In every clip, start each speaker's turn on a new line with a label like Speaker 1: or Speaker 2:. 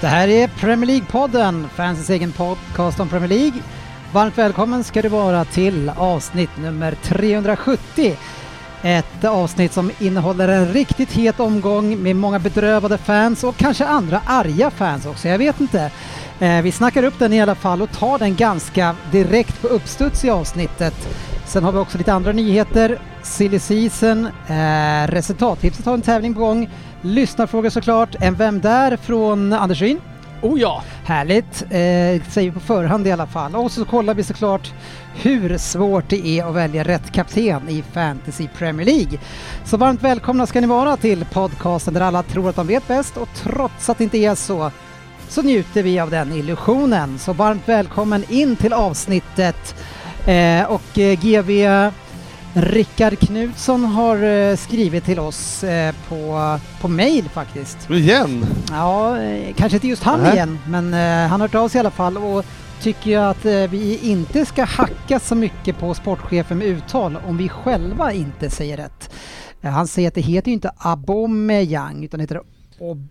Speaker 1: Det här är Premier League-podden, fansens egen podcast om Premier League. Varmt välkommen ska du vara till avsnitt nummer 370. Ett avsnitt som innehåller en riktigt het omgång med många bedrövade fans och kanske andra arga fans också, jag vet inte. Eh, Vi snackar upp den i alla fall och tar den ganska direkt på uppstuds i avsnittet. Sen har vi också lite andra nyheter. Silly Season, eh, resultattipset har en tävling på gång. Lyssnarfrågor såklart. En Vem Där från Anders Ryn.
Speaker 2: Oh ja!
Speaker 1: Härligt, eh, säger vi på förhand i alla fall. Och så kollar vi såklart hur svårt det är att välja rätt kapten i Fantasy Premier League. Så varmt välkomna ska ni vara till podcasten där alla tror att de vet bäst och trots att det inte är så så njuter vi av den illusionen. Så varmt välkommen in till avsnittet. Eh, och eh, GB Rickard Knutsson har eh, skrivit till oss eh, på, på mail faktiskt.
Speaker 3: Igen?
Speaker 1: Ja, eh, kanske inte just han
Speaker 3: Nej.
Speaker 1: igen, men eh, han har hört av sig i alla fall och tycker ju att eh, vi inte ska hacka så mycket på sportchefen med uttal om vi själva inte säger rätt. Eh, han säger att det heter ju inte Abomeyang utan heter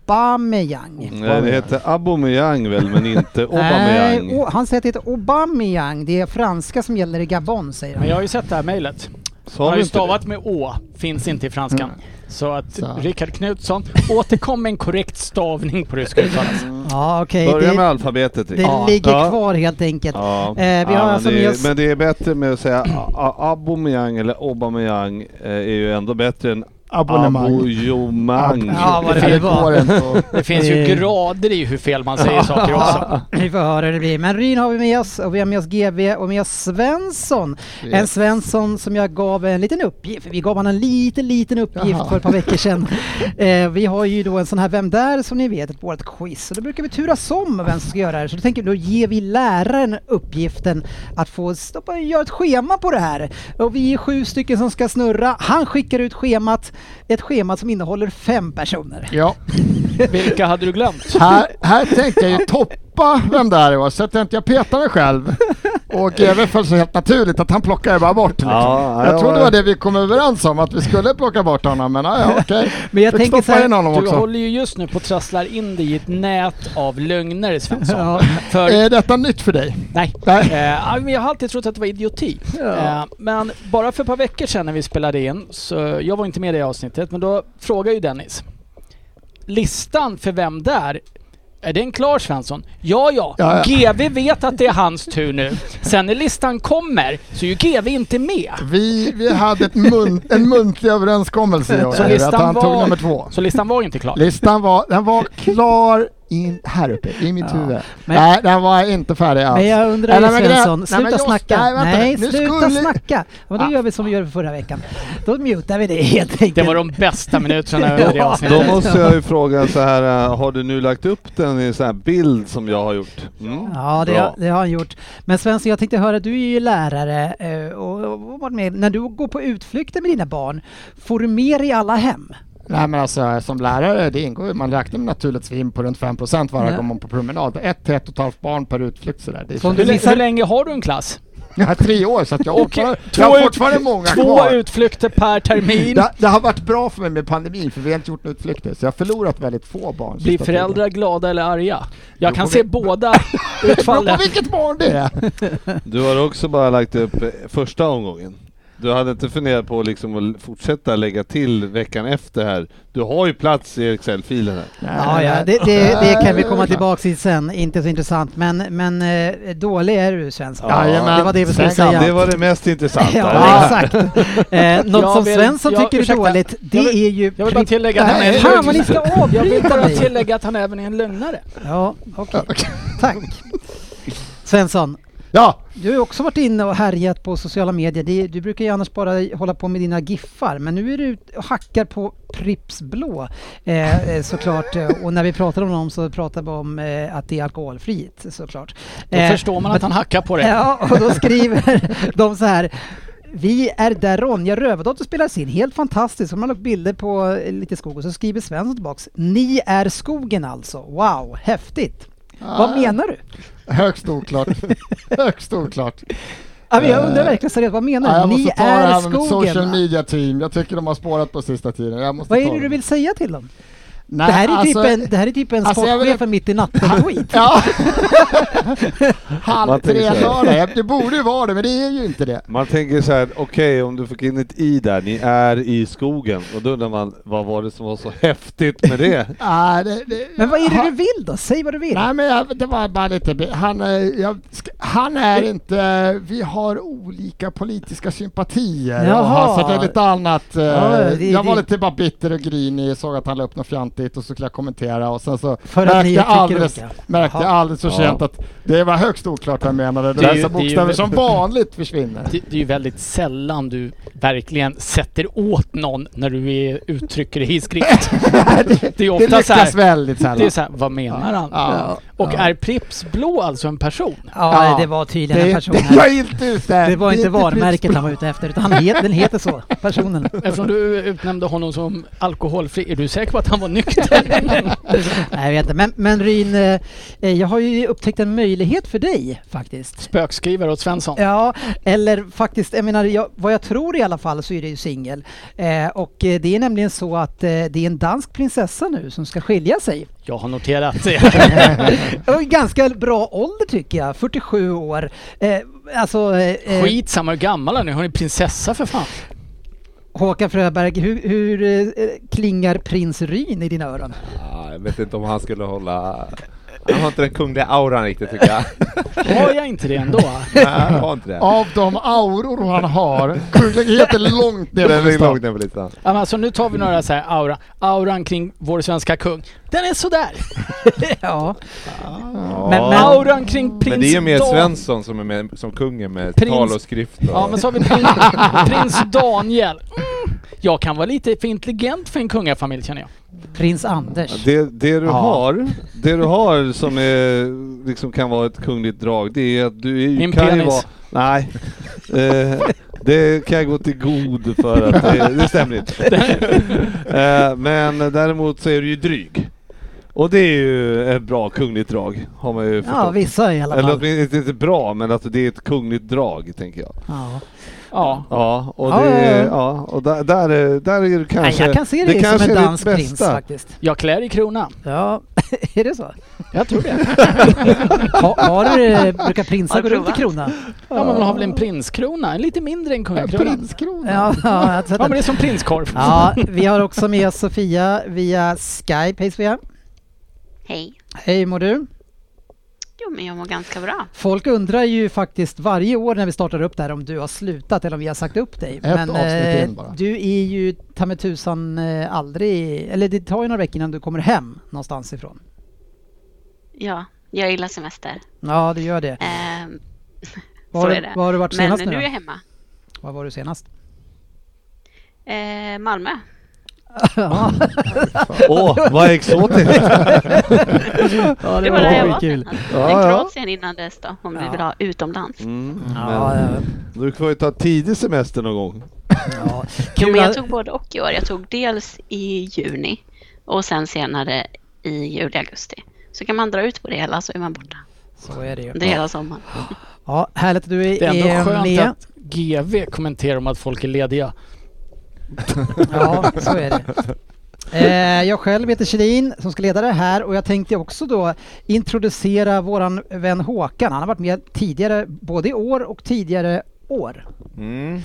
Speaker 1: Obameyang.
Speaker 3: Nej, det heter Aubameyang väl, men inte
Speaker 1: Nej,
Speaker 3: Aubameyang.
Speaker 1: o- han säger att det heter Obameyang. Det är franska som gäller i Gabon, säger
Speaker 3: Mm.
Speaker 2: Men
Speaker 1: han.
Speaker 2: jag har ju sett det här mejlet.
Speaker 3: Sa
Speaker 2: Jag har
Speaker 3: du
Speaker 2: ju
Speaker 3: inte det?
Speaker 2: stavat med Å, finns inte i franskan. Så att
Speaker 1: Så.
Speaker 2: Rickard Knutsson, återkom med en korrekt stavning på hur det ska uttalas.
Speaker 1: Ja, okej.
Speaker 3: Börja med
Speaker 1: Det,
Speaker 3: alfabetet.
Speaker 1: det
Speaker 3: Rickard.
Speaker 1: ligger
Speaker 3: Ja.
Speaker 1: kvar helt enkelt.
Speaker 3: Ja.
Speaker 1: vi har
Speaker 3: men,
Speaker 1: alltså
Speaker 3: det
Speaker 1: med
Speaker 3: är,
Speaker 1: oss-
Speaker 3: men det är bättre med att säga A- A- Aubameyang eller Aubameyang eh, är ju ändå bättre än
Speaker 4: Abonnemang.
Speaker 3: Aboyomang.
Speaker 1: Ja, vad det
Speaker 4: Det
Speaker 1: nu var.
Speaker 4: går inte att-
Speaker 2: Det finns ju grader i hur fel man säger saker också.
Speaker 1: Vi får höra hur det blir. Men Ryn har vi med oss och vi har med oss GB och med oss Svensson. En Svensson som jag gav en liten uppgift. Vi gav honom en liten, liten uppgift
Speaker 4: Jaha.
Speaker 1: för ett par veckor sedan. eh, vi har ju då en sån här Vem där? som ni vet, ett vårt quiz. Och då brukar vi turas om vem som ska göra det här. Så då tänker vi, då ger vi läraren uppgiften att få stoppa, göra ett schema på det här. Och vi är sju stycken som ska snurra. Han skickar ut schemat, ett schema som innehåller fem personer.
Speaker 4: Ja,
Speaker 2: Vilka hade du glömt?
Speaker 4: här, här tänkte jag ju toppa vem det här var så att jag inte jag petar mig själv. Och GW föll så helt naturligt att han plockade bara bort. Liksom.
Speaker 3: Ja,
Speaker 4: jag
Speaker 3: ja,
Speaker 4: trodde det
Speaker 3: ja.
Speaker 4: var det vi kom överens om, att vi skulle plocka bort honom. Men ja, ja, okej.
Speaker 1: Men jag
Speaker 4: Fick
Speaker 1: tänker
Speaker 4: stoppa
Speaker 1: så här,
Speaker 4: in honom
Speaker 2: Du
Speaker 4: också.
Speaker 2: håller ju just nu på att trasslar in dig i ett nät av lögner Svensson.
Speaker 1: Ja.
Speaker 2: För
Speaker 4: Är detta nytt för dig?
Speaker 2: Nej.
Speaker 4: Nej.
Speaker 2: Eh, ja, men jag har alltid trott att det var idioti. Eh, men bara för ett par veckor sedan när vi spelade in, så jag var inte med i det avsnittet, men då frågade ju Dennis. Listan för vem där? Är den klar Svensson? Ja, ja.
Speaker 4: Ja, ja.
Speaker 2: GV vet att det är hans tur nu. Sen när listan kommer så är ju GV inte med.
Speaker 4: Vi, vi hade ett mun, en muntlig överenskommelse i år,
Speaker 2: Så
Speaker 4: GW, att
Speaker 2: listan
Speaker 4: han tog
Speaker 2: var-
Speaker 4: nummer två.
Speaker 2: Så listan var inte klar.
Speaker 4: Listan var, den var klar in, här uppe i mitt
Speaker 1: Ja.
Speaker 4: huvud.
Speaker 1: Men-
Speaker 4: nej, den var inte färdig alls.
Speaker 1: Men jag undrar
Speaker 4: Nej,
Speaker 1: ju
Speaker 4: men grejen-
Speaker 1: Svensson,
Speaker 4: nej,
Speaker 1: sluta
Speaker 4: men just-
Speaker 1: snacka.
Speaker 4: nej,
Speaker 1: Nej,
Speaker 4: vänta, nu
Speaker 1: sluta
Speaker 4: skulle-
Speaker 1: snacka. Men då
Speaker 4: Ah.
Speaker 1: gör vi som vi gjorde förra veckan. Då mutar vi det helt enkelt.
Speaker 2: Det var de bästa minuterna över det
Speaker 1: Ja.
Speaker 3: Då
Speaker 2: avsnittet.
Speaker 3: måste jag ju fråga så här, eh, har du nu lagt upp den i en sån här bild som jag har gjort? Mm.
Speaker 1: Ja, det,
Speaker 3: Bra.
Speaker 1: har- det har han gjort. Men Svensson, jag tänkte höra, du är ju lärare eh, och, och, och varit med. när du går på utflykter med dina barn, får du mer i alla hem?
Speaker 4: Nej men alltså som lärare, det ingår ju- man räknar med naturligtvis in på runt 5% varje
Speaker 1: Nej.
Speaker 4: gång man på promenad. Ett till ett och ett halvt barn per utflykt sådär. Det är
Speaker 1: Så om
Speaker 4: så
Speaker 1: du-
Speaker 2: Hur,
Speaker 4: du...
Speaker 2: lä- hur länge har du en klass?
Speaker 4: Jag har tre år så att jag, har
Speaker 2: Okej,
Speaker 4: fortfarande- jag har
Speaker 2: två ut-
Speaker 4: fortfarande många
Speaker 2: Två
Speaker 4: kvar.
Speaker 2: utflykter per termin.
Speaker 4: Det, det har varit bra för mig med pandemin för vi har inte gjort några utflykter så jag har förlorat väldigt få barn.
Speaker 2: Blir
Speaker 4: sista tiden.
Speaker 2: föräldrar glada eller arga? Jag
Speaker 4: Jo,
Speaker 2: kan
Speaker 4: på
Speaker 2: se
Speaker 4: vil-
Speaker 2: båda
Speaker 4: Det beror
Speaker 2: utfallen.
Speaker 4: på vilket barn det är!
Speaker 3: Du har också bara lagt upp eh, första omgången. Du hade inte funderat på liksom att l- fortsätta lägga till veckan efter här. Du har ju plats i Excel-filen här.
Speaker 1: Ja, ja det, det, det kan vi komma tillbaka till sen. Inte så intressant, men, men eh, dålig är du Svensson.
Speaker 3: Ja,
Speaker 4: Jajamän,
Speaker 1: det var det vi skulle
Speaker 4: säg
Speaker 1: säga.
Speaker 4: gammalt.
Speaker 3: Det var det mest intressanta.
Speaker 1: Ja,
Speaker 4: Ja.
Speaker 1: exakt. Eh, något
Speaker 2: Jag
Speaker 1: som
Speaker 2: vill-
Speaker 1: Svensson
Speaker 2: jag-
Speaker 1: tycker
Speaker 2: ursäkta.
Speaker 1: är dåligt, det
Speaker 2: Jag vill-
Speaker 1: är ju...
Speaker 2: Jag vill bara
Speaker 1: pri-
Speaker 2: tillägga att han
Speaker 4: Nej,
Speaker 2: är
Speaker 1: fan vad ni ska
Speaker 2: Jag vill
Speaker 1: avbryta
Speaker 2: bara
Speaker 1: mig.
Speaker 2: tillägga att han även är en lögnare.
Speaker 1: Ja, okej. Tack. Svensson,
Speaker 4: Ja,
Speaker 1: Du har ju också varit inne och härjat på sociala medier. Det- Du brukar ju annars bara hålla på med dina giffar, men nu är du ute och hackar på Pripps Blå eh, eh, såklart. Eh, Och när vi pratar om dem så pratar vi om eh, att det är alkoholfritt såklart.
Speaker 2: Då
Speaker 1: Eh,
Speaker 2: förstår man att han hackar på det.
Speaker 1: Ja, och då skriver de så här. Vi är där Ronja Rövardotter spelas in. Helt fantastiskt. Så har man lagt bilder på eh, lite skog och så skriver Svensson tillbaks. Ni är skogen alltså. Wow, häftigt.
Speaker 2: Ah.
Speaker 1: Vad menar du?
Speaker 4: högst oklart. högst oklart.
Speaker 1: Ja, men jag undrar
Speaker 4: Eh,
Speaker 1: verkligen seriöst, vad menar
Speaker 4: Nej,
Speaker 1: du?
Speaker 4: jag måste
Speaker 1: Ni
Speaker 4: ta det
Speaker 1: är
Speaker 4: här med mitt social
Speaker 1: skogen.
Speaker 4: media team. Jag tycker de har spårat på sista tiden. Jag måste
Speaker 1: Vad är
Speaker 4: ta
Speaker 1: det du
Speaker 4: dem.
Speaker 1: vill säga till dem?
Speaker 4: Nej,
Speaker 1: det, här är typ
Speaker 4: alltså-
Speaker 1: en, det här är typ en
Speaker 4: alltså, jag vill-
Speaker 1: sportchefen mitt i natten-tweet.
Speaker 4: Ja.
Speaker 3: Man
Speaker 4: Halv
Speaker 3: tänker
Speaker 4: tre
Speaker 3: så här.
Speaker 4: lördag. Det borde ju vara det, men det är ju inte det.
Speaker 3: Man tänker så här, okej om du fick in ett i där, ni är i skogen. Och då undrar man, vad var det som var så häftigt med det?
Speaker 4: Nej, det, det
Speaker 1: Men vad är det
Speaker 4: ha-
Speaker 1: du vill då? Säg vad du vill.
Speaker 4: Nej, men jag, det var bara lite... be- Han, eh, jag, ska- han är inte... Vi har olika politiska sympatier. och
Speaker 1: Jaha.
Speaker 4: har- så det är lite annat. eh,
Speaker 1: Ja, det-
Speaker 4: jag var
Speaker 1: det-
Speaker 4: lite bara bitter och grinig, såg att han la upp något fjantigt och så skulle jag kommentera och sen så
Speaker 1: För att
Speaker 4: märkte
Speaker 1: ni
Speaker 4: jag
Speaker 1: tycker
Speaker 4: alldeles,
Speaker 1: olika.
Speaker 4: märkte jag
Speaker 1: Jaha.
Speaker 4: alldeles så
Speaker 3: Ja.
Speaker 4: sent att det var högst oklart vad jag menade.
Speaker 2: Det är ju-
Speaker 4: Dessa
Speaker 2: det är ju-
Speaker 4: bokstäver som vanligt försvinner.
Speaker 2: Det, det är ju väldigt sällan du verkligen sätter åt någon när du är, uttrycker dig i skrift. det är
Speaker 4: Det
Speaker 2: ofta så
Speaker 4: lyckas
Speaker 2: här,
Speaker 4: väldigt sällan.
Speaker 2: det är så här, vad menar han?
Speaker 4: Ja.
Speaker 2: Och är Pripps Blå alltså en person?
Speaker 1: ja,
Speaker 4: ja.
Speaker 1: det var tydligen en
Speaker 4: Det,
Speaker 1: person
Speaker 4: det
Speaker 1: här.
Speaker 4: jag är inte ute
Speaker 1: Det var
Speaker 4: är
Speaker 1: inte varumärket
Speaker 4: Pripps-
Speaker 1: han var ute efter, utan han het, den heter så, personen.
Speaker 2: Eftersom du utnämnde honom som alkoholfri, är du säker på att han var nykter?
Speaker 1: Nej, jag vet inte. Men, men Ryn, eh, eh, jag har ju upptäckt en möjlighet för dig faktiskt.
Speaker 2: Spökskrivare åt Svensson.
Speaker 1: Ja, eller faktiskt, jag menar, jag, vad jag tror i alla fall så är det ju singel. Eh, och eh, det är nämligen så att eh, det är en dansk prinsessa nu som ska skilja sig.
Speaker 2: Jag har noterat det.
Speaker 1: Och i ganska bra ålder tycker jag, 47 år. Eh, alltså, eh, eh,
Speaker 2: Skitsamma hur gammal han är, hon är prinsessa för fan.
Speaker 1: Håkan Fröberg, hur, hur eh, klingar prins Ryn i dina öron?
Speaker 5: Ja, jag vet inte om han skulle hålla... Han har inte den kungliga auran riktigt tycker jag.
Speaker 2: Har jag inte det ändå?
Speaker 5: Nej, han har inte det.
Speaker 4: Av de auror han har, kungligheten är långt ner på
Speaker 5: Den ligger
Speaker 4: listan.
Speaker 5: långt ner på listan.
Speaker 2: Ja, men Alltså nu tar vi några så här aura. Auran kring vår svenska kung. Den är sådär.
Speaker 1: Ja,
Speaker 5: Ja.
Speaker 1: Men- men-
Speaker 2: Auran kring prins
Speaker 5: Men det är ju mer
Speaker 2: Dan-
Speaker 5: Svensson som är med som kungen med
Speaker 2: Prins-
Speaker 5: tal och skrift. Och...
Speaker 2: Ja men så har vi prins, prins Daniel. Mm. Jag kan vara lite för intelligent för en kungafamilj känner jag.
Speaker 1: prins Anders.
Speaker 3: Det, det, du har, det du har som är, liksom kan vara ett kungligt drag, det är att du är,
Speaker 2: Min
Speaker 3: kan ju
Speaker 2: penis.
Speaker 3: vara... Nej. Eh, det kan jag gå till god för att det, det stämmer inte. Eh, men däremot så är du ju dryg. Och det är ju ett bra kungligt drag, har man ju förstått.
Speaker 1: Ja, vissa i alla
Speaker 3: Eller
Speaker 1: fall.
Speaker 3: åtminstone inte, inte bra, men att det är ett kungligt drag, tänker jag.
Speaker 1: Ja.
Speaker 2: Ja.
Speaker 3: Ja, och,
Speaker 1: Ja,
Speaker 3: det,
Speaker 1: ja, ja.
Speaker 3: ja, och där, där, är- där är det
Speaker 1: Nej,
Speaker 3: kanske...
Speaker 1: jag kan se dig som
Speaker 3: kanske
Speaker 1: en
Speaker 3: är ditt
Speaker 1: dansk prins
Speaker 3: bästa.
Speaker 1: faktiskt.
Speaker 2: Jag klär i krona.
Speaker 1: Ja, är det så?
Speaker 2: Jag tror det.
Speaker 1: Ha, har du, eh, brukar prinsar
Speaker 6: Har
Speaker 1: gå
Speaker 6: du
Speaker 1: runt i
Speaker 6: provat?
Speaker 1: krona?
Speaker 2: Ja men man har väl en prinskrona? En lite mindre än kungakrona.
Speaker 4: Prinskrona.
Speaker 1: Ja, ja, jag har sett
Speaker 2: Ja men det
Speaker 1: den.
Speaker 2: är som prinskorv.
Speaker 1: ja, vi har också med oss Sofia via Skype. Hej Sofia!
Speaker 6: Hej.
Speaker 1: Hej mår du?
Speaker 6: Jo, men jag mår ganska bra.
Speaker 1: Folk undrar ju faktiskt varje år när vi startar upp det här om du har slutat eller om vi har sagt upp dig. eh,
Speaker 4: avsnitt in bara.
Speaker 1: du är ju ta mig tusan eh, aldrig, eller det tar ju några veckor innan du kommer hem någonstans ifrån.
Speaker 6: Ja, jag gillar semester.
Speaker 1: Ja, det gör det.
Speaker 6: Ehm,
Speaker 1: Var
Speaker 6: så
Speaker 1: har-
Speaker 6: är det.
Speaker 1: var har du varit senast
Speaker 6: men
Speaker 1: nu
Speaker 6: nu
Speaker 1: då?
Speaker 6: är jag hemma.
Speaker 1: Var var du senast?
Speaker 6: Eh, Malmö.
Speaker 1: Ja,
Speaker 3: Åh, vad exotiskt!
Speaker 1: Mm,
Speaker 6: Det var där jag var
Speaker 1: skitkul.
Speaker 6: senast.
Speaker 3: Ja,
Speaker 6: Men
Speaker 3: ja.
Speaker 6: Kroatien innan dess då, om
Speaker 1: Ja.
Speaker 6: du vill ha utomlands.
Speaker 3: Mm,
Speaker 1: Ja, ja.
Speaker 3: men du får ju ta tidig semester någon gång.
Speaker 1: ja.
Speaker 6: Jo,
Speaker 1: Kul
Speaker 6: men jag
Speaker 1: att-
Speaker 6: tog både och i år. Jag tog dels i juni och sen senare i juli, augusti. Så kan man dra ut på det hela så är man borta.
Speaker 1: Så är det ju.
Speaker 6: Det är hela sommaren.
Speaker 1: Ja, härligt att du är,
Speaker 2: Det är ändå
Speaker 1: är
Speaker 2: skönt
Speaker 1: med.
Speaker 2: att GV kommenterar om att folk är lediga.
Speaker 1: Ja, så är det. Eh, jag själv heter Kjellin som ska leda det här och jag tänkte också då introducera våran vän Håkan. Han har varit med tidigare, både i år och tidigare år.
Speaker 5: Mm.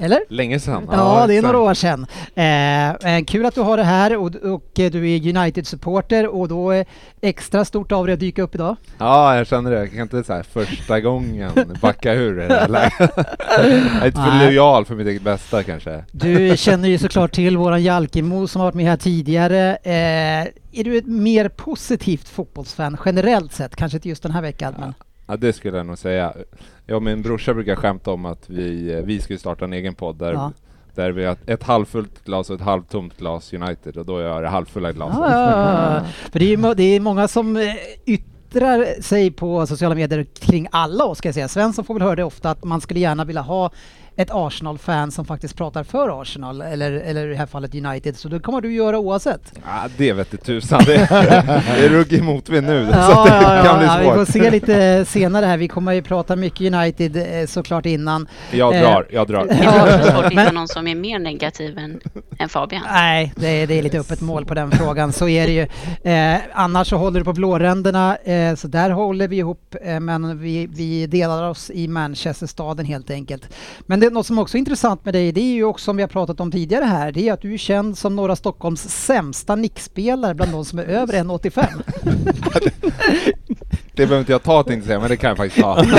Speaker 1: Eller?
Speaker 5: Länge sedan.
Speaker 1: Ja, det är
Speaker 5: exakt.
Speaker 1: några år sedan. Eh, eh, kul att du har det här och, och eh, du är United-supporter och då är extra stort av dig att dyka upp idag.
Speaker 5: Ja, jag känner det. Jag kan inte så här första gången backa ur i det här läget. Jag är inte för
Speaker 1: Nej.
Speaker 5: lojal för mitt eget bästa kanske.
Speaker 1: Du känner ju såklart till våran Jalkemo som har varit med här tidigare. Eh, är du ett mer positivt fotbollsfan generellt sett? Kanske inte just den här veckan, men
Speaker 5: Ja, det skulle jag nog säga. Jag och min brorsa brukar skämta om att vi, eh, vi skulle starta en egen podd där,
Speaker 1: Ja.
Speaker 5: där vi har ett- ett halvfullt glas och ett halvtomt glas United och då är jag det halvfulla glaset.
Speaker 1: Ja, ja, ja, ja. För det är, ju må- det är många som eh, yttrar sig på sociala medier kring alla oss ska jag säga. Svensson får väl höra det ofta att man skulle gärna vilja ha ett Arsenal-fan som faktiskt pratar för Arsenal eller, eller i det här fallet United. Så det kommer du göra oavsett.
Speaker 5: Ja, Ah, det vet du tusan, det det är rugg i motvind nu så
Speaker 1: Ja,
Speaker 5: det
Speaker 1: ja,
Speaker 5: kan
Speaker 1: ja,
Speaker 5: bli
Speaker 1: ja, vi
Speaker 5: svårt.
Speaker 1: får se lite senare här. Vi kommer ju prata mycket United eh, såklart innan.
Speaker 5: Jag
Speaker 1: eh,
Speaker 5: drar, jag drar.
Speaker 7: Det är svårt att hitta
Speaker 1: Men-
Speaker 7: någon som är mer negativ än, än Fabian.
Speaker 1: Nej, det är, det är lite öppet mål på den frågan. Så är det ju. Eh, annars så håller du på blåränderna, eh, så där håller vi ihop. Eh, men vi, vi delar oss i Manchesterstaden helt enkelt. Men det, är något som också är intressant med dig, det är ju också som vi har pratat om tidigare här, det är att du är känd som norra Stockholms sämsta nickspelare bland de som är över 1,85.
Speaker 5: Det behöver inte jag ta tänkte jag säga, men det kan jag faktiskt ta.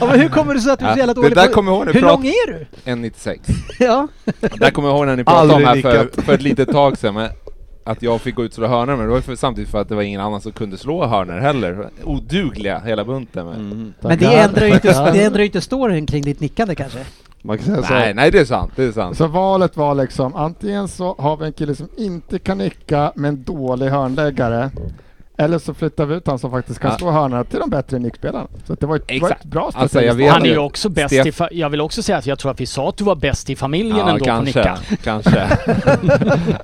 Speaker 1: ja, men hur kommer det sig att du är så jävla
Speaker 5: Ja,
Speaker 1: dålig
Speaker 5: det där
Speaker 1: på...
Speaker 5: kommer jag ihåg när
Speaker 1: hur
Speaker 5: vi prat-
Speaker 1: lång är du?
Speaker 5: 1,96.
Speaker 1: ja.
Speaker 5: Där kommer jag ihåg när ni pratade om
Speaker 3: Aldrig
Speaker 5: här för,
Speaker 3: nickat.
Speaker 5: för ett litet tag sedan, men att jag fick gå ut och slå hörnor, men det var ju för, samtidigt för att det var ingen annan som kunde slå hörnor heller. Odugliga hela bunten. Men.
Speaker 1: Men det ändrar ju inte, det ändrar ju inte storyn kring ditt nickande kanske.
Speaker 3: Man kan säga
Speaker 4: Alltså-
Speaker 3: så
Speaker 5: Nej,
Speaker 3: här.
Speaker 5: nej det är sant, det är sant.
Speaker 4: Så valet var liksom antingen så har vi en kille som inte kan nicka men dålig hörnläggare. Eller så flyttar vi ut han som faktiskt kan
Speaker 5: Ja.
Speaker 4: slå hörnorna till de bättre nickspelarna. Så det var ett, det var ett
Speaker 5: Exakt.
Speaker 4: bra
Speaker 5: Alltså, jag
Speaker 4: strategiskt
Speaker 5: vet
Speaker 4: val.
Speaker 5: att
Speaker 2: Han är ju
Speaker 5: det.
Speaker 2: också bäst
Speaker 5: Stef-
Speaker 2: i fa- Jag vill också säga att jag tror att vi sa att du var bäst i familjen
Speaker 5: Ja,
Speaker 2: ändå på
Speaker 5: kanske.
Speaker 2: nicka.
Speaker 5: kanske.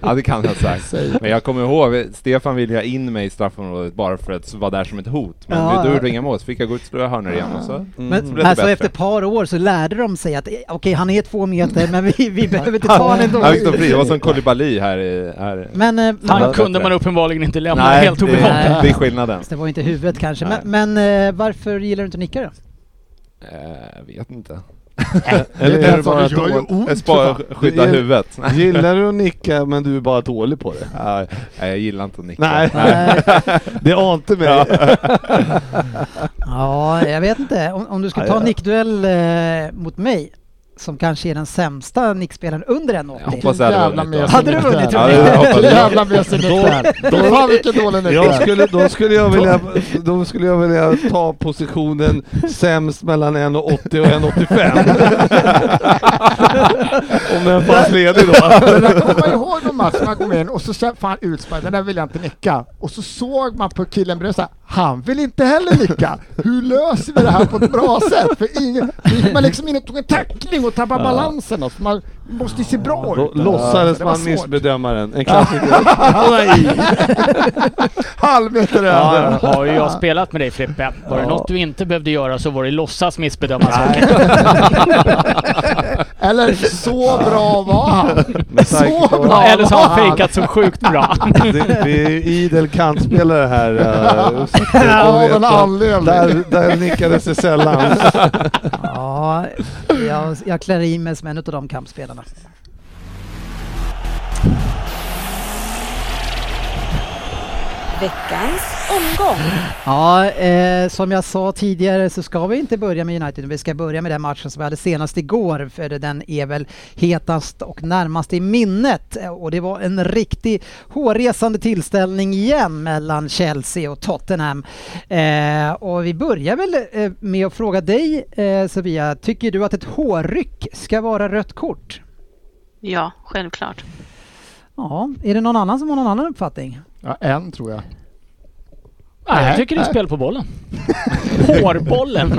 Speaker 5: ja, det kan jag ha sagt.
Speaker 4: Säg.
Speaker 5: Men jag kommer ihåg, Stefan ville ha in mig i straffområdet bara för att vara där som ett hot. Men
Speaker 1: Ja,
Speaker 5: då
Speaker 1: ja.
Speaker 5: gjorde vi inga mål, så fick jag gå ut och slå hörnor igen och Mm. så.
Speaker 3: Mm.
Speaker 1: Men,
Speaker 5: blev det
Speaker 1: alltså
Speaker 5: bättre.
Speaker 1: efter ett par år så lärde de sig att eh, okej, han är två meter men vi, vi behöver inte ta honom
Speaker 5: Han fick stå
Speaker 1: ändå.
Speaker 5: fri, det var som Kolibali här i... Här.
Speaker 1: Men, eh,
Speaker 2: Han
Speaker 5: Ja,
Speaker 2: kunde
Speaker 5: bättre.
Speaker 2: man uppenbarligen inte lämna
Speaker 5: Nej,
Speaker 2: helt
Speaker 5: det,
Speaker 2: obevakad.
Speaker 1: obevakad.
Speaker 5: det är skillnaden.
Speaker 1: det var inte huvudet kanske.
Speaker 5: Nej.
Speaker 1: Men, men eh, varför gillar du inte nicka då?
Speaker 5: Eh, vet inte.
Speaker 3: Eller
Speaker 4: Det
Speaker 3: är
Speaker 4: är
Speaker 3: du
Speaker 4: så
Speaker 3: bara
Speaker 4: att det gör ju
Speaker 3: dålig?
Speaker 4: ont.
Speaker 5: Jag sparar, skydda
Speaker 3: Det är-
Speaker 5: huvudet.
Speaker 3: Gillar du att nicka men du är bara dålig på det?
Speaker 5: Nej, jag gillar inte att nicka.
Speaker 3: Nej,
Speaker 1: Nej.
Speaker 3: det ante mig.
Speaker 1: ja, jag vet inte. Om, om du ska
Speaker 3: Ja,
Speaker 1: ta
Speaker 3: ja.
Speaker 1: nickduell eh, mot mig, som kanske är den sämsta nickspelaren under 1,80.
Speaker 5: Jag hoppas jag hade
Speaker 4: Jävla
Speaker 5: vunnit. då.
Speaker 4: mesig
Speaker 1: Hade du vunnit,
Speaker 4: nick där.
Speaker 1: tror
Speaker 5: ni? Ja, det hoppas jag.
Speaker 4: Jävla mesig nick där. Fy Fan vilken dålig nick
Speaker 3: Jag
Speaker 4: där.
Speaker 3: skulle, då, skulle jag vilja, då skulle jag vilja ta positionen sämst mellan 1,80 och 1,85. Om den fanns ledig då.
Speaker 4: Men jag kommer ihåg någon match när jag kom in och så sa fan utspark, den där vill jag inte nicka. Och så såg man på killen bredvid såhär, han vill inte heller nicka. Hur löser vi det här på ett bra sätt? För ingen, då gick man liksom in och tog en tackling och tappade balansen. Och så man måste ju se bra
Speaker 3: Då
Speaker 4: ut.
Speaker 3: låtsades
Speaker 4: Det var
Speaker 3: man
Speaker 4: svårt.
Speaker 3: missbedöma den. En klassiker.
Speaker 4: Halvmeter över.
Speaker 3: Ja,
Speaker 2: Har ju jag spelat med dig Frippe. Var det
Speaker 3: Ja.
Speaker 2: något du inte behövde göra så var det låtsas missbedöma saker.
Speaker 4: Eller så bra var han.
Speaker 3: Med tanke
Speaker 4: Så
Speaker 3: på-
Speaker 4: bra
Speaker 2: Eller så har han
Speaker 4: var
Speaker 2: fejkat så sjukt bra.
Speaker 3: Det- Vi är ju idel kantspelare här. eh, och sitter och
Speaker 4: Av
Speaker 3: vet
Speaker 4: en
Speaker 3: att-
Speaker 4: anledning.
Speaker 3: Där, där nickades det sällan.
Speaker 1: Ja, jag, jag klär i mig som en av de kampspelarna.
Speaker 8: Veckans omgång.
Speaker 1: Ja, eh, som jag sa tidigare så ska vi inte börja med United, vi ska börja med den matchen som vi hade senast igår, för den är väl hetast och närmast i minnet. Eh, Och det var en riktig hårresande tillställning igen mellan Chelsea och Tottenham. Eh, och vi börjar väl eh, med att fråga dig eh, Sofia, tycker du att ett hårryck ska vara rött kort?
Speaker 7: Ja, självklart.
Speaker 1: Ja, är det någon annan som har någon annan uppfattning?
Speaker 4: Ja, en tror jag.
Speaker 2: Nej, jag
Speaker 4: Nej,
Speaker 2: tycker det är
Speaker 4: nej.
Speaker 2: spel på bollen. Hårbollen.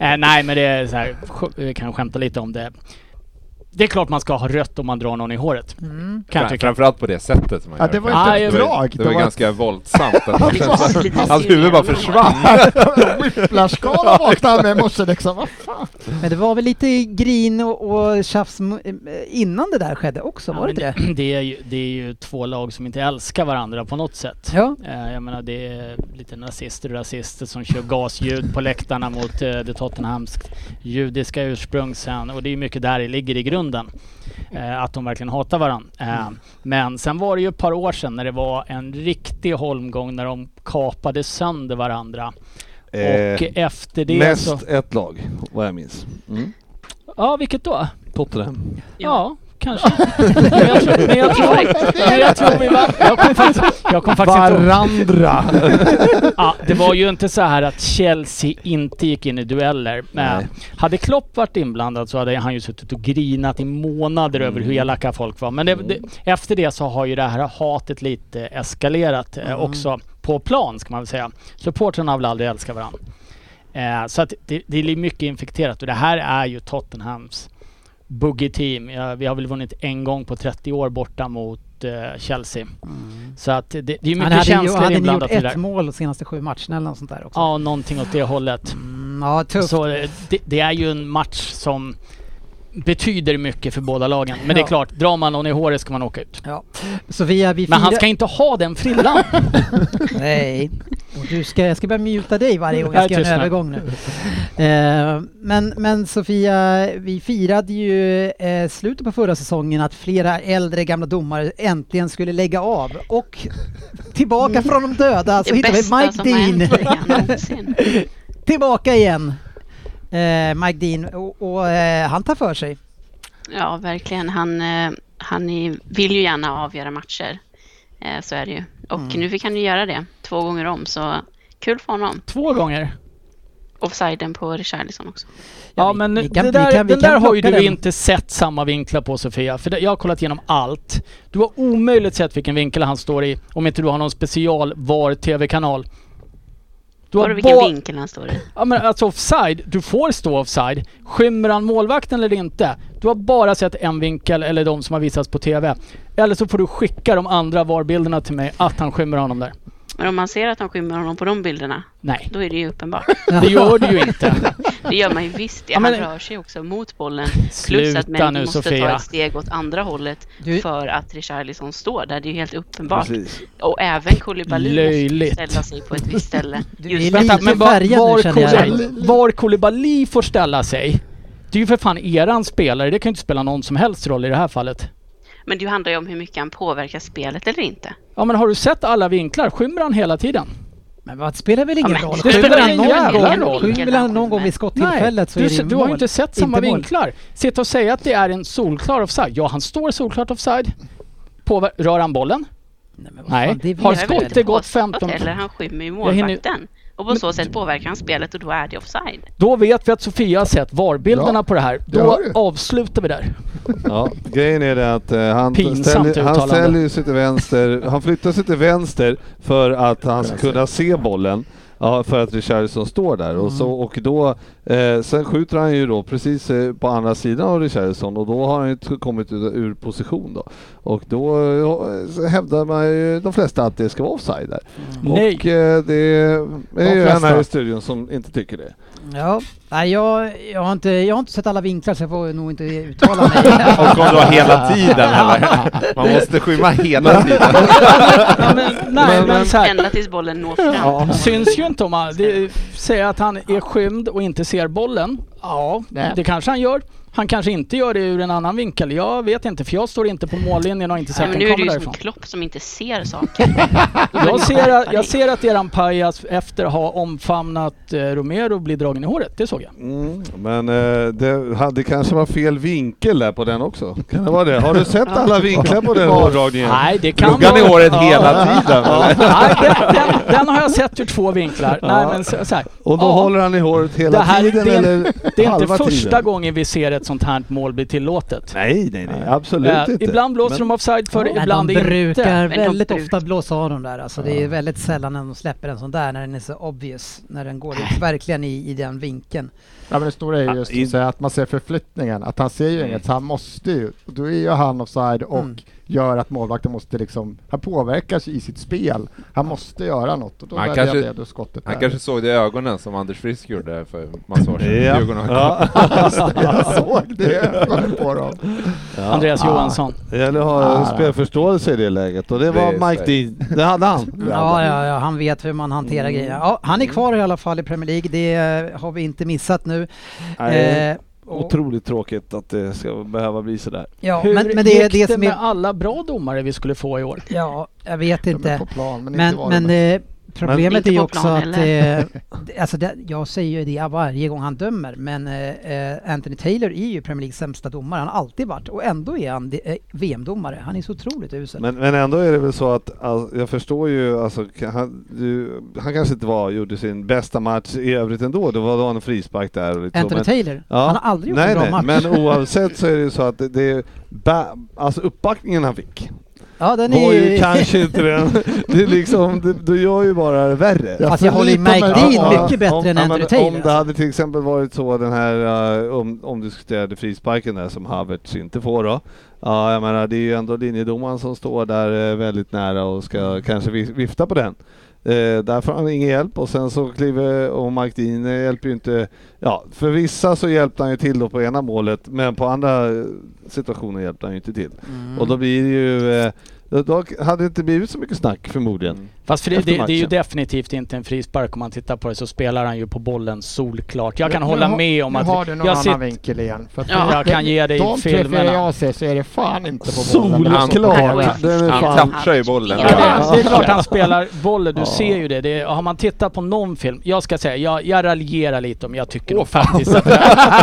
Speaker 2: eh, nej men det är så här, sk- vi kan skämta lite om det. Det är klart man ska ha rött om man drar någon i håret.
Speaker 1: Mm.
Speaker 2: Kan jag
Speaker 5: Fram,
Speaker 2: tycka.
Speaker 5: framförallt på det sättet som man
Speaker 4: Ja,
Speaker 5: gör
Speaker 4: det var
Speaker 2: inte
Speaker 5: kanske.
Speaker 2: ett
Speaker 5: Det var-
Speaker 4: drag,
Speaker 5: Det
Speaker 4: det
Speaker 5: var
Speaker 4: var-
Speaker 5: ganska våldsamt. att det kändes-
Speaker 7: Lite
Speaker 5: Hans huvud bara
Speaker 7: synligare.
Speaker 5: försvann.
Speaker 4: Whiplash-galan vaknade med i morse liksom. Vad fan?
Speaker 1: Men det var väl lite grin och, och tjafs m- eh, innan det där skedde också,
Speaker 2: Ja,
Speaker 1: var det inte
Speaker 2: men
Speaker 1: det?
Speaker 2: Det är, ju, det är ju två lag som inte älskar varandra på något sätt.
Speaker 1: Ja.
Speaker 2: Eh, Jag menar det är lite nazister och rasister som kör gasljud på läktarna mot eh, det Tottenhams judiska ursprungsen och det är mycket där det ligger i grunden. Eh, Att de verkligen hatar varandra. Men sen var det ju ett par år sedan när det var en riktig holmgång när de kapade sönder varandra.
Speaker 3: Eh,
Speaker 2: och efter det alltså-
Speaker 3: Mest
Speaker 2: så...
Speaker 3: ett lag, vad jag minns. Mm.
Speaker 2: Ja, vilket då?
Speaker 3: Tottenham.
Speaker 2: Ja, kanske. men, jag tror, men, jag tror, men jag tror vi vann. Jag kommer faktiskt, jag kommer faktiskt inte ihåg.
Speaker 4: Varandra.
Speaker 2: Ja, det var ju inte så här att Chelsea inte gick in i dueller. Men Hade Klopp varit inblandad så hade han ju suttit och grinat i månader över
Speaker 1: Mm.
Speaker 2: hur elaka folk var. Men det, det, efter det så har ju det här hatet lite eskalerat
Speaker 1: Mm.
Speaker 2: eh, också på plan ska man väl säga. Supportrarna har väl aldrig älskat varandra. Eh, så att det, det är mycket infekterat och det här är ju Tottenhams boogie team. Ja, vi har väl vunnit en gång på 30 år borta mot eh, Chelsea. Så att det, det är ju
Speaker 1: Han
Speaker 2: mycket
Speaker 1: hade, ju,
Speaker 2: känslor
Speaker 1: hade ni gjort
Speaker 2: inblandat i det
Speaker 1: ett
Speaker 2: där.
Speaker 1: mål de senaste sju matcherna eller något sånt där också?
Speaker 2: Ja, någonting åt det hållet.
Speaker 1: Mm, ja tufft.
Speaker 2: Så eh, det, det är ju en match som betyder mycket för båda lagen. Men det är
Speaker 1: Ja.
Speaker 2: klart, drar man någon i håret ska man åka ut.
Speaker 1: Ja. Sofia, vi
Speaker 2: Men han
Speaker 1: firar-
Speaker 2: ska inte ha den frillan!
Speaker 1: Nej. Och du ska, jag ska börja muta dig varje gång
Speaker 2: Jag
Speaker 1: jag ska göra en
Speaker 2: tystnar.
Speaker 1: övergång nu. Eh, men, men Sofia, vi firade ju eh, slutet på förra säsongen att flera äldre gamla domare äntligen skulle lägga av och tillbaka från de döda så
Speaker 7: det
Speaker 1: Alltså, hittar vi
Speaker 7: bästa
Speaker 1: Mike
Speaker 7: som har hänt
Speaker 1: Dean
Speaker 7: ligan någonsin.
Speaker 1: tillbaka igen. Eh, Mike Dean och, och eh, han tar för sig.
Speaker 7: Ja, verkligen. Han, eh, han är- vill ju gärna avgöra matcher. Eh, Så är det ju. Och
Speaker 1: Mm.
Speaker 7: nu fick han ju göra det två gånger om, så kul för honom.
Speaker 2: Två gånger.
Speaker 7: Offsiden på Richarlison också.
Speaker 2: Ja
Speaker 1: vi-
Speaker 2: men
Speaker 1: vi kan-
Speaker 2: den
Speaker 1: vi
Speaker 2: där,
Speaker 1: kan- vi
Speaker 2: den
Speaker 1: kan
Speaker 2: där har ju du
Speaker 1: plocka den.
Speaker 2: inte sett samma vinklar på Sofia. För det, jag har kollat igenom allt. Du har omöjligt sett vilken vinkel han står i om inte du har någon special VAR TV-kanal. Du
Speaker 7: Var
Speaker 2: har
Speaker 7: det vilken
Speaker 2: ba-
Speaker 7: vinkel han står i?
Speaker 2: Ja men alltså offside, du får stå offside. Skymmer han målvakten eller inte? Du har bara sett en vinkel eller de som har visats på TV. Eller så får du skicka de andra VAR-bilderna till mig att han skymmer honom där.
Speaker 7: Men om man ser att han skymmer honom på de bilderna,
Speaker 2: Nej,
Speaker 7: då är det ju uppenbart.
Speaker 2: det gör du ju inte.
Speaker 7: Det gör man ju visst.
Speaker 2: Ja,
Speaker 7: Han
Speaker 2: men-
Speaker 7: rör sig också mot bollen. Plus
Speaker 2: Sluta
Speaker 7: att människor
Speaker 2: nu,
Speaker 7: måste
Speaker 2: Sofia.
Speaker 7: ta ett steg åt andra hållet
Speaker 1: Du-
Speaker 7: för att Richarlison står där. Det är ju helt uppenbart.
Speaker 3: Precis.
Speaker 7: Och även Koulibaly måste
Speaker 2: Löjligt.
Speaker 7: ställa sig på ett visst ställe.
Speaker 1: Du
Speaker 7: Just
Speaker 1: är
Speaker 7: för att
Speaker 1: lite
Speaker 2: Vänta, men var,
Speaker 1: färgad nu,
Speaker 2: var,
Speaker 1: känner jag.
Speaker 2: Koulibaly, var Koulibaly får ställa sig, det är ju för fan eran spelare. Det kan ju inte spela någon som helst roll i det här fallet.
Speaker 7: Men det handlar ju om hur mycket han påverkar spelet eller inte.
Speaker 2: Ja men har du sett alla vinklar? Skymmer han hela tiden?
Speaker 1: Men vad spelar väl ingen
Speaker 7: men-
Speaker 1: roll?
Speaker 7: Det
Speaker 2: spelar
Speaker 1: Skymmer han
Speaker 2: ingen
Speaker 1: någon
Speaker 2: jävla
Speaker 1: gång-
Speaker 2: roll.
Speaker 1: Skymmer han någon gång vid skottillfället så
Speaker 2: du,
Speaker 1: är det
Speaker 2: se-
Speaker 1: ju
Speaker 2: du har ju
Speaker 1: mål.
Speaker 2: inte sett samma
Speaker 1: Inte mål.
Speaker 2: vinklar. Sitta och säga att det är en solklar offside. Ja, han står solklart offside. Påver- rör han bollen?
Speaker 1: Nej, men vad
Speaker 2: Nej.
Speaker 1: fan, det
Speaker 2: Har
Speaker 1: vet
Speaker 7: Jag
Speaker 2: skott-
Speaker 7: vill
Speaker 1: väl.
Speaker 7: inte
Speaker 2: det gått
Speaker 7: påstå
Speaker 2: 15?
Speaker 7: Eller han skymmer ju
Speaker 2: hinner-
Speaker 7: målvakten. Och på så sätt påverkar han spelet och då är det offside.
Speaker 2: Då vet vi att Sofia har sett VAR-bilderna
Speaker 4: Ja,
Speaker 2: på det här.
Speaker 4: det
Speaker 2: Då
Speaker 4: har du.
Speaker 2: avslutar vi där.
Speaker 3: Ja, grejen är det att eh, han,
Speaker 2: Pinsamt
Speaker 3: ställer, han
Speaker 2: uttalande.
Speaker 3: ställer ju sig till vänster, han flyttar sig till vänster för att han ska kunna se bollen. Ja, för att Richarlison står där och, så, och då, eh, sen skjuter han ju då precis eh, på andra sidan av Richarlison och då har han ju t- kommit ur, ur position då. Och då eh, så hävdar man ju de flesta att det ska vara offside där.
Speaker 2: Nej.
Speaker 3: Och eh, det är ju en
Speaker 4: flesta.
Speaker 3: här i studion som inte tycker det.
Speaker 1: Ja, nej, jag, jag, har inte, jag har inte sett alla vinklar så jag får nog inte uttala mig.
Speaker 5: Och om du har hela tiden eller? Man måste skymma hela tiden.
Speaker 2: Ja, men, nej, men, så här.
Speaker 7: Ända tills bollen når fram.
Speaker 2: Syns ju inte om han... Det, säga att han är skymd och inte ser bollen. Ja,
Speaker 4: Nej.
Speaker 2: det kanske han gör. Han kanske inte gör det ur en annan vinkel. Jag vet inte för jag står inte på mållinjen och har inte
Speaker 7: Ja,
Speaker 2: sett
Speaker 7: men
Speaker 2: den
Speaker 7: nu är det
Speaker 2: komma
Speaker 7: ju som
Speaker 2: därifrån.
Speaker 7: Klopp som inte ser saker.
Speaker 2: Jag ser, att, jag ser att eran pajas efter att ha omfamnat eh, Romero blir dragen i håret. Det såg jag.
Speaker 3: Mm, men eh, det, hade kanske var fel vinkel där på den också. Kan det vara det? Har du sett alla vinklar på den hårdragningen?
Speaker 2: Nej, det kan
Speaker 5: Pluggar ni
Speaker 2: vara-
Speaker 5: håret
Speaker 2: Ja.
Speaker 5: hela tiden? eller?
Speaker 2: Nej, den, den, den har jag sett ur två vinklar. Nej, men så, så här.
Speaker 3: Och då
Speaker 2: Ja,
Speaker 3: håller han i håret hela
Speaker 2: det här är-
Speaker 3: tiden
Speaker 2: det är-
Speaker 3: eller
Speaker 2: Det är inte
Speaker 3: halva
Speaker 2: första
Speaker 3: tiden?
Speaker 2: gången vi ser ett sånt här mål bli tillåtet.
Speaker 3: Nej, nej, nej. Absolut
Speaker 2: Eh,
Speaker 3: inte.
Speaker 2: ibland blåser de offside för,
Speaker 1: Nej,
Speaker 2: ibland
Speaker 1: de
Speaker 2: inte.
Speaker 1: brukar
Speaker 7: Men de
Speaker 1: väldigt
Speaker 7: brukar-
Speaker 1: ofta blåsa av dem där. Alltså, Det är väldigt sällan de släpper en sån där när den är så obvious. När den går ut verkligen i, i den vinkeln.
Speaker 4: Ja, men det stora är just att, säga att man ser förflyttningen, att han ser
Speaker 2: Mm.
Speaker 4: ju inget, så han måste ju, och då är ju han offside och
Speaker 1: Mm.
Speaker 4: gör att målvakten måste liksom, han påverkas i sitt spel, han måste göra något och då
Speaker 5: Han
Speaker 4: väljer
Speaker 5: kanske-
Speaker 4: han det, då skottet
Speaker 5: Han
Speaker 4: där.
Speaker 5: kanske såg det i ögonen som Anders Frisk gjorde för massa år sedan.
Speaker 3: Ja.
Speaker 5: Djurgården har-
Speaker 3: Ja.
Speaker 4: Jag såg det i ögonen på dem.
Speaker 2: Andreas Johansson.
Speaker 3: Det gäller att
Speaker 4: Ah.
Speaker 3: ha spelförståelse i det läget och det var
Speaker 5: Det är
Speaker 3: Mike Dean. Det hade han.
Speaker 1: Ja, ja, ja, han vet hur man hanterar
Speaker 3: Mm.
Speaker 1: grejerna. Ja, han är kvar i alla fall i Premier League. Det eh, har vi inte missat nu.
Speaker 3: Nej,
Speaker 1: Eh, och,
Speaker 3: Otroligt tråkigt att det ska behöva bli sådär.
Speaker 1: ja,
Speaker 2: Hur
Speaker 1: men, men det är
Speaker 2: gick
Speaker 1: det
Speaker 2: det
Speaker 1: som
Speaker 2: med
Speaker 1: är...
Speaker 2: alla bra domare vi skulle få i år?
Speaker 1: Ja, jag vet
Speaker 4: De är
Speaker 1: inte.
Speaker 4: på plan, men,
Speaker 1: Men,
Speaker 4: inte var
Speaker 1: men
Speaker 4: de.
Speaker 1: eh, Problemet
Speaker 7: Inte
Speaker 1: är ju
Speaker 7: på
Speaker 1: också
Speaker 7: plan
Speaker 1: att... Eh, alltså det, jag säger ju det varje gång han dömer, men eh, eh, Anthony Taylor är ju Premier Leagues sämsta domare. Han har alltid varit och ändå är han eh, VM-domare. Han är så otroligt usel.
Speaker 3: Men, men ändå är det väl så att all, jag förstår ju, alltså, kan- han, du, han kanske inte var, gjorde sin bästa match i övrigt ändå. Det var då en frispark där. Och lite så,
Speaker 1: Anthony
Speaker 3: men,
Speaker 1: Taylor,
Speaker 3: Ja.
Speaker 1: han har aldrig gjort
Speaker 3: nej,
Speaker 1: en bra
Speaker 3: nej,
Speaker 1: match.
Speaker 3: Men oavsett så är det ju så att det, det är ba, alltså uppbackningen han fick
Speaker 1: ja, den
Speaker 3: var
Speaker 1: är
Speaker 3: ju
Speaker 1: ju...
Speaker 3: kanske inte den. Det är liksom, det, du gör ju bara det värre.
Speaker 4: Ja,
Speaker 1: Fast jag håller ju
Speaker 4: Förutom
Speaker 1: Mike
Speaker 4: att-
Speaker 1: Dean
Speaker 4: Ja,
Speaker 1: mycket
Speaker 3: om,
Speaker 1: bättre än
Speaker 3: ja, men
Speaker 1: Anthony Taylor.
Speaker 3: Om det
Speaker 1: alltså.
Speaker 3: hade till exempel varit så den här, eh, om, om du diskuterade frisparken där som Havertz inte får då. Ja, jag menar det är ju ändå linjedomaren som står där eh, väldigt nära och ska kanske vi- vifta på den. Eh, där får han ingen hjälp och sen så kliver, och Mike Dean eh, hjälper ju inte, ja för vissa så hjälpte han ju till då på ena målet men på andra eh, situationer hjälpte han ju inte till.
Speaker 1: Mm.
Speaker 3: Och då blir det ju, eh, då- då hade det inte blivit så mycket snack förmodligen.
Speaker 2: Fast för det,
Speaker 3: Efter
Speaker 2: det, det är ju
Speaker 3: matchen.
Speaker 2: definitivt inte en frispark om man tittar på det så spelar han ju på bollen solklart. Jag kan
Speaker 4: Nu
Speaker 2: hålla
Speaker 4: har-
Speaker 2: med om
Speaker 4: nu
Speaker 2: att...
Speaker 4: har du någon
Speaker 2: jag
Speaker 4: annan
Speaker 2: sitter-
Speaker 4: vinkel igen. För att
Speaker 7: Ja.
Speaker 4: det-
Speaker 2: Jag kan ge dig
Speaker 4: De tre, fyra
Speaker 2: filmerna.
Speaker 4: jag ser så är det fan inte på bollen.
Speaker 3: Solklart! Den är
Speaker 5: Han
Speaker 3: fan
Speaker 5: touchar ju bollen.
Speaker 7: Ja,
Speaker 2: Ja, det är
Speaker 3: Ja.
Speaker 2: klart han spelar bollen, du ser ju det. det är, har man tittat på någon film, jag ska säga, jag, jag raljerar lite om jag tycker nog faktiskt att,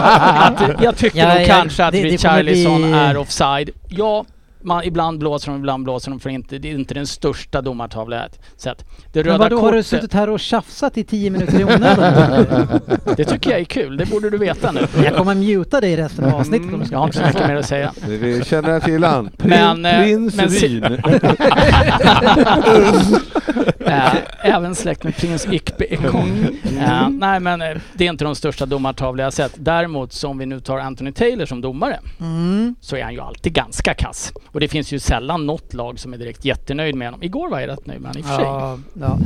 Speaker 2: att Jag tycker
Speaker 1: Ja,
Speaker 2: nog
Speaker 1: ja,
Speaker 2: kanske att
Speaker 1: det- det kommer
Speaker 2: Richarlison
Speaker 1: bli-
Speaker 2: är offside. Ja, man, ibland blåser de, ibland blåser de för inte, det är inte den största domartavlan jag har sett. Det
Speaker 1: Men
Speaker 2: röda
Speaker 1: vadå, har du
Speaker 2: kortet,
Speaker 1: suttit här och tjafsat i tio minuter i onödan?
Speaker 2: det tycker jag är kul, det borde du veta nu.
Speaker 1: jag kommer muta dig resten av avsnittet om du
Speaker 2: Jag
Speaker 1: ska
Speaker 2: har inte så mycket mer att säga.
Speaker 3: Det Vi känner till han.
Speaker 2: Men, eh,
Speaker 3: Prins
Speaker 2: men se-
Speaker 3: Ryn.
Speaker 2: Eh, även släkt med prins Ikbe Ekong. Eh, nej men eh, det är inte de största domartavlor jag har sett. Däremot så om vi nu tar Anthony Taylor som domare
Speaker 1: Mm.
Speaker 2: så är han ju alltid ganska kass. Och det finns ju sällan något lag som är direkt jättenöjd med honom. Igår var jag rätt nöjd med honom i och för sig.
Speaker 1: Ja, ja.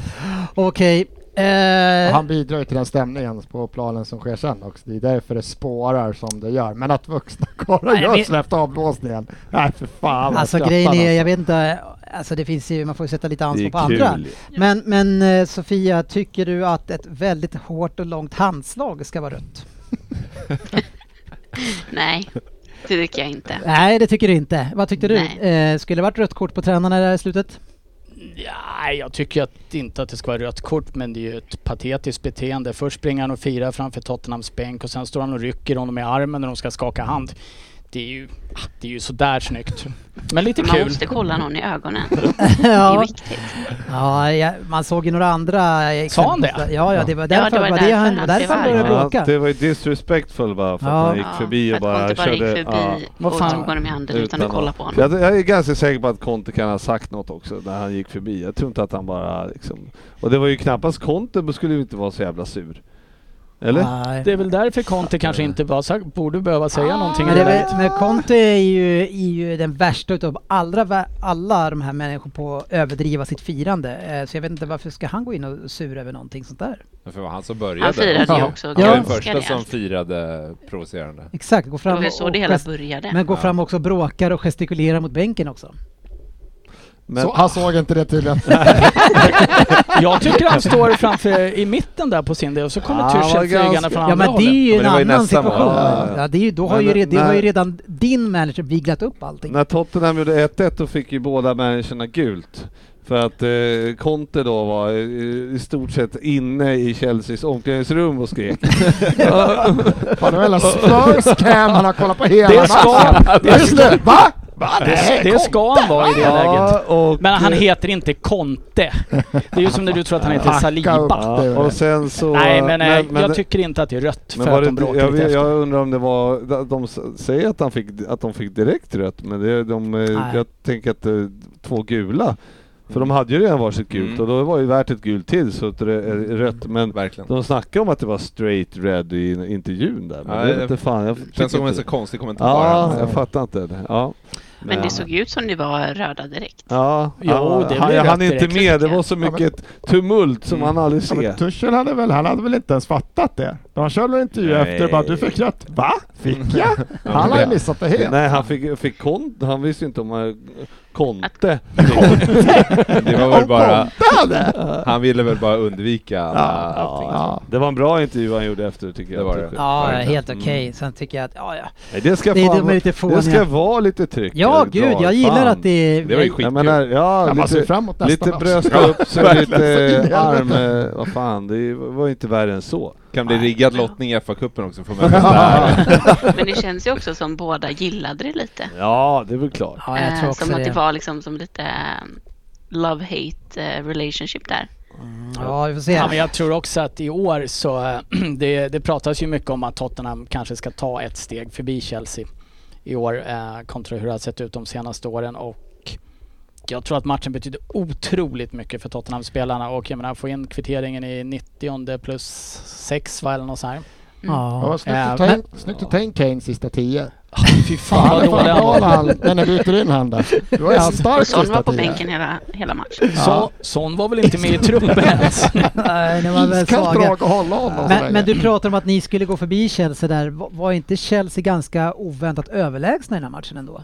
Speaker 1: Okej. Eh,
Speaker 4: Han bidrar ju till den stämningen på planen som sker sen också. Det är därför det spårar som det gör. Men att vuxna karlar
Speaker 2: Nej,
Speaker 4: gör
Speaker 2: men-
Speaker 4: sådär efter avblåsningen. Nej, för fan vad
Speaker 1: Alltså
Speaker 4: skrattar
Speaker 1: grejen
Speaker 4: han,
Speaker 1: är,
Speaker 4: alltså.
Speaker 1: jag vet inte, alltså det finns ju, man får ju sätta lite
Speaker 3: Det
Speaker 1: ansvar
Speaker 3: är
Speaker 1: på andra.
Speaker 3: kul.
Speaker 1: Men, men eh, Sofia, tycker du att ett väldigt hårt och långt handslag ska vara rött?
Speaker 7: Nej, det tycker jag inte.
Speaker 1: Nej, det tycker du inte. Vad tyckte du?
Speaker 7: Nej.
Speaker 1: Eh, skulle det varit rött kort på tränarna där i slutet?
Speaker 2: Nej, jag tycker att, inte att det ska vara rött kort, men det är ju ett patetiskt beteende. Först springer han och firar framför Tottenhams bänk och sen står han och rycker honom i armen när de ska skaka hand. Det är ju, ah, det är ju sådär snyggt. Men lite
Speaker 7: Man
Speaker 2: kul.
Speaker 7: måste kolla någon i ögonen. Det är
Speaker 1: ja,
Speaker 7: viktigt.
Speaker 1: ja, ja, man såg ju några andra exempel.
Speaker 2: Sa han det?
Speaker 1: Ja, ja, det var
Speaker 7: Ja,
Speaker 1: därför,
Speaker 7: det var
Speaker 1: var det
Speaker 7: därför
Speaker 1: han,
Speaker 7: han
Speaker 1: därför han
Speaker 7: blev
Speaker 1: började
Speaker 3: Ja,
Speaker 1: bråka.
Speaker 3: det var ju disrespectful bara för att
Speaker 1: Ja.
Speaker 3: han gick förbi
Speaker 7: för
Speaker 3: och
Speaker 7: att
Speaker 3: bara
Speaker 7: Conte bara gick
Speaker 3: körde.
Speaker 7: förbi
Speaker 2: Vad
Speaker 7: och
Speaker 2: fan?
Speaker 7: tog honom i handen utan att kolla på honom.
Speaker 3: jag, jag är ganska säker på att Conte kan ha sagt något också när han gick förbi. Jag tror inte att han bara liksom... Och det var ju knappast Conte, men skulle ju inte vara så jävla sur. Eller?
Speaker 1: Nej.
Speaker 2: Det är väl därför Conte kanske inte var, så- borde behöva säga någonting. i
Speaker 1: Men, det
Speaker 2: det
Speaker 1: är
Speaker 2: läget.
Speaker 1: väl, men Conte är ju, är ju den värsta utav allra, vä- alla de här människor på att överdriva sitt firande. Eh, Så jag vet inte varför ska han gå in och sura över någonting sånt där?
Speaker 5: För var han som började.
Speaker 7: Han firade ju också
Speaker 5: Han var den
Speaker 1: Ja.
Speaker 7: ganska
Speaker 5: första som
Speaker 7: rejält.
Speaker 5: firade provocerande.
Speaker 1: Exakt, gå
Speaker 7: Det
Speaker 1: fram
Speaker 7: var ju
Speaker 1: och,
Speaker 7: så det
Speaker 1: och
Speaker 7: hela
Speaker 1: gest-
Speaker 7: började.
Speaker 1: men gå
Speaker 5: Ja.
Speaker 1: fram också och bråkar och gestikulerar mot bänken också.
Speaker 3: Men,
Speaker 4: Så, han såg inte det tydligen.
Speaker 2: Jag tycker han står framför, i mitten där på sin del och så kommer
Speaker 3: Ja, han var
Speaker 2: Tuchel flygande
Speaker 3: ganska-
Speaker 2: från
Speaker 1: Ja
Speaker 2: andra
Speaker 1: men det är
Speaker 2: hållet.
Speaker 1: ju
Speaker 5: Men
Speaker 1: en
Speaker 5: det var ju
Speaker 1: annan
Speaker 5: nästa mål.
Speaker 1: situation.
Speaker 3: Ja, ja.
Speaker 1: Ja, det, är ju, då har
Speaker 3: Men
Speaker 1: ju, re- det har ju
Speaker 3: när-
Speaker 1: redan din manager viglat upp allting.
Speaker 3: när Tottenham gjorde 1-1 då fick ju båda managerna gult. För att eh, Conte då var eh, i stort sett inne i Chelseas omklädningsrum och skrek.
Speaker 4: Fan, det var hela Spurs cam han har kollat på hela
Speaker 2: Det ska,
Speaker 4: matchen.
Speaker 2: det, det,
Speaker 4: Va? Va? Nej,
Speaker 2: det ska han vara i det läget.
Speaker 3: och,
Speaker 2: Men han heter inte Conte. Det är ju som när du tror att han heter
Speaker 4: Hacka upp.
Speaker 2: Saliba.
Speaker 4: det är
Speaker 3: Ja,
Speaker 4: väl det.
Speaker 3: och sen så...
Speaker 2: Nej men, eh, jag
Speaker 3: men-
Speaker 2: tycker inte att det är rött
Speaker 3: men
Speaker 2: för
Speaker 3: var
Speaker 2: att
Speaker 3: det,
Speaker 2: de bråkar
Speaker 3: jag,
Speaker 2: lite
Speaker 3: jag,
Speaker 2: efter.
Speaker 3: undrar om det var, de- de s- säger att, han fick, att de fick direkt rött, men det, de, eh,
Speaker 1: Nej.
Speaker 3: jag tänker att det är två gula. För de hade ju redan varsitt gult
Speaker 5: Mm.
Speaker 3: och då var ju värt ett gult till så att det är
Speaker 4: Mm.
Speaker 3: rött. Men
Speaker 5: Verkligen.
Speaker 3: de snackade om att det var straight red i intervjun där. Men
Speaker 5: Ja,
Speaker 3: det
Speaker 5: jag-
Speaker 3: vet inte fan. Jag tycker
Speaker 5: Känns som en
Speaker 3: inte-
Speaker 5: så konstig kommentar.
Speaker 3: Ja,
Speaker 5: alltså.
Speaker 3: jag fattar inte. det. Ja.
Speaker 7: Men det såg ju ut som det var röda direkt.
Speaker 3: Ja,
Speaker 2: Jo,
Speaker 3: ja,
Speaker 2: det
Speaker 3: han,
Speaker 2: blir
Speaker 3: jag hann
Speaker 2: rätt
Speaker 3: inte
Speaker 2: direkt.
Speaker 3: med. Det var så
Speaker 4: men-
Speaker 3: mycket tumult som
Speaker 5: Mm.
Speaker 3: han aldrig
Speaker 4: Ja,
Speaker 3: ser.
Speaker 4: men Tuchel hade väl, han hade väl inte ens fattat det? De kör en intervju
Speaker 5: Nej.
Speaker 4: efter och bara du fick rätt. Va? Fick jag? Han har ju missat det helt.
Speaker 3: Nej, han fick, fick kont, han visste ju inte om eh, han... Konte.
Speaker 5: Det var väl
Speaker 4: Och
Speaker 5: bara...
Speaker 4: kontade!
Speaker 5: Han ville väl bara undvika alla,
Speaker 4: Ja,
Speaker 5: allting.
Speaker 4: ja.
Speaker 3: Det var en bra intervju han gjorde efter tycker jag. Mm.
Speaker 5: Det var det.
Speaker 1: Ja,
Speaker 5: verkligen.
Speaker 1: helt okej. Sen tycker jag att, ja, ja.
Speaker 3: Nej, det ska
Speaker 1: Det är
Speaker 3: fan
Speaker 1: de
Speaker 3: vara-
Speaker 1: lite fåniga.
Speaker 3: Det ska vara lite tryck.
Speaker 1: Ja,
Speaker 3: eller
Speaker 1: gud,
Speaker 3: drag,
Speaker 1: jag gillar
Speaker 3: fan.
Speaker 1: att det är...
Speaker 5: Det var ju
Speaker 3: Jag
Speaker 5: skitkul.
Speaker 3: menar, ja,
Speaker 4: Han bara ser
Speaker 3: lite,
Speaker 4: fram emot nästa
Speaker 3: lite
Speaker 4: match.
Speaker 3: bröst
Speaker 5: Ja,
Speaker 3: upp sig,
Speaker 4: Så in i
Speaker 3: lite arm...
Speaker 4: helvete.
Speaker 3: eh, Vad fan, det var ju inte värre än så.
Speaker 5: Kan bli riggad lottning i FA-cupen också. Får man veta här.
Speaker 7: Men det känns ju också som båda gillade det lite.
Speaker 3: Ja, det är väl klart.
Speaker 1: Ja, jag tror
Speaker 7: Eh,
Speaker 1: också
Speaker 7: som att det
Speaker 1: det.
Speaker 7: var liksom som lite eh, love-hate eh, relationship där.
Speaker 1: Ja, vi får se.
Speaker 2: Ja, men jag tror också att i år så, eh, det, det pratas ju mycket om att Tottenham kanske ska ta ett steg förbi Chelsea i år eh, kontra hur det har sett ut de senaste åren och jag tror att matchen betyder otroligt mycket för Tottenham-spelarna och jag menar få in kvitteringen i 90 plus 6 va eller något sånt här.
Speaker 4: Ja,
Speaker 1: Ja.
Speaker 4: snyggt, att
Speaker 2: Äh,
Speaker 4: ta in,
Speaker 2: men-
Speaker 4: snyggt att ta in Kane sista tio.
Speaker 2: Fy fan vad
Speaker 4: Fan vad
Speaker 2: dålig han var.
Speaker 4: bra han när ni byter in han där. Då är han stark
Speaker 7: Och Son var
Speaker 4: sista
Speaker 7: på
Speaker 4: tio.
Speaker 7: bänken hela, hela matchen.
Speaker 2: Så, Son var väl inte med i truppen ens?
Speaker 1: Nej, det var väl
Speaker 4: Iskallt
Speaker 1: svaga.
Speaker 4: drag att hålla honom så
Speaker 1: Men, men
Speaker 4: länge.
Speaker 1: du pratar om att ni skulle gå förbi Chelsea där. Va- Var inte Chelsea ganska oväntat överlägsna i den här matchen ändå?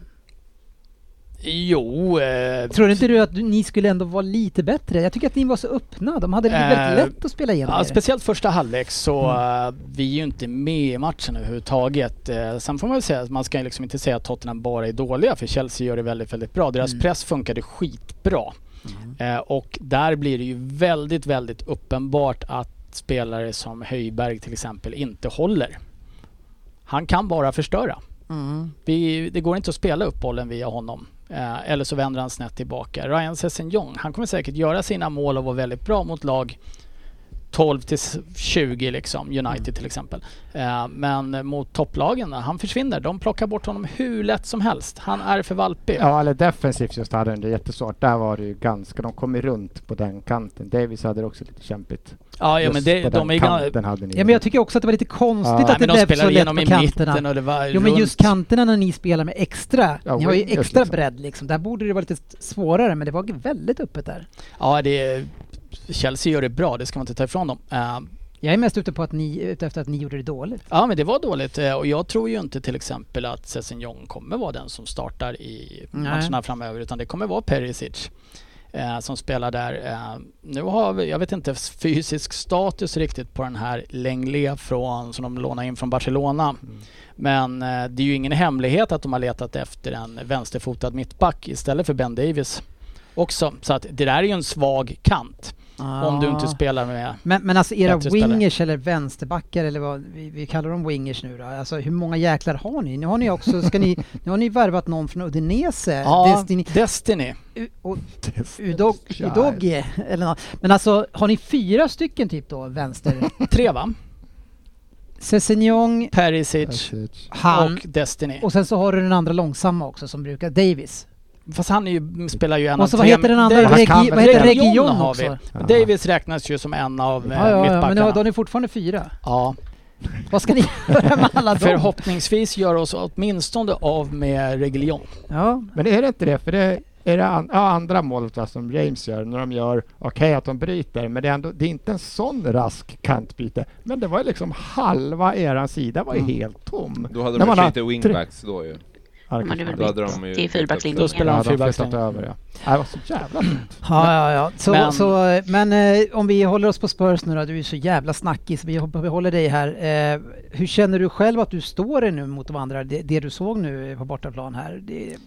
Speaker 2: Jo, eh,
Speaker 1: Tror inte du att du, ni skulle ändå vara lite bättre? Jag tycker att ni var så öppna. De hade
Speaker 2: Eh,
Speaker 1: väldigt lätt att spela igenom
Speaker 2: Ja,
Speaker 1: er. Mm.
Speaker 2: speciellt första halvlek så eh, vi är ju inte med i matchen överhuvudtaget. Eh, sen får man väl säga att man ska ju liksom inte säga att Tottenham bara är dåliga för Chelsea gör det väldigt, väldigt bra. Deras
Speaker 1: Mm.
Speaker 2: press funkade skitbra. Eh, och där blir det ju väldigt, väldigt uppenbart att spelare som Höjberg till exempel inte håller. Han kan bara förstöra.
Speaker 1: Mm.
Speaker 2: Vi, det går inte att spela upp bollen via honom. Eh, eller så vänder han snett tillbaka. Ryan Sessegnon, han kommer säkert göra sina mål och vara väldigt bra mot lag 12 till s- 20 liksom, United
Speaker 1: Mm.
Speaker 2: till exempel. Eh, men mot topplagen, han försvinner. De plockar bort honom hur lätt som helst. Han är för valpig.
Speaker 4: Ja, eller defensivt just hade de det jättesvårt. Där var det ju ganska, de kom ju runt på den kanten. Davis hade det också lite kämpigt.
Speaker 2: ja, ja
Speaker 4: Just
Speaker 2: men det,
Speaker 4: på
Speaker 2: de är
Speaker 4: den
Speaker 2: ju gan-
Speaker 4: kanten hade ni
Speaker 1: Ja, men jag tycker också att det var lite konstigt
Speaker 4: Ja.
Speaker 1: att det
Speaker 2: Nej, men de
Speaker 1: blev så
Speaker 2: spelar
Speaker 1: lätt
Speaker 2: igenom
Speaker 1: på
Speaker 2: i
Speaker 1: kanterna.
Speaker 2: mitten och det var
Speaker 1: Jo men
Speaker 2: runt.
Speaker 1: just kanterna när ni spelar med extra,
Speaker 4: Ja,
Speaker 1: ni har ju
Speaker 4: wingers
Speaker 1: extra
Speaker 4: liksom.
Speaker 1: bredd liksom. Där borde det vara lite svårare men det var väldigt öppet där.
Speaker 2: Ja, det är, Chelsea gör det bra, det ska man inte ta ifrån dem. Eh,
Speaker 1: Jag är mest ute på att ni, ute efter att ni gjorde det dåligt.
Speaker 2: Ja men det var dåligt eh, och jag tror ju inte till exempel att Sessignon kommer vara den som startar i
Speaker 1: Nej.
Speaker 2: matcherna framöver utan det kommer vara Perisic eh, som spelar där. Eh, nu har vi, jag vet inte fysisk status riktigt på den här Lenglet från, som de lånade in från Barcelona.
Speaker 4: Mm.
Speaker 2: Men eh, det är ju ingen hemlighet att de har letat efter en vänsterfotad mittback istället för Ben Davis också. Så att det där är ju en svag kant om du inte spelar med
Speaker 1: men, men alltså era
Speaker 2: Bättre spelare.
Speaker 1: wingers eller vänsterbackar eller vad vi, vi kallar dem wingers nu då. Alltså hur många jäklar har ni? Nu har ni också, ska ni, nu har ni värvat någon från Udinese.
Speaker 2: Ja,
Speaker 1: Eh, Destiny,
Speaker 2: Destiny.
Speaker 1: U- och Udog, Udogie eller något. Men alltså har ni fyra stycken typ då vänster?
Speaker 2: Tre va?
Speaker 1: Sessignon,
Speaker 2: Perisic,
Speaker 1: han
Speaker 2: och Destiny.
Speaker 1: Och sen så har du den andra långsamma också som brukar, Davis.
Speaker 2: Fast han är ju, spelar ju en
Speaker 1: Och så vad heter den andra?
Speaker 4: Davis-
Speaker 1: Regi, vad heter
Speaker 2: Region
Speaker 1: Region
Speaker 2: har
Speaker 1: också?
Speaker 2: vi.
Speaker 1: Ja,
Speaker 2: Davis räknas ju som en av eh,
Speaker 1: ja, ja, men
Speaker 2: mittbackarna.
Speaker 1: då
Speaker 2: Ja,
Speaker 1: har ni fortfarande fyra.
Speaker 2: ja.
Speaker 1: Vad ska ni göra med alla dem?
Speaker 2: Förhoppningsvis gör oss åtminstone av med Reglion.
Speaker 1: Ja,
Speaker 4: Men är det inte det? För det är det an, ja, andra målet va, som James gör när de gör, okej att de bryter, men det är, ändå, det är inte en sån rask kantbyte. Men det var ju liksom halva eran sida var ju
Speaker 2: Mm.
Speaker 4: helt tom.
Speaker 5: Då hade
Speaker 4: När
Speaker 5: de
Speaker 4: man
Speaker 5: kanske
Speaker 4: har
Speaker 5: inte wingbacks då ju.
Speaker 4: Ja,
Speaker 7: De hade väl
Speaker 5: Då hade de
Speaker 7: bytt
Speaker 5: ju
Speaker 7: till
Speaker 2: Då
Speaker 7: fyrbackslinjen.
Speaker 2: spelar de
Speaker 4: de flyttat
Speaker 2: fyrbackslinje.
Speaker 4: över ja. Nej, Det var så jävla fint.
Speaker 1: ja, ja. ja. Så,
Speaker 2: Men-
Speaker 1: men så, men eh, om vi håller oss på Spurs nu då, du är så jävla snackig så vi hop- vi håller dig här. Eh, hur känner du själv att du står dig nu mot de andra? Det, det du såg nu på bortaplan här, det är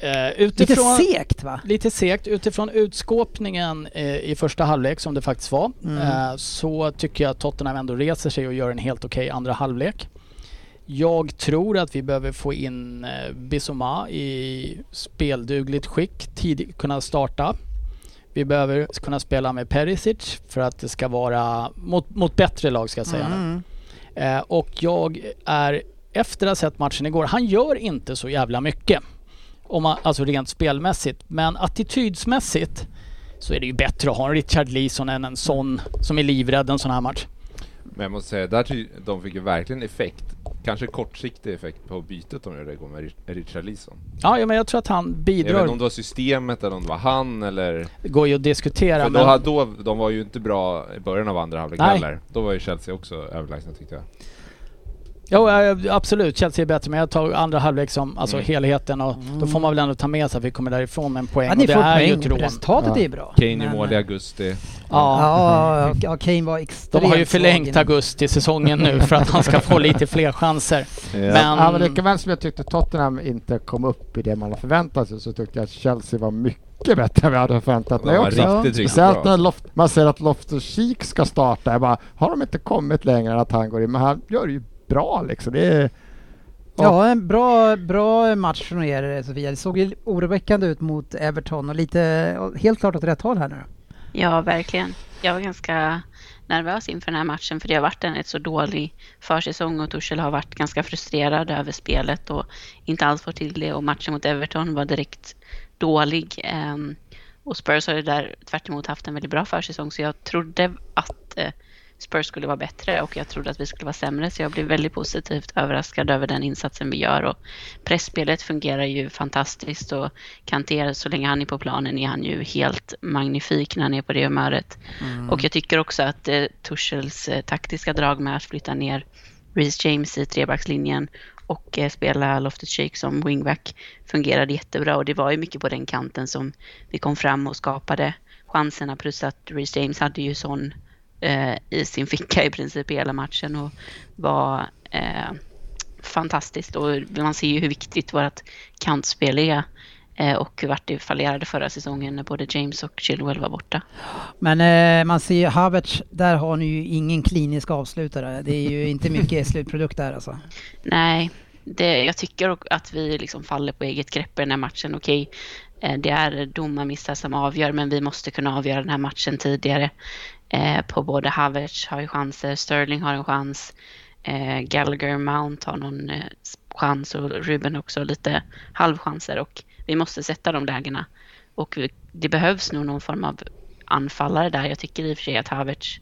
Speaker 2: Eh,
Speaker 1: lite
Speaker 2: utifrån,
Speaker 1: segt va?
Speaker 2: lite segt. Utifrån utskåpningen eh, i första halvlek som det faktiskt var
Speaker 1: Mm.
Speaker 2: eh, så tycker jag att Tottenham ändå reser sig och gör en helt okej andra halvlek. Jag tror att vi behöver få in eh, Bissouma i speldugligt skick, tidigt kunna starta. Vi behöver kunna spela med Perisic för att det ska vara mot, mot bättre lag ska jag säga. nu.
Speaker 1: Mm.
Speaker 2: Eh, och jag är, efter att ha sett matchen igår, han gör inte så jävla mycket. Om man, alltså rent spelmässigt. Men attitydsmässigt så är det ju bättre att ha en Richard Leeson än en sån som är livrädd en sån här match.
Speaker 5: Men jag måste säga, där ty- de fick ju verkligen effekt Kanske kortsiktig effekt på bytet om det går med Richard Lison.
Speaker 2: Ja, ja, men jag tror att han
Speaker 5: Jag vet
Speaker 2: bidrar.
Speaker 5: inte om det var systemet eller om det var han eller...
Speaker 2: Det går ju att diskutera.
Speaker 5: För då,
Speaker 2: men-
Speaker 5: hade- då, de var ju inte bra i början av andra halvlek
Speaker 2: Nej.
Speaker 5: heller. Då var ju Chelsea också överlägsna tyckte jag.
Speaker 2: Jo, ja, absolut. Chelsea är bättre, men jag tar andra halvlek som alltså
Speaker 5: Mm.
Speaker 2: helheten och då får man väl ändå ta med sig att vi kommer därifrån med en poäng.
Speaker 1: Ja,
Speaker 2: och
Speaker 1: ni
Speaker 2: det
Speaker 1: får
Speaker 2: är ju
Speaker 1: poäng.
Speaker 2: ett rån.
Speaker 1: Resultatet
Speaker 4: Ja.
Speaker 1: är bra.
Speaker 5: Kane
Speaker 1: Men- eh,
Speaker 5: i mål i augusti.
Speaker 2: Ja.
Speaker 1: Ja, och- ja, Kane var extremt
Speaker 2: Mm. De har ju förlängt
Speaker 1: svag.
Speaker 2: augusti-säsongen nu för att han ska få lite fler chanser. Men...
Speaker 4: Ja, men lika väl som jag tyckte Tottenham inte kom upp i det man hade förväntat sig så tyckte jag att Chelsea var mycket bättre än vad jag hade förväntat
Speaker 5: De
Speaker 4: mig
Speaker 5: var
Speaker 4: också.
Speaker 5: riktigt, riktigt
Speaker 4: Speciellt
Speaker 5: bra.
Speaker 4: när Loft, man ser att Loftus-Cheek ska starta. Jag bara, har de inte kommit längre än att han går in? Men han gör det ju bra liksom. Det är,
Speaker 1: Ja, en bra, bra match från er Sofia. Det såg ju oroväckande ut mot Everton och lite, och helt klart åt rätt håll här nu.
Speaker 7: Ja, verkligen. Jag var ganska nervös inför den här matchen för det har varit en rätt så dålig försäsong och Tuchel har varit ganska frustrerad över spelet och inte alls fått till det och matchen mot Everton var direkt dålig. Ehm, Och Spurs har ju där tvärt emot haft en väldigt bra försäsong så jag trodde att eh, Spurs skulle vara bättre och jag trodde att vi skulle vara sämre så jag blev väldigt positivt överraskad över den insatsen vi gör och pressspelet fungerar ju fantastiskt och Kanté så länge han är på planen är han ju helt magnifik när han är på det humöret. Och jag tycker också att eh, Tuchels eh, taktiska drag med att flytta ner Reece James i trebackslinjen och eh, spela Loftus-Cheek som wingback fungerade jättebra och det var ju mycket på den kanten som vi kom fram och skapade chanserna plus att Reece James hade ju sån eh, i sin ficka i princip hela matchen och var eh, fantastiskt och man ser ju hur viktigt vårt kantspel är eh, och vart det fallerade förra säsongen när både James och Chilwell var borta.
Speaker 1: Men eh, man ser ju Havertz, där har ni ju ingen klinisk avslutare. Det är ju inte mycket slutprodukt där alltså.
Speaker 7: Nej, det, jag tycker och- att vi liksom faller på eget grepp i den här matchen. Okej, eh, det är domarmissar som avgör, men vi måste kunna avgöra den här matchen tidigare. Eh, på både Havertz har ju chanser, Sterling har en chans, eh, Gallagher Mount har någon eh, chans och Ruben också lite halvchanser och vi måste sätta de lägena. Och vi- det behövs nog någon form av anfallare där. Jag tycker i och för sig att Havertz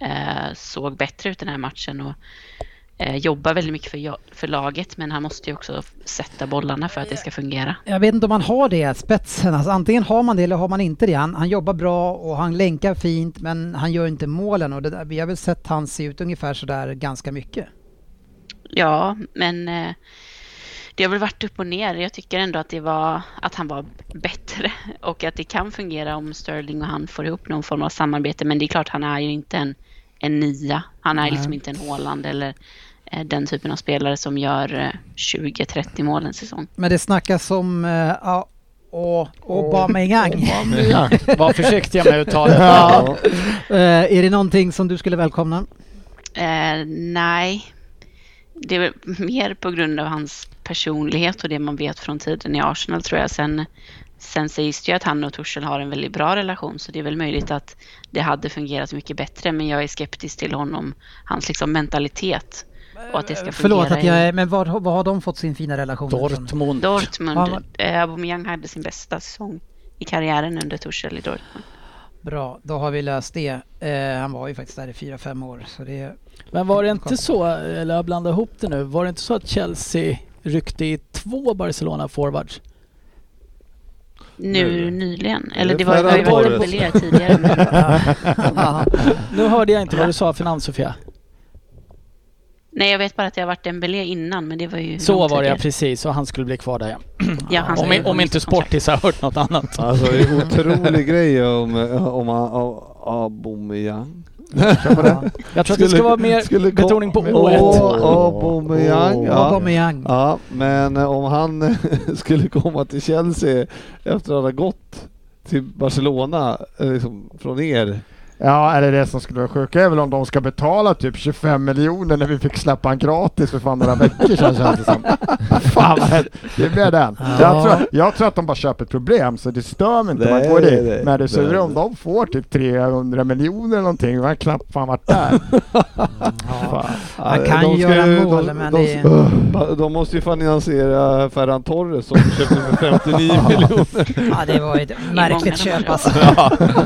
Speaker 7: eh, såg bättre ut den här matchen och eh, jobbar väldigt mycket för, ja- för laget men han måste ju också f- sätta bollarna för att det ska fungera.
Speaker 1: Jag vet inte om man har det, spetsen. Alltså, antingen har man det eller har man inte det. Han, han jobbar bra och han länkar fint men han gör inte målen. Och det där, vi har väl sett han se ut ungefär sådär ganska mycket.
Speaker 7: Ja, men eh, det har väl varit upp och ner. Jag tycker ändå att, det var, att han var bättre och att det kan fungera om Sterling och han får ihop någon form av samarbete. Men det är klart, han är ju inte en, en nia. Han är liksom inte en Haaland eller eh, den typen av spelare som gör eh, 20-30 mål en säsong.
Speaker 1: Men det snackas om uh, Aubameyang.
Speaker 4: ja.
Speaker 2: Var försiktiga med uttalet.
Speaker 1: Ja. Eh, är det någonting som du skulle välkomna?
Speaker 7: Eh, nej. Det är väl mer på grund av hans personlighet och det man vet från tiden i Arsenal tror jag. Sen, sen sägs det ju att han och Torshäll har en väldigt bra relation så det är väl möjligt att det hade fungerat mycket bättre men jag är skeptisk till honom, hans liksom mentalitet och att det ska fungera.
Speaker 1: Förlåt att jag
Speaker 7: i-
Speaker 1: är, men var, var har de fått sin fina relation? ifrån?
Speaker 2: Dortmund.
Speaker 1: Ja,
Speaker 7: Dortmund,
Speaker 1: men-
Speaker 7: eh, Aubameyang hade sin bästa säsong i karriären under Torshäll i Dortmund.
Speaker 1: Bra, då har vi löst det. Eh, han var ju faktiskt där i fyra fem år. Så det,
Speaker 2: Men var det inte så, eller jag blandar ihop det nu, var det inte så att Chelsea ryckte i två Barcelona-forwards?
Speaker 7: Nu
Speaker 5: Nu.
Speaker 7: nyligen, eller
Speaker 3: Det
Speaker 7: det var ju
Speaker 3: Ferran
Speaker 7: varit
Speaker 3: Torres.
Speaker 7: populärt tidigare. men-
Speaker 2: Nu hörde jag inte vad du sa för namn Sofia.
Speaker 7: Nej jag vet bara att det har varit Dembélé innan men det var ju
Speaker 2: Så
Speaker 7: långt
Speaker 2: var det ja,
Speaker 7: tidigare.
Speaker 2: precis och han skulle bli kvar där ja.
Speaker 7: Ja, han
Speaker 2: Om,
Speaker 7: skrev
Speaker 2: om
Speaker 7: på
Speaker 2: inte
Speaker 7: mitt kontrakt.
Speaker 2: Sportis har hört något annat.
Speaker 3: Alltså det är en otrolig grej om, eh, om Aubameyang.
Speaker 2: Jag tror att det ska vara mer betoning på ået.
Speaker 3: Åh, Aubameyang.
Speaker 1: ja.
Speaker 3: Ja.
Speaker 1: Aubameyang.
Speaker 3: Ja, men eh, om han eh, skulle komma till Chelsea efter att ha gått till Barcelona eh, liksom, från er.
Speaker 4: ja, eller det som skulle vara sjukt är väl om de ska betala typ 25 miljoner när vi fick släppa han gratis för fan några veckor sedan känns det som. Fan vad hett. det blir den. Jag, tror, jag tror att de bara köper ett problem så det stör mig inte om man
Speaker 3: Nej,
Speaker 4: går
Speaker 3: nej,
Speaker 4: dit.
Speaker 3: nej.
Speaker 4: Men det sura är om
Speaker 3: Nej.
Speaker 4: de får typ 300 miljoner eller någonting, man har knappt fan varit där.
Speaker 1: Ja.
Speaker 4: Fan.
Speaker 1: Han kan ju
Speaker 3: ska
Speaker 1: göra
Speaker 3: ju-
Speaker 1: mål,
Speaker 3: Eh, de,
Speaker 1: men
Speaker 3: de,
Speaker 1: det är-
Speaker 3: de, de måste ju finansiera Ferran Torres som köpte för 59 miljoner.
Speaker 1: ja, det var ett märkligt
Speaker 7: många
Speaker 1: köp
Speaker 7: matcher.
Speaker 1: alltså.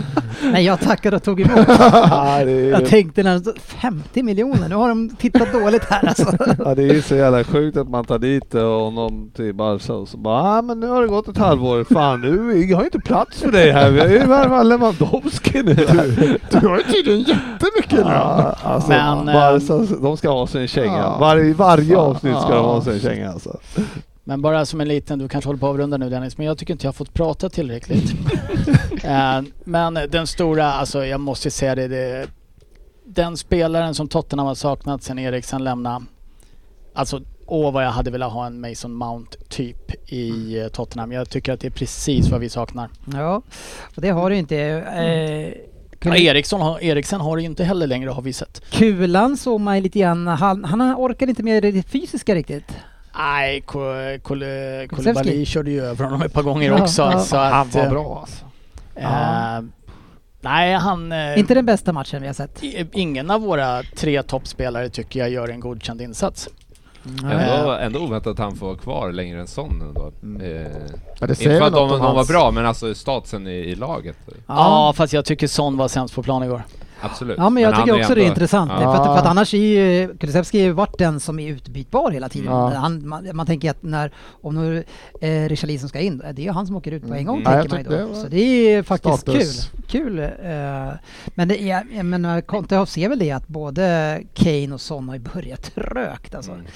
Speaker 1: Nej, jag tackade och tog emot.
Speaker 3: Ja, det är,
Speaker 1: Jag tänkte när 50 miljoner, nu har de tittat dåligt här alltså.
Speaker 3: ja, det är ju så jävla sjukt att man tar dit eh, honom till Barca och så bara ah, men nu har det gått ett halvår, fan nu jag har ju inte plats för dig här, vi har ju värvat Lewandowski nu.
Speaker 4: Du har ju tydligen jättemycket lön.
Speaker 3: Ja, alltså,
Speaker 1: Men, eh,
Speaker 3: Barca, de ska ha sin känga.
Speaker 4: ja.
Speaker 3: Var, varje avsnitt ska
Speaker 4: Ja.
Speaker 3: de ha sin känga alltså.
Speaker 2: Men bara som en liten, du kanske håller på att avrunda nu Dennis, men jag tycker inte jag har fått prata tillräckligt. Eh, men den stora, alltså jag måste säga det, det den spelaren som Tottenham har saknat sen Eriksen lämnade. Alltså, åh vad jag hade velat ha en Mason Mount typ
Speaker 1: Mm.
Speaker 2: i eh, Tottenham. Jag tycker att det är precis vad vi saknar.
Speaker 1: Ja, och det har du inte. Eh,
Speaker 2: Ja,
Speaker 1: kul-
Speaker 2: Eriksson har, Eriksen har det ju inte heller längre har vi sett.
Speaker 1: Kulan såg man ju lite grann, han, han orkade inte med det fysiska riktigt.
Speaker 2: Nej, Ko- Kole- Koulibaly
Speaker 1: Kulusevski.
Speaker 2: körde ju över honom ett par gånger
Speaker 1: Ja,
Speaker 2: också.
Speaker 1: ja.
Speaker 2: Så att,
Speaker 4: Han var
Speaker 2: eh,
Speaker 4: bra alltså.
Speaker 1: Ja.
Speaker 2: Eh, nej, han... eh,
Speaker 1: Inte den bästa matchen vi har sett.
Speaker 2: i- Ingen av våra tre toppspelare tycker jag gör en godkänd insats.
Speaker 5: Ändå, ändå oväntat att han får vara kvar längre än sån ändå. Eh,
Speaker 4: Ja, det säger
Speaker 5: inte för
Speaker 4: väl
Speaker 5: att de,
Speaker 4: något
Speaker 5: de
Speaker 4: om
Speaker 5: var
Speaker 4: hans-
Speaker 5: bra, men alltså statsen i, i laget.
Speaker 2: Ja, fast jag tycker Son var sämst på plan igår.
Speaker 5: Absolut.
Speaker 1: Ja men jag
Speaker 5: han
Speaker 1: tycker
Speaker 5: ju
Speaker 1: också det är
Speaker 5: ändå-
Speaker 1: intressant.
Speaker 5: Ja.
Speaker 1: För, att, för att annars är ju Kulusevski har ju varit den som är utbytbar hela tiden.
Speaker 4: Ja.
Speaker 1: Han, man, man tänker att när, om nu eh, Richarlison ska in, det är ju han som åker ut på en gång
Speaker 4: Mm. Ja, jag
Speaker 1: tänker man ju
Speaker 4: tyckte
Speaker 1: då.
Speaker 4: det var
Speaker 1: Så det är ju faktiskt
Speaker 4: status.
Speaker 1: kul. kul eh, men det är, jag menar, Conte ser väl det att både Kane och Son har ju börjat trögt alltså.
Speaker 2: Mm.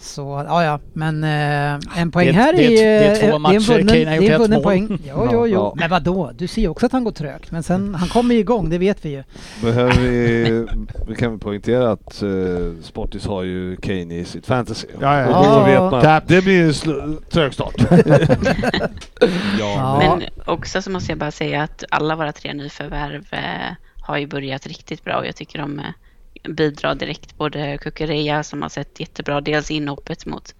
Speaker 1: Så ja, ja, men eh, en poäng
Speaker 2: Det är-
Speaker 1: här
Speaker 2: det är-
Speaker 1: är,
Speaker 2: det är två
Speaker 1: eh, en
Speaker 2: matcher.
Speaker 1: vunnen-
Speaker 2: Kane har gjort
Speaker 1: det är en
Speaker 2: ett
Speaker 1: vunnen
Speaker 2: mål.
Speaker 1: poäng. Jo, jo, jo.
Speaker 3: Ja.
Speaker 1: Men vadå? Du ser ju också att han går trögt. Men sen, han kommer ju igång, det vet vi ju.
Speaker 3: Behöver vi, vi kan väl poängtera att eh, Sportis har ju Kane i sitt fantasy.
Speaker 4: Ja, ja.
Speaker 3: Och då
Speaker 1: Ja.
Speaker 3: vet man
Speaker 4: Cap.
Speaker 3: att det blir en sl- trög start.
Speaker 1: Ja.
Speaker 7: Men också så måste jag bara säga att alla våra tre nyförvärv eh, har ju börjat riktigt bra och jag tycker de eh, bidrar direkt. Både Kukureya som har sett jättebra, dels inhoppet mot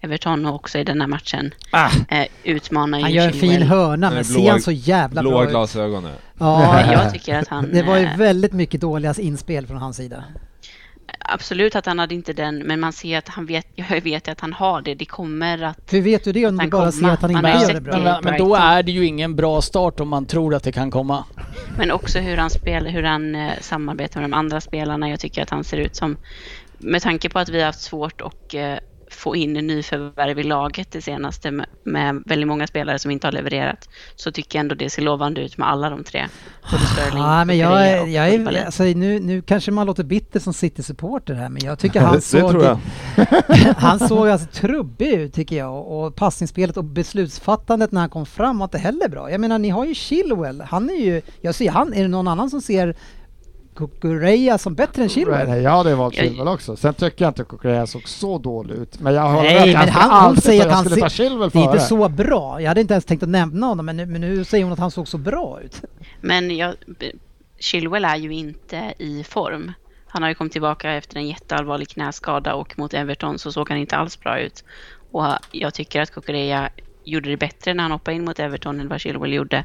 Speaker 7: Everton och också i den här matchen
Speaker 2: Ah.
Speaker 7: eh, utmanar ju
Speaker 1: Han gör en fin
Speaker 7: Chilwell.
Speaker 1: hörna
Speaker 5: Den är
Speaker 1: men
Speaker 5: blå-
Speaker 1: ser han så jävla
Speaker 5: Blåa
Speaker 1: bra ut?
Speaker 5: glasögon nu.
Speaker 1: Ja,
Speaker 7: Ja, jag tycker att han...
Speaker 1: det var ju
Speaker 7: eh,
Speaker 1: väldigt mycket dåliga inspel från hans sida.
Speaker 7: Absolut att han hade inte den, men man ser att han vet, jag vet ju att han har det. Det kommer att...
Speaker 1: Hur vet du det om du
Speaker 7: Han
Speaker 1: bara
Speaker 7: kommer.
Speaker 1: ser att han inte
Speaker 7: Han har ju
Speaker 1: gör det
Speaker 7: sett
Speaker 1: bra?
Speaker 7: det.
Speaker 2: Men, men då är det ju ingen bra start om man tror att det kan komma.
Speaker 7: Men också hur han spelar, hur han eh, samarbetar med de andra spelarna. Jag tycker att han ser ut som... Med tanke på att vi har haft svårt att eh, få in nyförvärv i laget det senaste med, med väldigt många spelare som inte har levererat, så tycker jag ändå det ser lovande ut med alla de tre. Både Sterling,
Speaker 1: Ja, men jag,
Speaker 7: Kukureya
Speaker 1: är-
Speaker 7: och
Speaker 1: jag
Speaker 7: Koulibaly.
Speaker 1: är, alltså, nu, nu kanske man låter bitter som City-supporter här, men jag tycker
Speaker 3: det,
Speaker 1: han
Speaker 3: det
Speaker 1: såg,
Speaker 3: tror jag.
Speaker 1: han såg alltså trubbig ut tycker jag och passningsspelet och beslutsfattandet när han kom fram var inte heller bra. Jag menar ni har ju Chilwell, han är ju, jag ser han, är det någon annan som ser Kukureya som bättre än Chilwell?
Speaker 4: Nej, jag hade valt
Speaker 7: Jag-
Speaker 4: Chilwell också. Sen tycker jag inte att Kukurea såg så dålig ut. Men jag håller
Speaker 1: Nej,
Speaker 4: med, jag
Speaker 1: men
Speaker 4: skulle
Speaker 1: han-
Speaker 4: aldrig
Speaker 1: han säger
Speaker 4: ta-
Speaker 1: att han
Speaker 4: Jag skulle ta
Speaker 1: ser-
Speaker 4: Chilwell
Speaker 1: Det är inte
Speaker 4: före.
Speaker 1: så bra. Jag hade inte ens tänkt att nämna honom, men nu, men nu säger hon att han såg så bra ut.
Speaker 7: Men jag, b- Chilwell är ju inte i form. Han har ju kommit tillbaka efter en jätteallvarlig knäskada och mot Everton så såg han inte alls bra ut. Och jag tycker att Kukureya gjorde det bättre när han hoppade in mot Everton än vad Chilwell gjorde.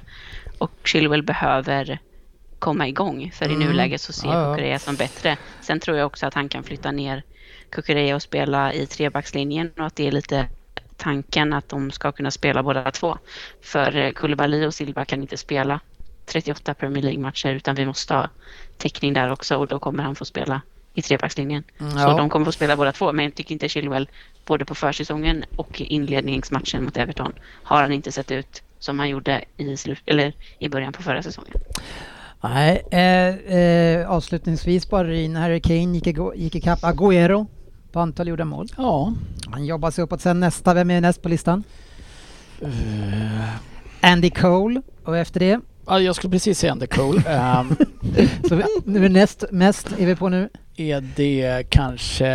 Speaker 7: Och Chilwell behöver komma igång för i nuläget så ser
Speaker 1: Mm. Ja, ja.
Speaker 7: Kukureya som bättre. Sen tror jag också att han kan flytta ner Kukureya och spela i trebackslinjen och att det är lite tanken att de ska kunna spela båda två. För eh, Koulibaly och Silva kan inte spela 38 Premier League-matcher utan vi måste ha täckning där också och då kommer han få spela i trebackslinjen.
Speaker 1: ja.
Speaker 7: Så de kommer få spela båda två men jag tycker inte Chilwell både på försäsongen och i inledningsmatchen mot Everton har han inte sett ut som han gjorde i, slut, eller i början på förra säsongen.
Speaker 1: Nej, eh, eh, avslutningsvis bara in. Harry Kane gick, igå- gick ikapp Agüero på antal gjorda mål.
Speaker 2: Ja.
Speaker 1: Han jobbar sig uppåt sen nästa. Vem är näst på listan? Andy Cole och efter det.
Speaker 2: Ja, Jag skulle precis säga Undercool. Ehm,
Speaker 1: Så vi, nu är näst mest är vi på nu.
Speaker 2: är det kanske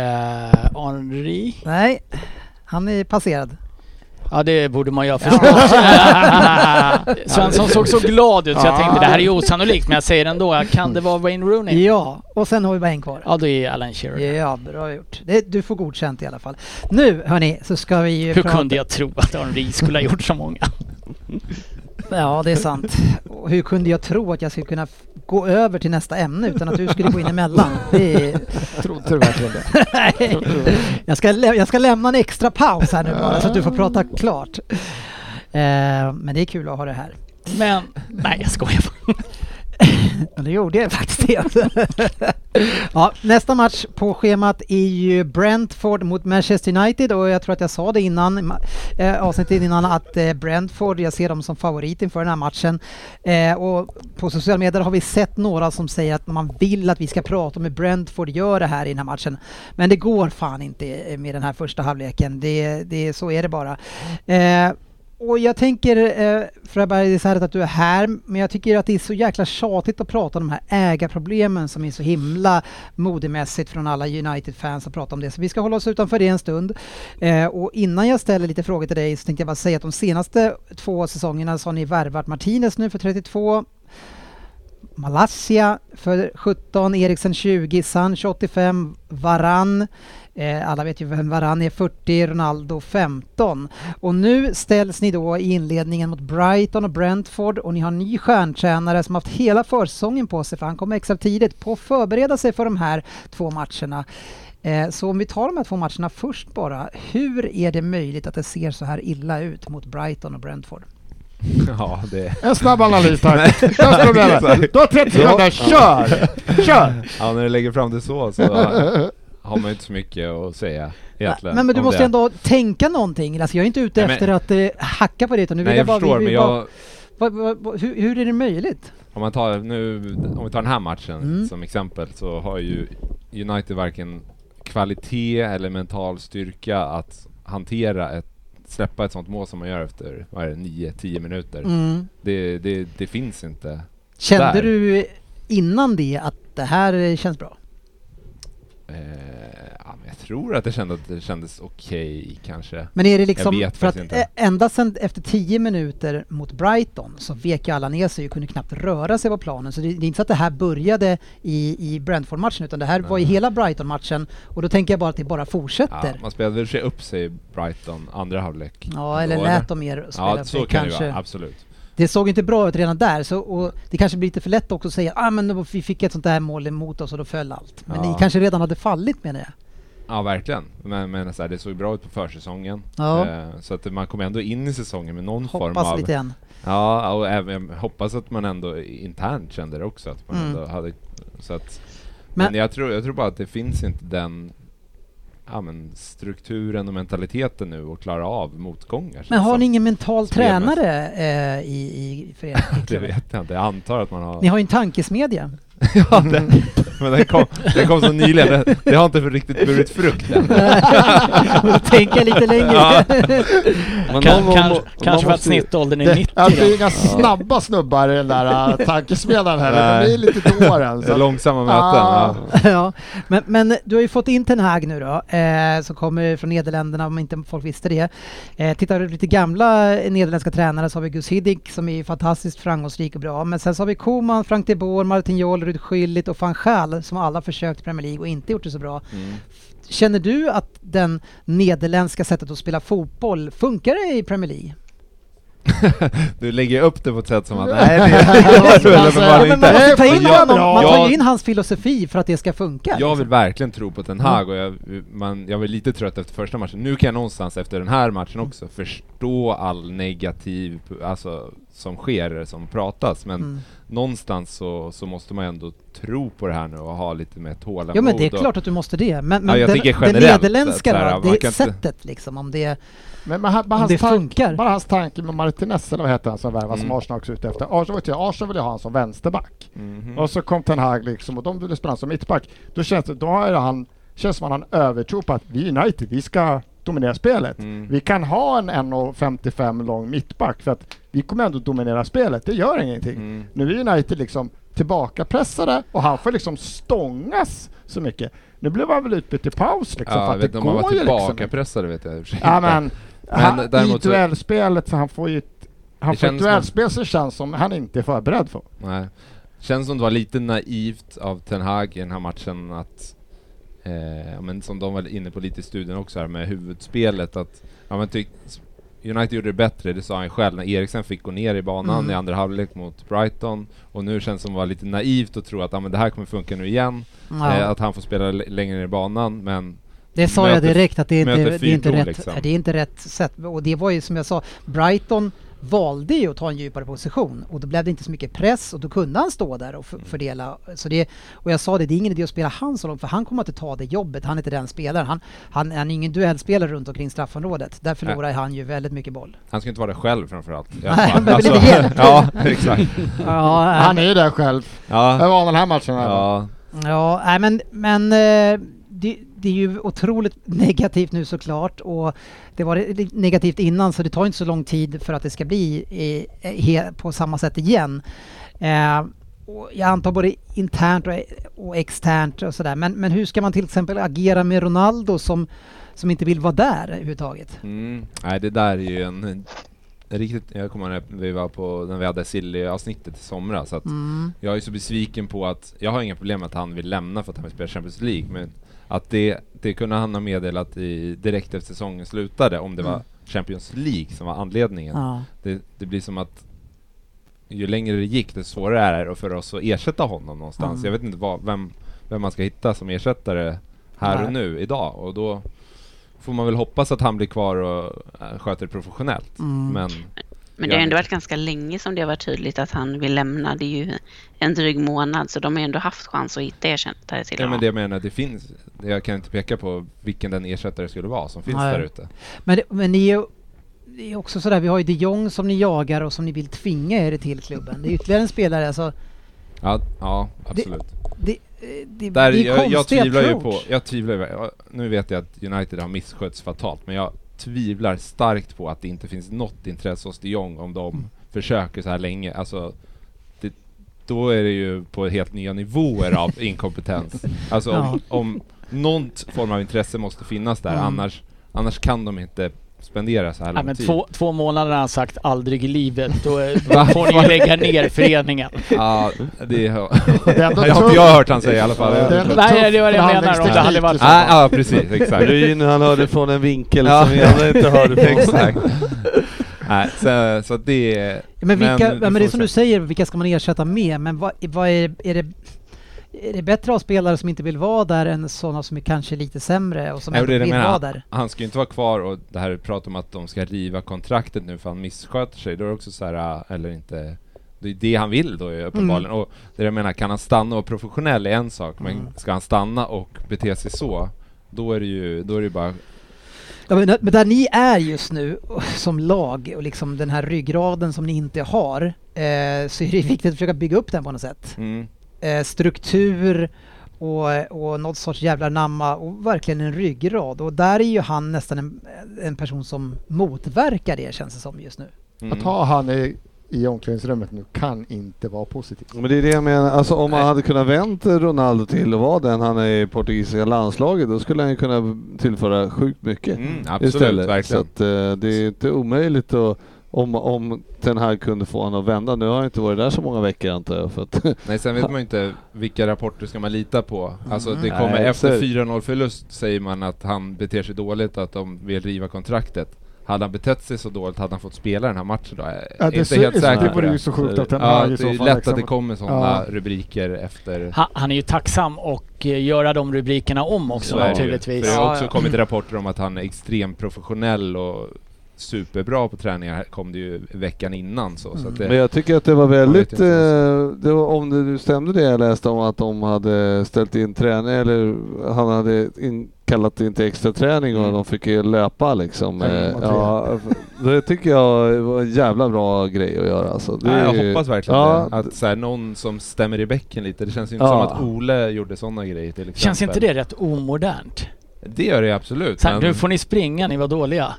Speaker 2: Henri?
Speaker 1: Nej, han är passerad.
Speaker 2: Ja det borde man göra förstås. Svensson såg så glad ut så jag tänkte det här är ju osannolikt men jag säger ändå, kan det vara Wayne Rooney?
Speaker 1: Ja, och sen har vi bara en kvar.
Speaker 2: Ja det är Alan Shearer.
Speaker 1: Ja, bra gjort. Det, du får godkänt i alla fall. Nu hörni, så ska vi ju
Speaker 2: Hur
Speaker 1: prata-
Speaker 2: kunde jag tro att Henri skulle ha gjort så många?
Speaker 1: Ja, det är sant. Och hur kunde jag tro att jag skulle kunna f- gå över till nästa ämne utan att du skulle gå in emellan? Det är...
Speaker 4: Trodde du verkligen det?
Speaker 1: Nej. Jag, ska lä- jag ska lämna en extra paus här nu bara så att du får prata klart. Eh, men det är kul att ha det här.
Speaker 2: Men, nej jag skojar bara.
Speaker 1: Ja, det gjorde jag faktiskt inte. ja, nästa match på schemat är ju Brentford mot Manchester United och jag tror att jag sa det innan ma- eh, avsnittet innan att eh, Brentford, jag ser dem som favorit inför den här matchen. Eh, och på sociala medier har vi sett några som säger att man vill att vi ska prata om hur Brentford gör det här i den här matchen. Men det går fan inte eh, med den här första halvleken. Det, det, så är det bara. Eh, och jag tänker, eh, Fröberg, det är så här att du är här, men jag tycker att det är så jäkla tjatigt att prata om de här ägarproblemen som är så himla modemässigt från alla United-fans att prata om det. Så vi ska hålla oss utanför det en stund. Eh, och innan jag ställer lite frågor till dig så tänkte jag bara säga att de senaste två säsongerna så har ni värvat Martinez nu för 32, Malaysia för 17, Eriksen 20, Sancho 85, Varan, eh, alla vet ju vem Varan är, 40, Ronaldo 15. Och nu ställs ni då i inledningen mot Brighton och Brentford och ni har en ny stjärntränare som haft hela försäsongen på sig, för han kommer extra tidigt, på att förbereda sig för de här två matcherna. Eh, så om vi tar de här två matcherna först bara, hur är det möjligt att det ser så här illa ut mot Brighton och Brentford?
Speaker 5: Ja, det...
Speaker 4: En snabb analys tack.
Speaker 5: Nej.
Speaker 4: Jag ska med dig.
Speaker 5: Exakt.
Speaker 4: Du har 30 sekunder,
Speaker 5: Ja.
Speaker 4: kör! Kör!
Speaker 5: Ja, när du lägger fram det så så har man ju inte så mycket att säga egentligen.
Speaker 1: Men, men du
Speaker 5: om
Speaker 1: måste
Speaker 5: det.
Speaker 1: ändå tänka någonting. Alltså, jag är inte ute
Speaker 5: Nej, men-
Speaker 1: efter att eh, hacka på det utan nu vill
Speaker 5: Nej,
Speaker 1: jag
Speaker 5: jag
Speaker 1: bara...
Speaker 5: förstår,
Speaker 1: vi,
Speaker 5: men
Speaker 1: vi, bara-
Speaker 5: jag...
Speaker 1: vad- vad- vad- hur, hur är det möjligt?
Speaker 5: Om, man tar, nu, om vi tar den här matchen
Speaker 1: Mm.
Speaker 5: som exempel så har ju United varken kvalitet eller mental styrka att hantera ett släppa ett sånt mål som man gör efter, vad är det, 9-10 minuter.
Speaker 1: Mm.
Speaker 5: Det, det, det finns inte.
Speaker 1: Kände
Speaker 5: Mm. Där.
Speaker 1: du innan det att det här eh, känns bra?
Speaker 5: Eh, ja, men jag tror att det kändes, det kändes okej kanske.
Speaker 1: Men är det liksom...
Speaker 5: vet
Speaker 1: för att
Speaker 5: faktiskt
Speaker 1: eh,
Speaker 5: inte.
Speaker 1: ända sedan efter 10 minuter mot Brighton så vek ju alla ner sig och kunde knappt röra sig på planen. Så det, det är inte så att det här började i, i Brentford-matchen utan det här var ju
Speaker 5: Nej.
Speaker 1: hela Brighton-matchen och då tänker jag bara att det bara
Speaker 5: Ja,
Speaker 1: fortsätter. Ja,
Speaker 5: man spelade väl sig upp sig i Brighton andra halvlek.
Speaker 1: eller
Speaker 5: Då,
Speaker 1: lät dem mer spela
Speaker 5: Ja,
Speaker 1: upp
Speaker 5: så
Speaker 1: det,
Speaker 5: kan det ju vara, absolut.
Speaker 1: det såg inte bra ut redan där, så, och det kanske blir lite för lätt också att säga ah, men då- vi fick ett sånt där mål emot oss och då föll allt. Men
Speaker 5: Ja.
Speaker 1: ni kanske redan hade fallit menar jag.
Speaker 5: Ja, verkligen. Men, men så här, det såg bra ut på försäsongen.
Speaker 1: Ja.
Speaker 5: Eh, så att man kom ändå in i säsongen med någon form
Speaker 1: Hoppas
Speaker 5: av...
Speaker 1: lite än.
Speaker 5: Ja, och även, jag hoppas att man ändå internt kände det också. Att man
Speaker 1: Mm.
Speaker 5: ändå hade, så att,
Speaker 1: Men-
Speaker 5: men jag, tror, jag tror bara att det finns inte den ja, men strukturen och mentaliteten nu att klara av motgångar.
Speaker 1: Men
Speaker 5: känns
Speaker 1: har
Speaker 5: som.
Speaker 1: ni ingen mental
Speaker 5: Som det är mest.
Speaker 1: tränare eh, i, i föreningen?
Speaker 5: Det vet jag inte. Jag antar att man har...
Speaker 1: Ni har ju en tankesmedja.
Speaker 5: Ja, det, men den kom, den kom så nyligen, det, det har inte riktigt burit frukt än.
Speaker 1: Och tänka lite längre.
Speaker 5: Ja.
Speaker 3: Men
Speaker 2: Kan,
Speaker 3: någon-
Speaker 2: kan,
Speaker 3: någon- någon
Speaker 2: kanske för att
Speaker 3: måste ju-
Speaker 2: snittåldern är
Speaker 4: Det,
Speaker 2: 90
Speaker 4: alltså, det är
Speaker 2: då.
Speaker 4: inga snabba snubbar i den där äh, tankesmedjan heller.
Speaker 5: Nej.
Speaker 4: De är lite till åren. Så. att-
Speaker 5: Långsamma möten.
Speaker 4: Ah.
Speaker 5: Ja.
Speaker 1: ja. men, men du har ju fått in Ten Hag nu då, eh, som kommer från Nederländerna om inte folk visste det. Eh, tittar du på lite gamla eh, nederländska tränare så har vi Gus Hiddink som är fantastiskt framgångsrik och bra. Men sen så har vi Koman, Frank de Boer, Martin Jol, Rud Schüllit och van Schaal som alla försökt i Premier League och inte gjort det så bra.
Speaker 5: Mm.
Speaker 1: Känner du att den nederländska sättet att spela fotboll funkar det i Premier League?
Speaker 5: Du lägger upp det på ett sätt som att nej, det det skulle
Speaker 4: Alltså,
Speaker 5: uppenbarligen
Speaker 1: Men man
Speaker 5: inte.
Speaker 1: måste ju ta in
Speaker 5: Men jag-
Speaker 1: honom, man tar
Speaker 5: jag-
Speaker 1: ju in hans filosofi för att det ska funka. liksom.
Speaker 5: Jag vill verkligen tro på Ten Hag och jag, man, jag var lite trött efter första matchen. Nu kan jag någonstans efter den här matchen också förstå all negativ, alltså som sker, eller som pratas. Men
Speaker 1: Mm.
Speaker 5: någonstans så, så måste man ändå tro på det här nu och ha lite mer tålamod.
Speaker 1: Ja men det är
Speaker 5: och-
Speaker 1: klart att du måste det. Men, men
Speaker 5: Ja, jag
Speaker 1: den,
Speaker 5: tänker
Speaker 1: det
Speaker 5: generellt,
Speaker 1: nederländska
Speaker 5: så här,
Speaker 1: då,
Speaker 5: man
Speaker 1: det
Speaker 5: kan inte-
Speaker 1: sättet liksom om det...
Speaker 4: Men man, bara,
Speaker 1: Om
Speaker 4: hans
Speaker 1: det
Speaker 4: tank-
Speaker 1: funkar.
Speaker 4: bara hans tanke med Martinez, eller vad heter han som värvas som
Speaker 5: Mm.
Speaker 4: Arsenal också är ute efter. Arsenal, vet jag, Arsenal vill ju ha honom som vänsterback.
Speaker 5: Mhm.
Speaker 4: Och så kom Ten Hag liksom och de ville spela honom som mittback. Då känns det, då är han, känns som att han har en övertro på att vi är United, vi ska dominera spelet.
Speaker 5: Mm.
Speaker 4: Vi kan ha en 1,55 lång mittback för att vi kommer ändå dominera spelet, det gör ingenting.
Speaker 5: Mm.
Speaker 4: Nu är United liksom tillbakapressade och han får liksom stångas så mycket. Nu blev han väl utbytt i paus liksom för
Speaker 5: Ja, jag
Speaker 4: att
Speaker 5: vet
Speaker 4: det
Speaker 5: inte om man
Speaker 4: går
Speaker 5: var
Speaker 4: ju liksom inte.
Speaker 5: tillbakapressad, vet jag i och för sig
Speaker 4: Ja
Speaker 5: inte.
Speaker 4: men,
Speaker 5: Men
Speaker 4: han, i
Speaker 5: däremot så-
Speaker 4: duellspelet så han får ju ett, han
Speaker 5: Det
Speaker 4: får ett
Speaker 5: känns
Speaker 4: duellspel som känns som han inte är förberedd för.
Speaker 5: Nej. Känns som det var lite naivt av Ten Hag i den här matchen att eh, ja, men som de var inne på lite i studion också här med huvudspelet att ja, men tyck, United gjorde det bättre, det sa han själv, när Eriksen fick gå ner i banan
Speaker 1: Mm.
Speaker 5: i andra halvlek mot Brighton och nu känns det som det var lite naivt att tro att ja, men det här kommer funka nu igen,
Speaker 1: Ja,
Speaker 5: eh, att han får spela l- längre ner i banan men
Speaker 1: det sa jag
Speaker 5: möter-
Speaker 1: direkt att det är inte,
Speaker 5: möter
Speaker 1: det är inte
Speaker 5: fyrklor,
Speaker 1: rätt,
Speaker 5: liksom.
Speaker 1: det är inte rätt sätt. Och det var ju som jag sa, Brighton valde ju att ta en djupare position och då blev det inte så mycket press och då kunde han stå där och f-
Speaker 5: Mm.
Speaker 1: fördela. Så det, och jag sa det, det är ingen idé att spela han så långt för han kommer inte ta det jobbet, han är inte den spelaren. Han, han, han är ingen duellspelare runt omkring straffområdet. Där förlorar han ju väldigt mycket boll.
Speaker 5: Han ska inte vara där själv framförallt. I
Speaker 1: Nej,
Speaker 5: alla
Speaker 1: han
Speaker 5: fall.
Speaker 1: behöver lite hjälp.
Speaker 5: ja, exakt.
Speaker 1: äh,
Speaker 4: Han är ju där själv. Jag
Speaker 5: Ja,
Speaker 4: var den här matchen. Ja.
Speaker 5: ja.
Speaker 1: Ja, nej, men, men eh, det, det är ju otroligt negativt nu såklart och det var lite negativt innan så det tar inte så lång tid för att det ska bli i, he, på samma sätt igen. Eh, och jag antar både internt och, och externt och sådär. Men, men hur ska man till exempel agera med Ronaldo som, som inte vill vara där överhuvudtaget?
Speaker 5: Mm. Nej, det där är ju en, en riktigt... Jag kommer ihåg när vi var på, när vi hade Silly-avsnittet i somras, att
Speaker 1: Mm.
Speaker 5: jag är så besviken på att, jag har inga problem med att han vill lämna för att han vill spela Champions League, men att det, det kunde han ha meddelat i, direkt efter säsongen slutade, om det var Champions League som var anledningen.
Speaker 1: Ja.
Speaker 5: Det, det blir som att ju längre det gick, desto svårare är det för oss att ersätta honom någonstans.
Speaker 1: Mm.
Speaker 5: Jag vet inte vad, vem, vem man ska hitta som ersättare här
Speaker 1: Nej.
Speaker 5: och nu, idag. Och då får man väl hoppas att han blir kvar och äh, sköter det professionellt.
Speaker 1: Mm.
Speaker 5: Men
Speaker 7: Men det har
Speaker 5: Ja.
Speaker 7: ändå varit ganska länge som det har varit tydligt att han vill lämna. Det är ju en dryg månad, så de har ändå haft chans att hitta ersättare till
Speaker 5: Ja,
Speaker 7: honom.
Speaker 5: men det jag menar, det finns, det jag kan inte peka på vilken den ersättare skulle vara som finns
Speaker 1: Nej.
Speaker 5: där ute.
Speaker 1: Men, det- men ni är ju det är också sådär, vi har ju de Jong som ni jagar och som ni vill tvinga er till klubben. Det är ytterligare en spelare. Alltså,
Speaker 5: Ja, ja absolut.
Speaker 1: Det, eh, det,
Speaker 5: Där,
Speaker 1: det är
Speaker 5: jag, jag
Speaker 1: konstig
Speaker 5: tvivlar ju
Speaker 1: approach.
Speaker 5: på, jag tvivlar ju, jag- nu vet jag att United har misskötts fatalt, men jag tvivlar starkt på att det inte finns något intresse hos de Jong om de försöker så här länge. Alltså, det, då är det ju på helt nya nivåer av inkompetens. Alltså om, om någon t- form av intresse måste finnas där,
Speaker 1: Mm.
Speaker 5: annars, annars kan de inte spendera så här
Speaker 2: Nej,
Speaker 5: lång
Speaker 2: men
Speaker 5: tid.
Speaker 2: två, två månader har han sagt aldrig i livet. Då eh,
Speaker 5: typ. Va?
Speaker 2: får ni ju lägga ner föreningen.
Speaker 5: Ja, det har
Speaker 4: Det är ändå
Speaker 5: jag har
Speaker 4: tungt.
Speaker 5: inte jag hört han säga i alla fall.
Speaker 4: Det är ändå
Speaker 2: Nej,
Speaker 4: tuff
Speaker 2: det var det jag menar, om det hade varit-
Speaker 4: förhandlingsteknik.
Speaker 5: Ja, ja, precis, exakt.
Speaker 3: Ryn han hörde från en vinkel
Speaker 5: Ja.
Speaker 3: som vi andra inte hörde från.
Speaker 5: Exakt. Nej, så, så att det är...
Speaker 1: Men, vilka,
Speaker 5: vi
Speaker 1: men, det
Speaker 5: får
Speaker 1: är som du
Speaker 5: se.
Speaker 1: säger, vilka ska man ersätta med? Men vad, vad är, är det... Är det bättre att ha spelare som inte vill vara där än sådana som är kanske lite sämre och som
Speaker 5: Nej, och
Speaker 1: ändå
Speaker 5: det är det
Speaker 1: vill
Speaker 5: jag menar.
Speaker 1: vara där?
Speaker 5: Han ska ju inte vara kvar och det här pratet om att de ska riva kontraktet nu för han missköter sig, då är det också så här, äh, eller inte... Det är det han vill då ju uppenbarligen. Och det jag menar, kan han stanna och vara professionell är en sak, men ska han stanna och bete sig så, då är det ju, då är det ju bara...
Speaker 1: Ja, men, men där ni är just nu som lag och liksom den här ryggraden som ni inte har eh, så är det viktigt att försöka bygga upp den på något sätt.
Speaker 5: Mm,
Speaker 1: Eh, struktur och, och något sorts jävla namma och verkligen en ryggrad. Och där är ju han nästan en, en person som motverkar det känns det som just nu.
Speaker 5: mm.
Speaker 4: Att ha han i, i omklädningsrummet nu kan inte vara positivt.
Speaker 3: Men det är det jag menar, alltså om man hade kunnat vänt Ronaldo till att vara den han är i portugisiska landslaget, då skulle han ju kunna tillföra sjukt mycket
Speaker 5: Mm, absolut,
Speaker 3: istället.
Speaker 5: verkligen.
Speaker 3: Så att, eh, det är inte omöjligt att om, om Ten Hag kunde få honom att vända. Nu har han inte varit där så många veckor antar jag. För att
Speaker 5: Nej, sen vet man ju inte vilka rapporter ska man lita på. Alltså det kommer
Speaker 3: Mm. Nej,
Speaker 5: efter
Speaker 3: absolut.
Speaker 5: 4-0 förlust säger man att han beter sig dåligt, att de vill riva kontraktet. Hade han betett sig så dåligt hade han fått spela den här matchen då? Jag är
Speaker 4: Ja, det
Speaker 5: inte
Speaker 4: är så-
Speaker 5: helt
Speaker 4: det
Speaker 5: säker på
Speaker 4: vore ju
Speaker 5: det.
Speaker 4: så sjukt att den
Speaker 5: Ja,
Speaker 4: här i
Speaker 5: det
Speaker 4: så
Speaker 5: är
Speaker 4: fall
Speaker 5: lätt att
Speaker 4: liksom-
Speaker 5: det kommer sådana
Speaker 4: Ja.
Speaker 5: rubriker efter.
Speaker 2: Han, han är ju tacksam och eh, göra de rubrikerna om
Speaker 5: Så
Speaker 2: också
Speaker 5: är det ju.
Speaker 2: naturligtvis.
Speaker 5: För det
Speaker 2: Ja,
Speaker 5: har också kommit rapporter om att han är extremt professionell och superbra på träningar. Här kom det ju veckan innan så. så att
Speaker 3: Men
Speaker 5: det,
Speaker 3: jag tycker att det var väldigt,
Speaker 5: Jag vet
Speaker 3: eh,
Speaker 5: inte
Speaker 3: det var, om det nu stämde det jag läste om att de hade ställt in träning eller han hade in, kallat in till extra träning och
Speaker 5: Mm.
Speaker 3: de fick ju löpa liksom.
Speaker 4: Ja,
Speaker 3: Eh,
Speaker 4: vad
Speaker 3: Ja, det tycker jag var en jävla bra grej att göra alltså. Det
Speaker 5: Nej,
Speaker 3: är
Speaker 5: jag
Speaker 3: ju-
Speaker 5: hoppas verkligen
Speaker 3: ja,
Speaker 5: det. Att så här, någon som stämmer i bäcken lite. Det känns ju inte
Speaker 3: Ja.
Speaker 5: som att Ole gjorde sådana grejer till exempel.
Speaker 2: Känns inte det rätt omodernt?
Speaker 5: Det gör det absolut.
Speaker 2: Så här,
Speaker 5: men-
Speaker 2: nu får ni springa, ni var dåliga.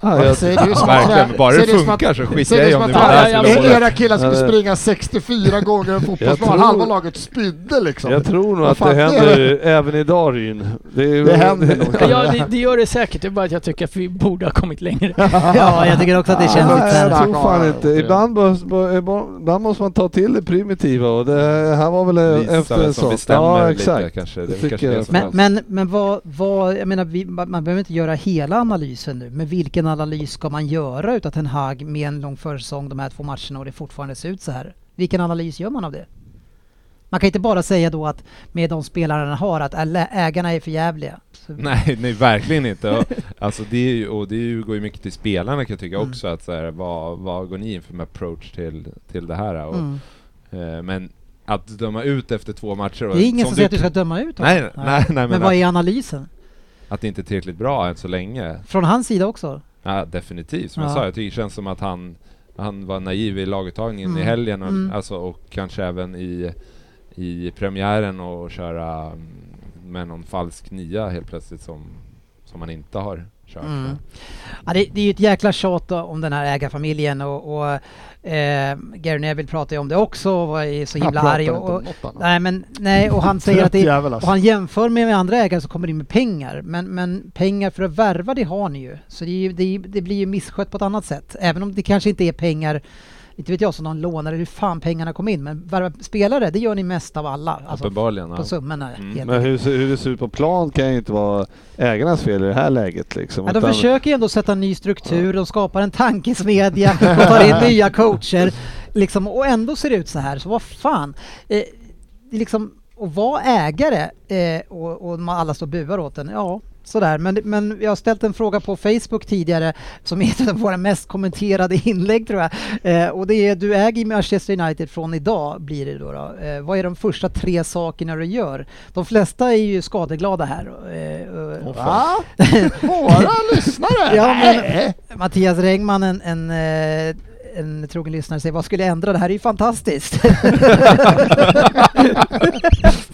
Speaker 3: ja, jag,
Speaker 4: Säger du som att-
Speaker 5: Verkligen, bara
Speaker 4: säger
Speaker 5: det
Speaker 4: du som att-
Speaker 5: funkar så skiter
Speaker 4: säger du
Speaker 5: jag i
Speaker 4: som
Speaker 5: om det
Speaker 4: att
Speaker 5: var
Speaker 2: alla-
Speaker 5: där
Speaker 2: ja,
Speaker 5: skulle
Speaker 2: men-
Speaker 5: hålla.
Speaker 4: Era killar skulle
Speaker 3: Ja, det-
Speaker 4: springa 64 gånger en fotbollsplan,
Speaker 3: tror-
Speaker 4: halva laget spydde liksom.
Speaker 3: jag tror nog
Speaker 4: Vad
Speaker 3: att
Speaker 4: fan
Speaker 3: det
Speaker 4: är
Speaker 3: händer även idag Ryn. Det, är-
Speaker 4: Det händer nog.
Speaker 2: Ja, det, det gör det säkert. Det är bara att jag tycker att vi borde ha kommit längre.
Speaker 1: Ja, jag tycker också att det känns lite
Speaker 4: Ja,
Speaker 3: Jag
Speaker 1: såhär.
Speaker 3: tror fan inte. Ibland, behövs- be- ibland måste man ta till det primitiva och det här var väl
Speaker 5: Visa
Speaker 3: efter
Speaker 5: vem
Speaker 3: en
Speaker 5: som
Speaker 3: sån.
Speaker 5: bestämmer
Speaker 3: Ja
Speaker 5: lite
Speaker 3: exakt.
Speaker 5: kanske.
Speaker 3: Det
Speaker 5: Det är
Speaker 3: tycker
Speaker 5: kanske
Speaker 3: jag.
Speaker 5: det som
Speaker 1: Men,
Speaker 5: men,
Speaker 1: men, men vad, vad, jag menar vi, man man behöver inte göra hela analysen nu, men vilken analys ska man göra utav Ten Hag med en lång försäsong, de här två matcherna och det fortfarande ser ut så här? Vilken analys gör man av det? Man kan inte bara säga då att med de spelarna han har att alla ägarna är för jävliga. Så-
Speaker 5: Nej, nej verkligen inte. Och, alltså det är ju, och det är ju, går ju mycket till spelarna kan jag tycka också, att så här, vad, vad går ni in för med approach till, till det här? Och,
Speaker 1: Mm.
Speaker 5: eh, men att döma ut efter två matcher... och-
Speaker 1: Det är ingen som,
Speaker 5: som
Speaker 1: säger att du ska döma ut honom.
Speaker 5: Nej, nej, nej, men,
Speaker 1: Men
Speaker 5: att,
Speaker 1: vad är analysen?
Speaker 5: att det inte är tillräckligt bra än så länge.
Speaker 1: Från hans sida också?
Speaker 5: Ja, definitivt, som
Speaker 1: Ja.
Speaker 5: jag sa. Jag tycker det känns som att han, han var naiv i laguttagningen
Speaker 1: Mm.
Speaker 5: i helgen och,
Speaker 1: Mm.
Speaker 5: alltså, och kanske även i, i premiären och köra mm, med någon falsk nia helt plötsligt som, som han inte har kört.
Speaker 1: Mm. Ja, det, det är ju ett jäkla tjat om den här ägarfamiljen och, och eh, Gary Neville pratar ju om det också och var ju så himla arg. Och, och, nej, men, nej, och han säger att det,
Speaker 4: Jävel,
Speaker 1: och
Speaker 4: alltså.
Speaker 1: han jämför med, med andra ägare som kommer in med pengar. Men, men pengar för att värva det har ni ju. Så det, är ju, det, är ju- det blir ju misskött på ett annat sätt. Även om det kanske inte är pengar inte vet jag som någon lånade hur fan pengarna kom in. Men värva spelare, det gör ni mest av alla. Alltså,
Speaker 5: Uppenbarligen.
Speaker 1: på
Speaker 5: Ja.
Speaker 1: summorna.
Speaker 5: Mm.
Speaker 1: helt
Speaker 3: Men hur, hur det ser ut på plan kan ju inte vara ägarnas fel i det här läget liksom.
Speaker 1: Ja, de
Speaker 3: utan-
Speaker 1: försöker ju ändå sätta en ny struktur, de skapar en tankesmedja, de tar in nya coacher. Liksom, och ändå ser det ut så här, så vad fan. Eh, det är liksom, att vara ägare eh, och, och man alla står och buar åt en, ja sådär. Men, men jag har ställt en fråga på Facebook tidigare som är ett av våra mest kommenterade inlägg tror jag. Eh, och det är, du äger Manchester United från idag blir det då. då. Eh, vad är de första tre sakerna du gör? De flesta är ju skadeglada här. Eh, och,
Speaker 4: Va? Våra lyssnare? Äh,
Speaker 1: Ja, men-
Speaker 4: Nej.
Speaker 1: Mattias Rengman, en, en, eh, en trogen lyssnare, säger vad skulle jag ändra? Det här är ju fantastiskt.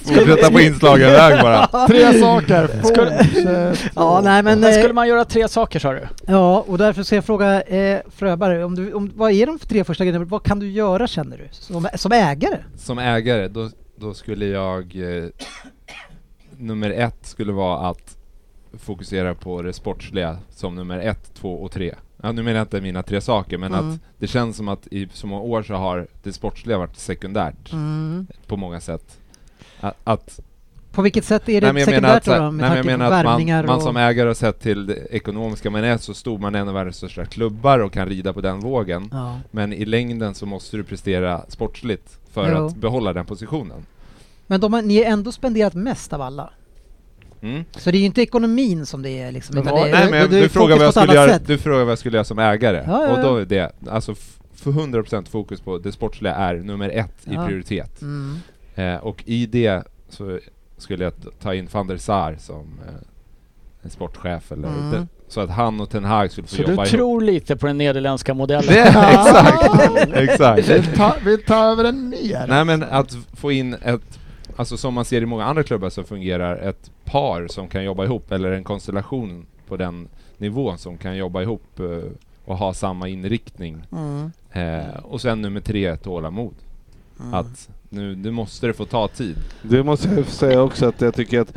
Speaker 5: Fortsätta på inslagen väg bara.
Speaker 4: Tre saker.
Speaker 2: Skulle-
Speaker 4: Fortsätt.
Speaker 1: ja, nej, men,
Speaker 2: Men
Speaker 1: eh,
Speaker 2: skulle man göra tre saker sa du?
Speaker 1: ja, och därför ska jag fråga eh, Fröberg, om du, om, vad är de för tre första grejerna? Vad kan du göra känner du? Som, som ägare?
Speaker 5: Som ägare, då, då skulle jag... Eh, nummer ett skulle vara att fokusera på det sportsliga som nummer ett, två och tre. Ja, nu menar jag inte mina tre saker, men
Speaker 1: Mm.
Speaker 5: att det känns som att i så många år så har det sportsliga varit sekundärt
Speaker 1: Mm.
Speaker 5: på många sätt. Att, att,
Speaker 1: På vilket sätt är
Speaker 5: nej,
Speaker 1: det
Speaker 5: men jag menar
Speaker 1: sekundärt
Speaker 5: att, så
Speaker 1: då,
Speaker 5: här-
Speaker 1: då?
Speaker 5: nej, men jag
Speaker 1: tanke på
Speaker 5: menar att
Speaker 1: värvningar
Speaker 5: man, man
Speaker 1: och-
Speaker 5: som ägare har sett till det ekonomiska, man är så stor, man är en av världens största klubbar och kan rida på den vågen.
Speaker 1: ja.
Speaker 5: Men i längden så måste du prestera sportsligt för
Speaker 1: Jo.
Speaker 5: att behålla den positionen.
Speaker 1: Men de har, ni har ändå spenderat mest av alla.
Speaker 5: Mm.
Speaker 1: Så det är ju inte ekonomin som det är liksom. utan det, är-
Speaker 5: Nej, men jag-
Speaker 1: det- det är
Speaker 5: du, frågar
Speaker 1: fokus
Speaker 5: vad jag
Speaker 1: på ett
Speaker 5: skulle
Speaker 1: annat
Speaker 5: göra,
Speaker 1: sätt.
Speaker 5: du frågar vad jag skulle göra som ägare.
Speaker 1: Ja, ja,
Speaker 5: Och då
Speaker 1: ja.
Speaker 5: är det, alltså f- för 100% fokus på det sportsliga är nummer ett
Speaker 1: Ja.
Speaker 5: i prioritet.
Speaker 1: Mm.
Speaker 5: Eh, och i det så skulle jag t- ta in van der Sar som eh, en sportchef eller
Speaker 1: Mm.
Speaker 5: den, så att han och Ten Hag skulle få
Speaker 2: Så du
Speaker 5: jobba ihop.
Speaker 2: tror lite på den nederländska modellen?
Speaker 5: Det, exakt, exakt.
Speaker 4: Vill ta, vill ta över en mer?
Speaker 5: Nej men att få in ett, alltså som man ser i många andra klubbar så fungerar ett par som kan jobba ihop eller en konstellation på den nivån som kan jobba ihop eh, och ha samma inriktning.
Speaker 1: Mm.
Speaker 5: Eh, och sen nummer tre, tålamod. Att nu, nu måste det få ta tid.
Speaker 3: Det måste jag säga också att jag tycker att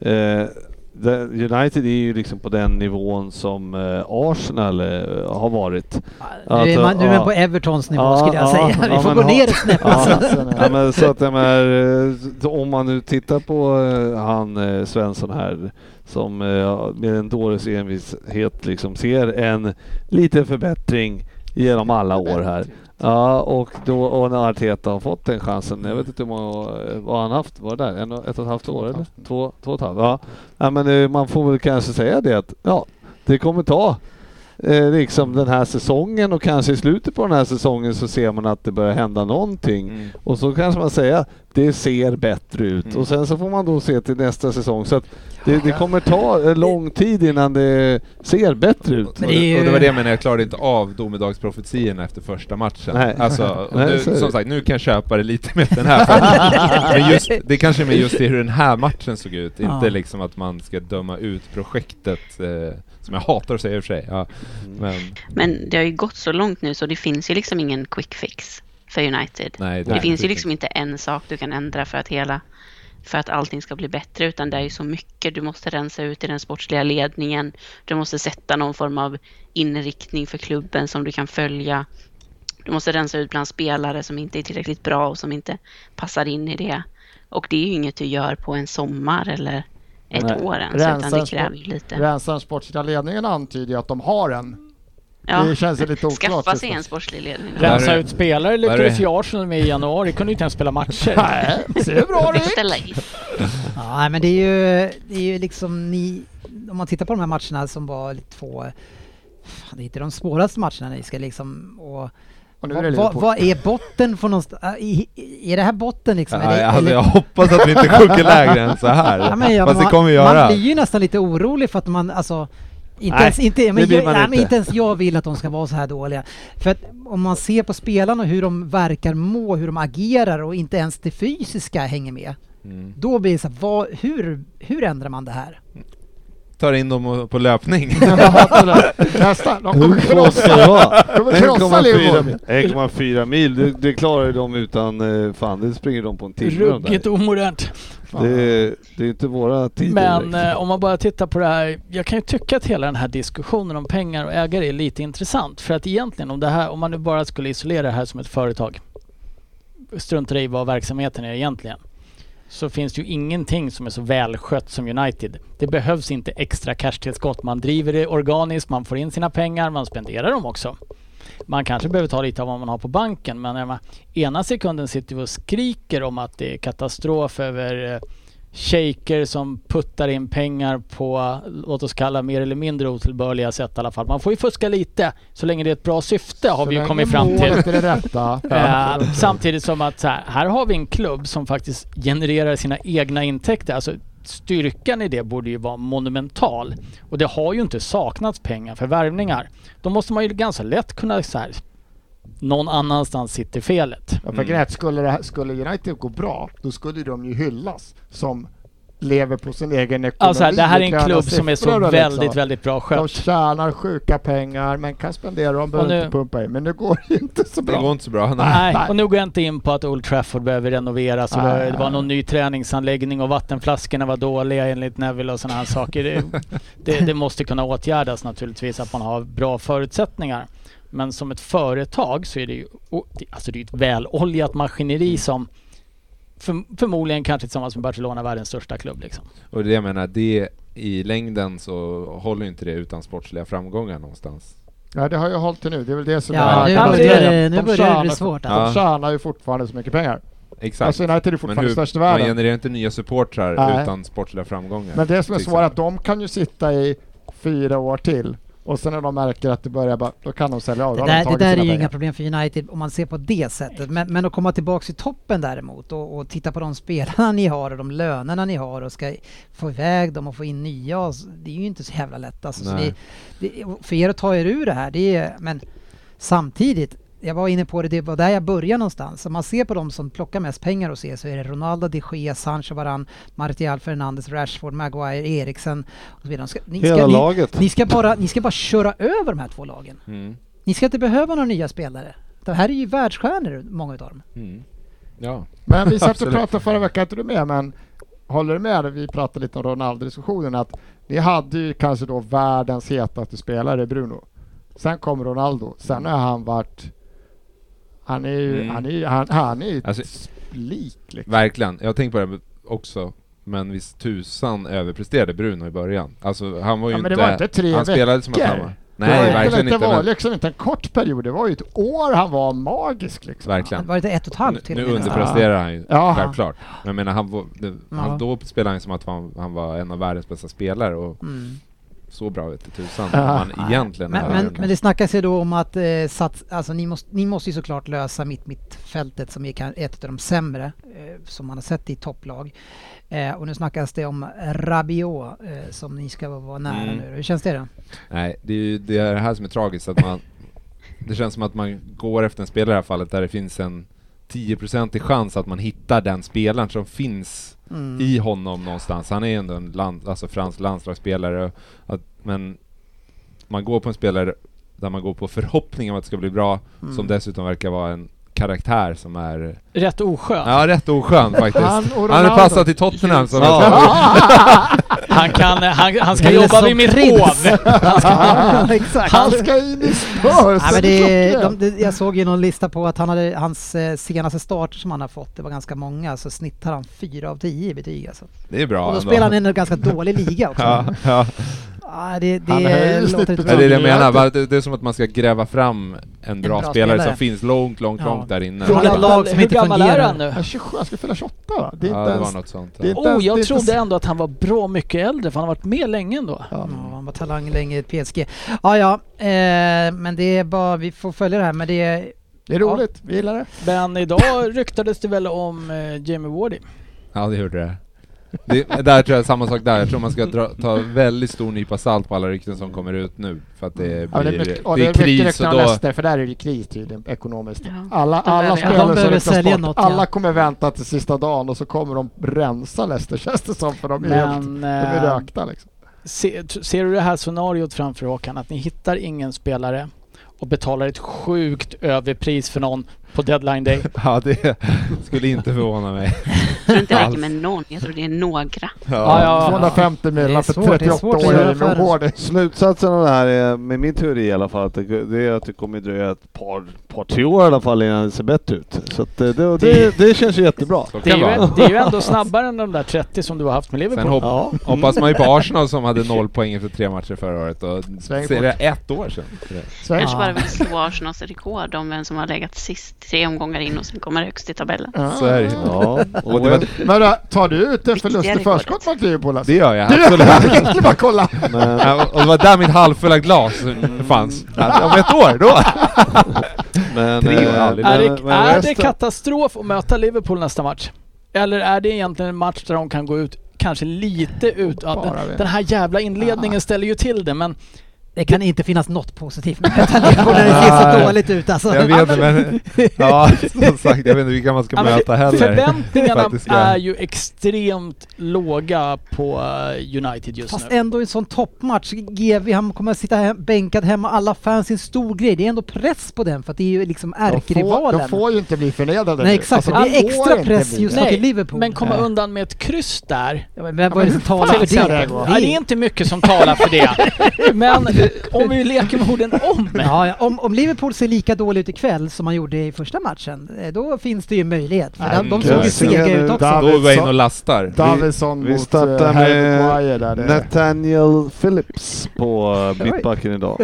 Speaker 3: eh, det- United är ju liksom på den nivån som eh, Arsenal eh, har varit.
Speaker 1: Nu är, man, nu är man
Speaker 3: ja.
Speaker 1: på Evertons nivå
Speaker 3: Ja,
Speaker 1: skulle jag
Speaker 3: ja,
Speaker 1: säga.
Speaker 3: ja,
Speaker 1: Vi får
Speaker 3: men
Speaker 1: gå
Speaker 3: ha-
Speaker 1: ner ett snäpp. alltså.
Speaker 3: Ja,
Speaker 4: Sen
Speaker 3: ja,
Speaker 4: är-
Speaker 3: men så att jag menar, eh, så om man nu tittar på eh, han eh, Svensson här som eh, med en dåres envishet liksom ser en liten förbättring genom alla år här. Ja, och då och när Arteta har fått den chansen. Jag vet inte hur många, eh, vad han haft, var det där? En, och- ett och ett halvt år eller? Två, två och ett halvt? Ja. ja, men eh, man får väl kanske säga det att ja, det kommer ta eh, liksom den här säsongen och kanske i slutet på den här säsongen så ser man att det börjar hända någonting. Och så kanske man säger det ser bättre ut
Speaker 5: Mm.
Speaker 3: och sen så får man då se till nästa säsong. Så att det, det kommer ta eh, lång tid innan det ser bättre ut.
Speaker 1: Men det är ju-
Speaker 5: Och det var det jag menade, jag klarade inte av domedagsprofetiorna efter första matchen.
Speaker 3: Nej.
Speaker 5: Alltså, och
Speaker 3: Nej,
Speaker 5: nu,
Speaker 3: så är det.
Speaker 5: som sagt, nu kan jag köpa det lite med den här matchen. Men just, det kanske är med just det hur den här matchen såg ut,
Speaker 1: Ja.
Speaker 5: inte liksom att man ska döma ut projektet, eh, som jag hatar att säga i och för sig. Ja,
Speaker 3: Mm.
Speaker 5: men
Speaker 7: Men det har ju gått så långt nu så det finns ju liksom ingen quick fix för United.
Speaker 5: nej,
Speaker 7: det finns ju liksom inte en sak du kan ändra för att hela för att allting ska bli bättre, utan det är ju så mycket. Du måste rensa ut i den sportsliga ledningen. Du måste sätta någon form av inriktning för klubben som du kan följa. Du måste rensa ut bland spelare som inte är tillräckligt bra och som inte passar in i det. Och det är ju inget du gör på en sommar eller ett
Speaker 3: Nej.
Speaker 7: år ens,
Speaker 4: Rensa
Speaker 7: utan det
Speaker 4: en
Speaker 7: kräver
Speaker 4: sport-
Speaker 7: ju lite.
Speaker 4: Rensa den sportsliga ledningen antyder ju att de har en.
Speaker 7: Ja.
Speaker 4: Det känns lite oklart.
Speaker 7: Skaffa sig en sportslig ledning.
Speaker 5: Ja.
Speaker 2: Rensa
Speaker 5: Där är-
Speaker 2: ut spelare
Speaker 5: där är-
Speaker 2: lyckades ju Arsenal med i januari, kunde ju inte ens spela matcher.
Speaker 4: Nej, se hur bra det gick.
Speaker 7: Beställa in.
Speaker 1: Ja, nej, men det är ju, det är ju liksom ni, om man tittar på de här matcherna som var två, fan, det är inte de svåraste matcherna ni ska liksom, och,
Speaker 4: Och nu är det
Speaker 1: vad, vad,
Speaker 4: Liverpool.
Speaker 1: vad är botten för någonstans, Äh, i- i- är det här botten liksom?
Speaker 3: Ja,
Speaker 1: Eller-
Speaker 3: jag, hade,
Speaker 1: eller-
Speaker 3: jag hoppas att vi inte sjunker lägre än så här.
Speaker 1: Ja, men jag-
Speaker 3: Fast det
Speaker 1: man-
Speaker 3: kommer vi göra.
Speaker 1: Man blir ju nästan lite orolig för att man alltså inte,
Speaker 3: Nej,
Speaker 1: ens, inte, men
Speaker 3: det blir
Speaker 1: jag,
Speaker 3: man
Speaker 1: nej,
Speaker 3: inte.
Speaker 1: men inte ens jag vill att de ska vara så här dåliga. För att om man ser på spelarna hur de verkar må, hur de agerar och inte ens det fysiska hänger med.
Speaker 5: Mm.
Speaker 1: Då blir det så här, vad, hur, hur ändrar man det här?
Speaker 5: Tar in dem på löpning.
Speaker 4: Nästa, de kommer krossa,
Speaker 3: ska det vara?
Speaker 4: de kommer krossa
Speaker 3: 1,4
Speaker 4: Liverpool.
Speaker 3: mil. 1,4 mil, det, det klarar ju de utan... eh, Fan, det springer de på en timme. de där.
Speaker 2: Ruggigt omodernt.
Speaker 3: Det, det är inte våra tider
Speaker 2: Men
Speaker 3: direkt.
Speaker 2: eh, om man bara tittar på det här, jag kan ju tycka att hela den här diskussionen om pengar och ägare är lite intressant. För att egentligen om det här, om man nu bara skulle isolera det här som ett företag, struntar i vad verksamheten är egentligen, så finns det ju ingenting som är så välskött som United. Det behövs inte extra cashtillskott. Man driver det organiskt, man får in sina pengar, man spenderar dem också. Man kanske behöver ta lite av vad man har på banken men jag menar, ena sekunden sitter vi och skriker om att det är katastrof över eh, shejker som puttar in pengar på, låt oss kalla mer eller mindre otillbörliga sätt i alla fall. Man får ju fuska lite så länge det är ett bra syfte har
Speaker 4: Så
Speaker 2: vi ju
Speaker 4: länge
Speaker 2: kommit fram till.
Speaker 4: Målet är det rätta.
Speaker 2: Eh, samtidigt som att så här, här har vi en klubb som faktiskt genererar sina egna intäkter. Alltså, styrkan i det borde ju vara monumental. Och det har ju inte saknats pengar för värvningar. Då måste man ju ganska lätt kunna så här, någon annanstans sitter felet.
Speaker 4: Ja, för mm. skulle, det här, skulle United gå bra, då skulle de ju hyllas som lever på sin egen ekonomi.
Speaker 2: Alltså, här, det här är
Speaker 4: och
Speaker 2: en
Speaker 4: gröna
Speaker 2: klubb som är
Speaker 4: siffror
Speaker 2: så
Speaker 4: och
Speaker 2: väldigt,
Speaker 4: liksom.
Speaker 2: väldigt bra
Speaker 4: De
Speaker 2: skött.
Speaker 4: tjänar sjuka pengar, men kan spendera dem, behöver
Speaker 2: Och nu-
Speaker 4: inte pumpa in. Men det går ju inte så
Speaker 5: Det
Speaker 4: bra.
Speaker 5: går inte så bra. Nej.
Speaker 2: Nej,
Speaker 4: Nej.
Speaker 2: och nu går jag inte in på att Old Trafford behöver renoveras och
Speaker 4: Nej.
Speaker 2: det var någon ny träningsanläggning och vattenflaskorna var dåliga enligt Neville och sådana här saker. Det, det, det måste kunna åtgärdas naturligtvis att man har bra förutsättningar. Men som ett företag så är det ju o- det- alltså det är ett väloljat
Speaker 1: Mm.
Speaker 2: maskineri som för, förmodligen kanske tillsammans med Barcelona är världens största klubb. Liksom.
Speaker 5: Och det jag menar, det i längden så håller ju inte det utan sportsliga framgångar någonstans.
Speaker 4: Ja, det har jag hållit till nu. Det är väl det som
Speaker 1: Ja,
Speaker 4: är...
Speaker 1: nu
Speaker 2: ja, men det
Speaker 1: börjar
Speaker 2: är
Speaker 1: det,
Speaker 4: de
Speaker 1: nu börjar det bli
Speaker 4: tjänar-
Speaker 1: svårt. Alltså.
Speaker 5: Ja.
Speaker 4: De tjänar ju fortfarande så mycket pengar.
Speaker 5: Exakt.
Speaker 4: Alltså United är
Speaker 5: men
Speaker 4: fortfarande störst i
Speaker 5: hur, man
Speaker 4: världen.
Speaker 5: genererar inte nya supportrar
Speaker 4: Nej.
Speaker 5: utan sportsliga framgångar.
Speaker 4: Men det som är
Speaker 5: till
Speaker 4: svårt är att
Speaker 5: exempel.
Speaker 4: de kan ju sitta i fyra år till och sen när de märker att det börjar bara, då kan de sälja av.
Speaker 1: Det
Speaker 4: Då har de
Speaker 1: där, det
Speaker 4: tagit
Speaker 1: där är
Speaker 4: sina
Speaker 1: ju
Speaker 4: pengar.
Speaker 1: inga problem för United om man ser på det sättet. Men, men att komma tillbaka till toppen däremot och, och titta på de spelarna ni har och de lönerna ni har och ska få iväg dem och få in nya. och s- Det är ju inte så jävla lätt. Alltså, så
Speaker 5: Nej.
Speaker 1: ni, det, och för er att ta er ur det här, det är, men samtidigt, jag var inne på det, det var där jag började någonstans. Om man ser på de som plockar mest pengar hos er så är det Ronaldo, de Gea, Sancho, Varan, Martial, Fernandes, Rashford, Maguire, Eriksen och så vidare. De Ska, ni,
Speaker 3: Hela
Speaker 1: ska, ni,
Speaker 3: laget.
Speaker 1: ni, ska bara, ni ska bara köra över de här två lagen.
Speaker 5: Mm.
Speaker 1: Ni ska inte behöva några nya spelare. Det här är ju världsstjärnor, många utav dem.
Speaker 5: Mm. Ja.
Speaker 4: Men vi satt och
Speaker 5: Absolut.
Speaker 4: pratade förra veckan, inte du med, men håller du med? Vi pratade lite om Ronaldo-diskussionen, att ni hade ju kanske då världens hetaste spelare, Bruno. Sen kom Ronaldo, sen har han varit han är ju,
Speaker 5: Mm.
Speaker 4: han är, ju- han, han är ju ett
Speaker 5: Alltså-
Speaker 4: lik liksom.
Speaker 5: Verkligen. Jag tänkte på det också. Men visst tusan överpresterade Bruno i början. Alltså han var ju
Speaker 4: Ja, men
Speaker 5: inte...
Speaker 4: det var inte tre
Speaker 5: han spelade som att han
Speaker 4: veckor.
Speaker 5: var...
Speaker 4: det var,
Speaker 5: Nej,
Speaker 4: ju-
Speaker 5: verkligen
Speaker 4: det
Speaker 5: inte.
Speaker 4: var
Speaker 5: men-
Speaker 4: liksom inte en kort period, det var ju ett år han var magisk liksom.
Speaker 5: Verkligen.
Speaker 1: Var det ett och ett halvt
Speaker 5: Nu,
Speaker 1: till
Speaker 5: nu
Speaker 1: och med? nästan?
Speaker 5: underpresterar han ju,
Speaker 4: Ja.
Speaker 5: självklart. Men jag menar, han, var, det,
Speaker 1: Ja.
Speaker 5: han, då spelade han ju som att han, han var en av världens bästa spelare och
Speaker 1: Mm.
Speaker 5: så bra vete tusan
Speaker 4: Ja.
Speaker 5: han egentligen
Speaker 1: Men,
Speaker 5: är.
Speaker 1: men, men det snackas ju då om att eh, sats, alltså, ni, måste, ni måste ju såklart lösa mitt, mittfältet som är kan- ett av de sämre eh, som man har sett i topplag. Eh, och nu snackas det om Rabiot eh, som ni ska vara nära
Speaker 5: Mm.
Speaker 1: nu. Hur känns det då?
Speaker 5: Nej, det är ju det är det här som är tragiskt. Att man, det känns som att man går efter en spelare i det här fallet där det finns en 10% i chans att man hittar den spelaren som finns
Speaker 1: Mm.
Speaker 5: i honom någonstans. Han är ändå en land, alltså fransk landslagsspelare. Att, men man går på en spelare där man går på förhoppning om att det ska bli bra,
Speaker 1: Mm.
Speaker 5: som dessutom verkar vara en karaktär som är
Speaker 2: Rätt oskön.
Speaker 5: Ja, rätt oskön faktiskt.
Speaker 4: Han
Speaker 5: Han,
Speaker 4: och
Speaker 5: hade
Speaker 4: Ronaldo.
Speaker 5: passat i Tottenham som
Speaker 3: Ja.
Speaker 2: Han, kan, han, han ska
Speaker 1: Eller
Speaker 2: jobba
Speaker 1: som
Speaker 2: vid mitt
Speaker 1: prins.
Speaker 2: hov.
Speaker 1: Ja, exakt.
Speaker 4: Han ska in i Spurs!
Speaker 1: Ja, men
Speaker 4: är
Speaker 1: det,
Speaker 4: klockrent.
Speaker 1: de, det, jag såg ju någon lista på att han hade, hans eh, senaste starter som han har fått, det var ganska många, så snittar han 4 av 10 i betyg alltså.
Speaker 5: Det är bra
Speaker 1: och då
Speaker 5: ändå.
Speaker 1: spelar han i en ganska dålig liga också.
Speaker 5: ja, ja.
Speaker 1: Ah, det det
Speaker 4: Han höjer
Speaker 1: låter
Speaker 4: snittet.
Speaker 1: inte
Speaker 5: Ja,
Speaker 1: bra.
Speaker 5: det är det jag
Speaker 4: Ja,
Speaker 5: menar.
Speaker 4: det-
Speaker 5: Bara att Det det är som att man ska gräva fram en bra,
Speaker 1: bra
Speaker 5: spelare,
Speaker 1: spelare.
Speaker 5: som finns långt, långt,
Speaker 1: Ja.
Speaker 5: långt där inne.
Speaker 1: Från ett lag som
Speaker 2: Hur
Speaker 1: inte
Speaker 2: gammal
Speaker 1: fungerar.
Speaker 2: är han nu?
Speaker 4: Jag, är 27, jag ska fylla 28 va? Det är
Speaker 5: Ja,
Speaker 4: inte
Speaker 5: det var
Speaker 4: ens...
Speaker 5: något sånt.
Speaker 4: det är
Speaker 5: Ja.
Speaker 4: inte
Speaker 2: Oh,
Speaker 4: ens- det är
Speaker 2: jag
Speaker 4: inte
Speaker 2: trodde
Speaker 4: ens-
Speaker 2: ändå att han var bra mycket äldre för han har varit med länge ändå.
Speaker 4: Ja.
Speaker 1: Ja, han var talang länge i PSG. Ja, ja, eh, men det är bara, vi får följa det här, men det är...
Speaker 4: Det är roligt, vi gillar det.
Speaker 2: Men idag ryktades det väl om eh, Jamie Wardy.
Speaker 5: ja, det gjorde det. det. Där tror jag samma sak där. Jag tror man ska dra, ta väldigt stor nypa salt på alla rykten som kommer ut nu. För att det,
Speaker 4: Ja,
Speaker 5: blir,
Speaker 4: det är mycket, och det är mycket
Speaker 5: kris
Speaker 4: rykten
Speaker 5: och
Speaker 4: om
Speaker 5: då...
Speaker 4: Leicester, för där är det kris tydligen ekonomiskt.
Speaker 7: Ja.
Speaker 4: Alla, alla
Speaker 7: behöver-
Speaker 4: spelare
Speaker 7: de
Speaker 4: som
Speaker 1: behöver
Speaker 4: ryktas
Speaker 1: sälja
Speaker 4: bort,
Speaker 1: något, ja.
Speaker 4: alla kommer vänta till sista dagen och så kommer de rensa Leicester känns det som, för de är, helt,
Speaker 2: Men
Speaker 4: de är
Speaker 2: eh,
Speaker 4: rökta liksom.
Speaker 2: se, t- ser du det här scenariot framför Håkan? Att ni hittar ingen spelare och betalar ett sjukt överpris för någon på deadline day.
Speaker 5: Ja, det skulle inte förvåna mig.
Speaker 7: Jag tror inte det räcker
Speaker 5: Alls.
Speaker 7: med någon, jag tror det är några.
Speaker 2: Ja, ja.
Speaker 4: 250 miljoner för
Speaker 1: svårt, det är
Speaker 4: 38
Speaker 1: svårt att
Speaker 4: år
Speaker 1: göra
Speaker 4: är nog
Speaker 1: affärer.
Speaker 4: hård.
Speaker 3: Slutsatsen av det här är, med min teori i alla fall, att det, det är att det kommer dröja ett par, par tre år i alla fall innan det ser bättre ut. Så att eh, det, det, det, det känns ju jättebra.
Speaker 5: Så
Speaker 2: Det är,
Speaker 5: kan
Speaker 2: ju,
Speaker 5: det vara.
Speaker 2: det är ju ändå snabbare än de där 30 som du har haft med
Speaker 5: Sen
Speaker 2: Liverpool.
Speaker 5: hopp,
Speaker 3: Ja.
Speaker 5: hoppas man ju
Speaker 4: Mm.
Speaker 5: på Arsenal som hade noll poäng efter tre matcher förra året. Och
Speaker 4: Sväng
Speaker 5: ser
Speaker 4: bort.
Speaker 5: det ett år sedan.
Speaker 4: Sverige.
Speaker 7: Kanske bara vill slå Arsenals rekord om vem som har legat sist tre omgångar in och sen kommer högst i tabellen.
Speaker 4: Ja.
Speaker 5: Så är det.
Speaker 3: Ja.
Speaker 5: Och det, var,
Speaker 4: Men då, tar du ut en
Speaker 7: Viktiga
Speaker 4: förlust i
Speaker 7: rekordet.
Speaker 4: förskott mot Liverpool alltså?
Speaker 5: det gör jag
Speaker 4: Du,
Speaker 5: absolut.
Speaker 4: jag skulle bara kolla!
Speaker 3: Men,
Speaker 5: Ja, och det var där mitt halvfulla glas fanns. Eh, Mm. Ja, Om ett år, då!
Speaker 3: men,
Speaker 5: Tre år
Speaker 3: eh,
Speaker 5: aldrig.
Speaker 3: men-
Speaker 2: Är
Speaker 3: men
Speaker 2: det, är det
Speaker 3: resten-
Speaker 2: katastrof att möta Liverpool nästa match? Eller är det egentligen en match där de kan gå ut kanske lite ut... Ja,
Speaker 4: Bara Ah. vi.
Speaker 2: den, den här jävla inledningen ställer ju till det men...
Speaker 1: Det kan inte finnas något positivt med Metallica när det ser så
Speaker 5: Nej.
Speaker 1: dåligt ut alltså.
Speaker 5: Jag vet inte, men... Ja, som sagt, jag vet inte vilka man ska
Speaker 2: Ja, men
Speaker 5: möta heller.
Speaker 2: Förväntningarna
Speaker 5: Faktiskt, ja.
Speaker 2: är ju extremt låga på eh, United just
Speaker 1: Fast
Speaker 2: nu.
Speaker 1: ändå en sån toppmatch. GV han kommer att sitta hem, bänkad hemma, alla fans i en stor grej. Det är ändå press på den för att det är ju liksom
Speaker 4: De får, de
Speaker 1: ärkerivalen.
Speaker 4: får ju inte bli förnedrade
Speaker 1: Nej
Speaker 4: nu.
Speaker 1: exakt,
Speaker 4: Alltså,
Speaker 1: det
Speaker 4: de
Speaker 1: är
Speaker 4: får
Speaker 1: extra
Speaker 4: inte
Speaker 1: press
Speaker 4: bli
Speaker 1: just
Speaker 4: det.
Speaker 1: nu
Speaker 2: Nej,
Speaker 1: till Liverpool.
Speaker 2: Men komma
Speaker 4: Nej.
Speaker 2: undan med ett kryss där.
Speaker 1: Ja, men vad är det som
Speaker 4: fan
Speaker 1: talar för
Speaker 4: ska
Speaker 1: det?
Speaker 4: det gå?
Speaker 2: Nej, det är inte mycket som talar för det. Men eh, om vi leker med orden om.
Speaker 1: Ja, ja, om, om Liverpool ser lika dåligt ikväll som man gjorde i första matchen, eh, då finns det ju möjlighet. För
Speaker 4: Nej,
Speaker 1: de, de
Speaker 3: men
Speaker 1: såg ju
Speaker 3: jag ser
Speaker 1: sega
Speaker 3: det
Speaker 1: ut också.
Speaker 4: där.
Speaker 5: Då går jag in och lastar.
Speaker 4: Davison
Speaker 3: Vi
Speaker 4: mot eh,
Speaker 3: startar
Speaker 4: Harry
Speaker 3: med
Speaker 4: Maguire där. Det.
Speaker 3: Nathaniel Phillips på eh, mittbacken idag.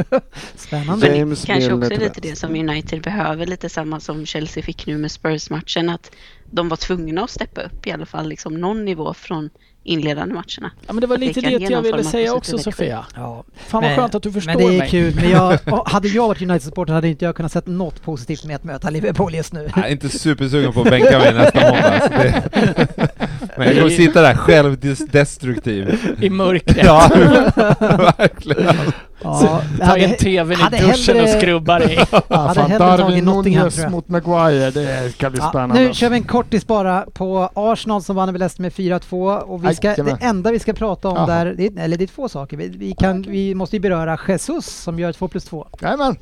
Speaker 1: Spännande.
Speaker 7: Men
Speaker 3: James
Speaker 7: det kanske
Speaker 3: Milner
Speaker 7: också är
Speaker 3: till
Speaker 7: lite det
Speaker 3: vänster.
Speaker 7: som United behöver, lite samma som Chelsea fick nu med Spurs-matchen, att de var tvungna att steppa upp i alla fall liksom någon nivå från inledande matcherna.
Speaker 2: Ja, men det var
Speaker 7: Det
Speaker 2: lite
Speaker 7: kan
Speaker 2: det
Speaker 7: ge
Speaker 2: jag
Speaker 7: någon
Speaker 2: ville
Speaker 7: form av
Speaker 2: säga
Speaker 7: positiv
Speaker 2: också
Speaker 7: effekt.
Speaker 2: Sofia.
Speaker 1: Ja.
Speaker 2: Fan vad skönt att du förstår
Speaker 1: men det är
Speaker 2: mig.
Speaker 1: kul, men jag, och hade jag varit United-supporter hade inte jag kunnat sett något positivt med att möta Liverpool just nu.
Speaker 5: Jag är inte supersugen på att bänka mig nästa måndag. så Det... Men jag kommer sitta där självdestruktiv.
Speaker 2: I mörkret.
Speaker 5: Ja, verkligen.
Speaker 1: Ja, jag
Speaker 2: Ta
Speaker 1: hade,
Speaker 2: in tvn
Speaker 1: hade
Speaker 2: i duschen
Speaker 1: hellre-
Speaker 2: och skrubbar i.
Speaker 4: Ja,
Speaker 1: hade
Speaker 4: fan,
Speaker 1: hellre tagit
Speaker 4: Darwin
Speaker 1: Nottingham,
Speaker 4: Nunez
Speaker 1: tror jag.
Speaker 4: mot Maguire, det ska bli
Speaker 1: ja,
Speaker 4: spännande.
Speaker 1: nu kör vi en kortis bara på Arsenal som vann över Leicester med 4-2 och vi ska, det
Speaker 4: Jajamän.
Speaker 1: enda vi ska prata om
Speaker 4: Jaha.
Speaker 1: där, det, är- eller det är två saker. Vi, vi, kan, vi måste ju beröra Jesus som gör 2 plus 2.
Speaker 4: Jajamän.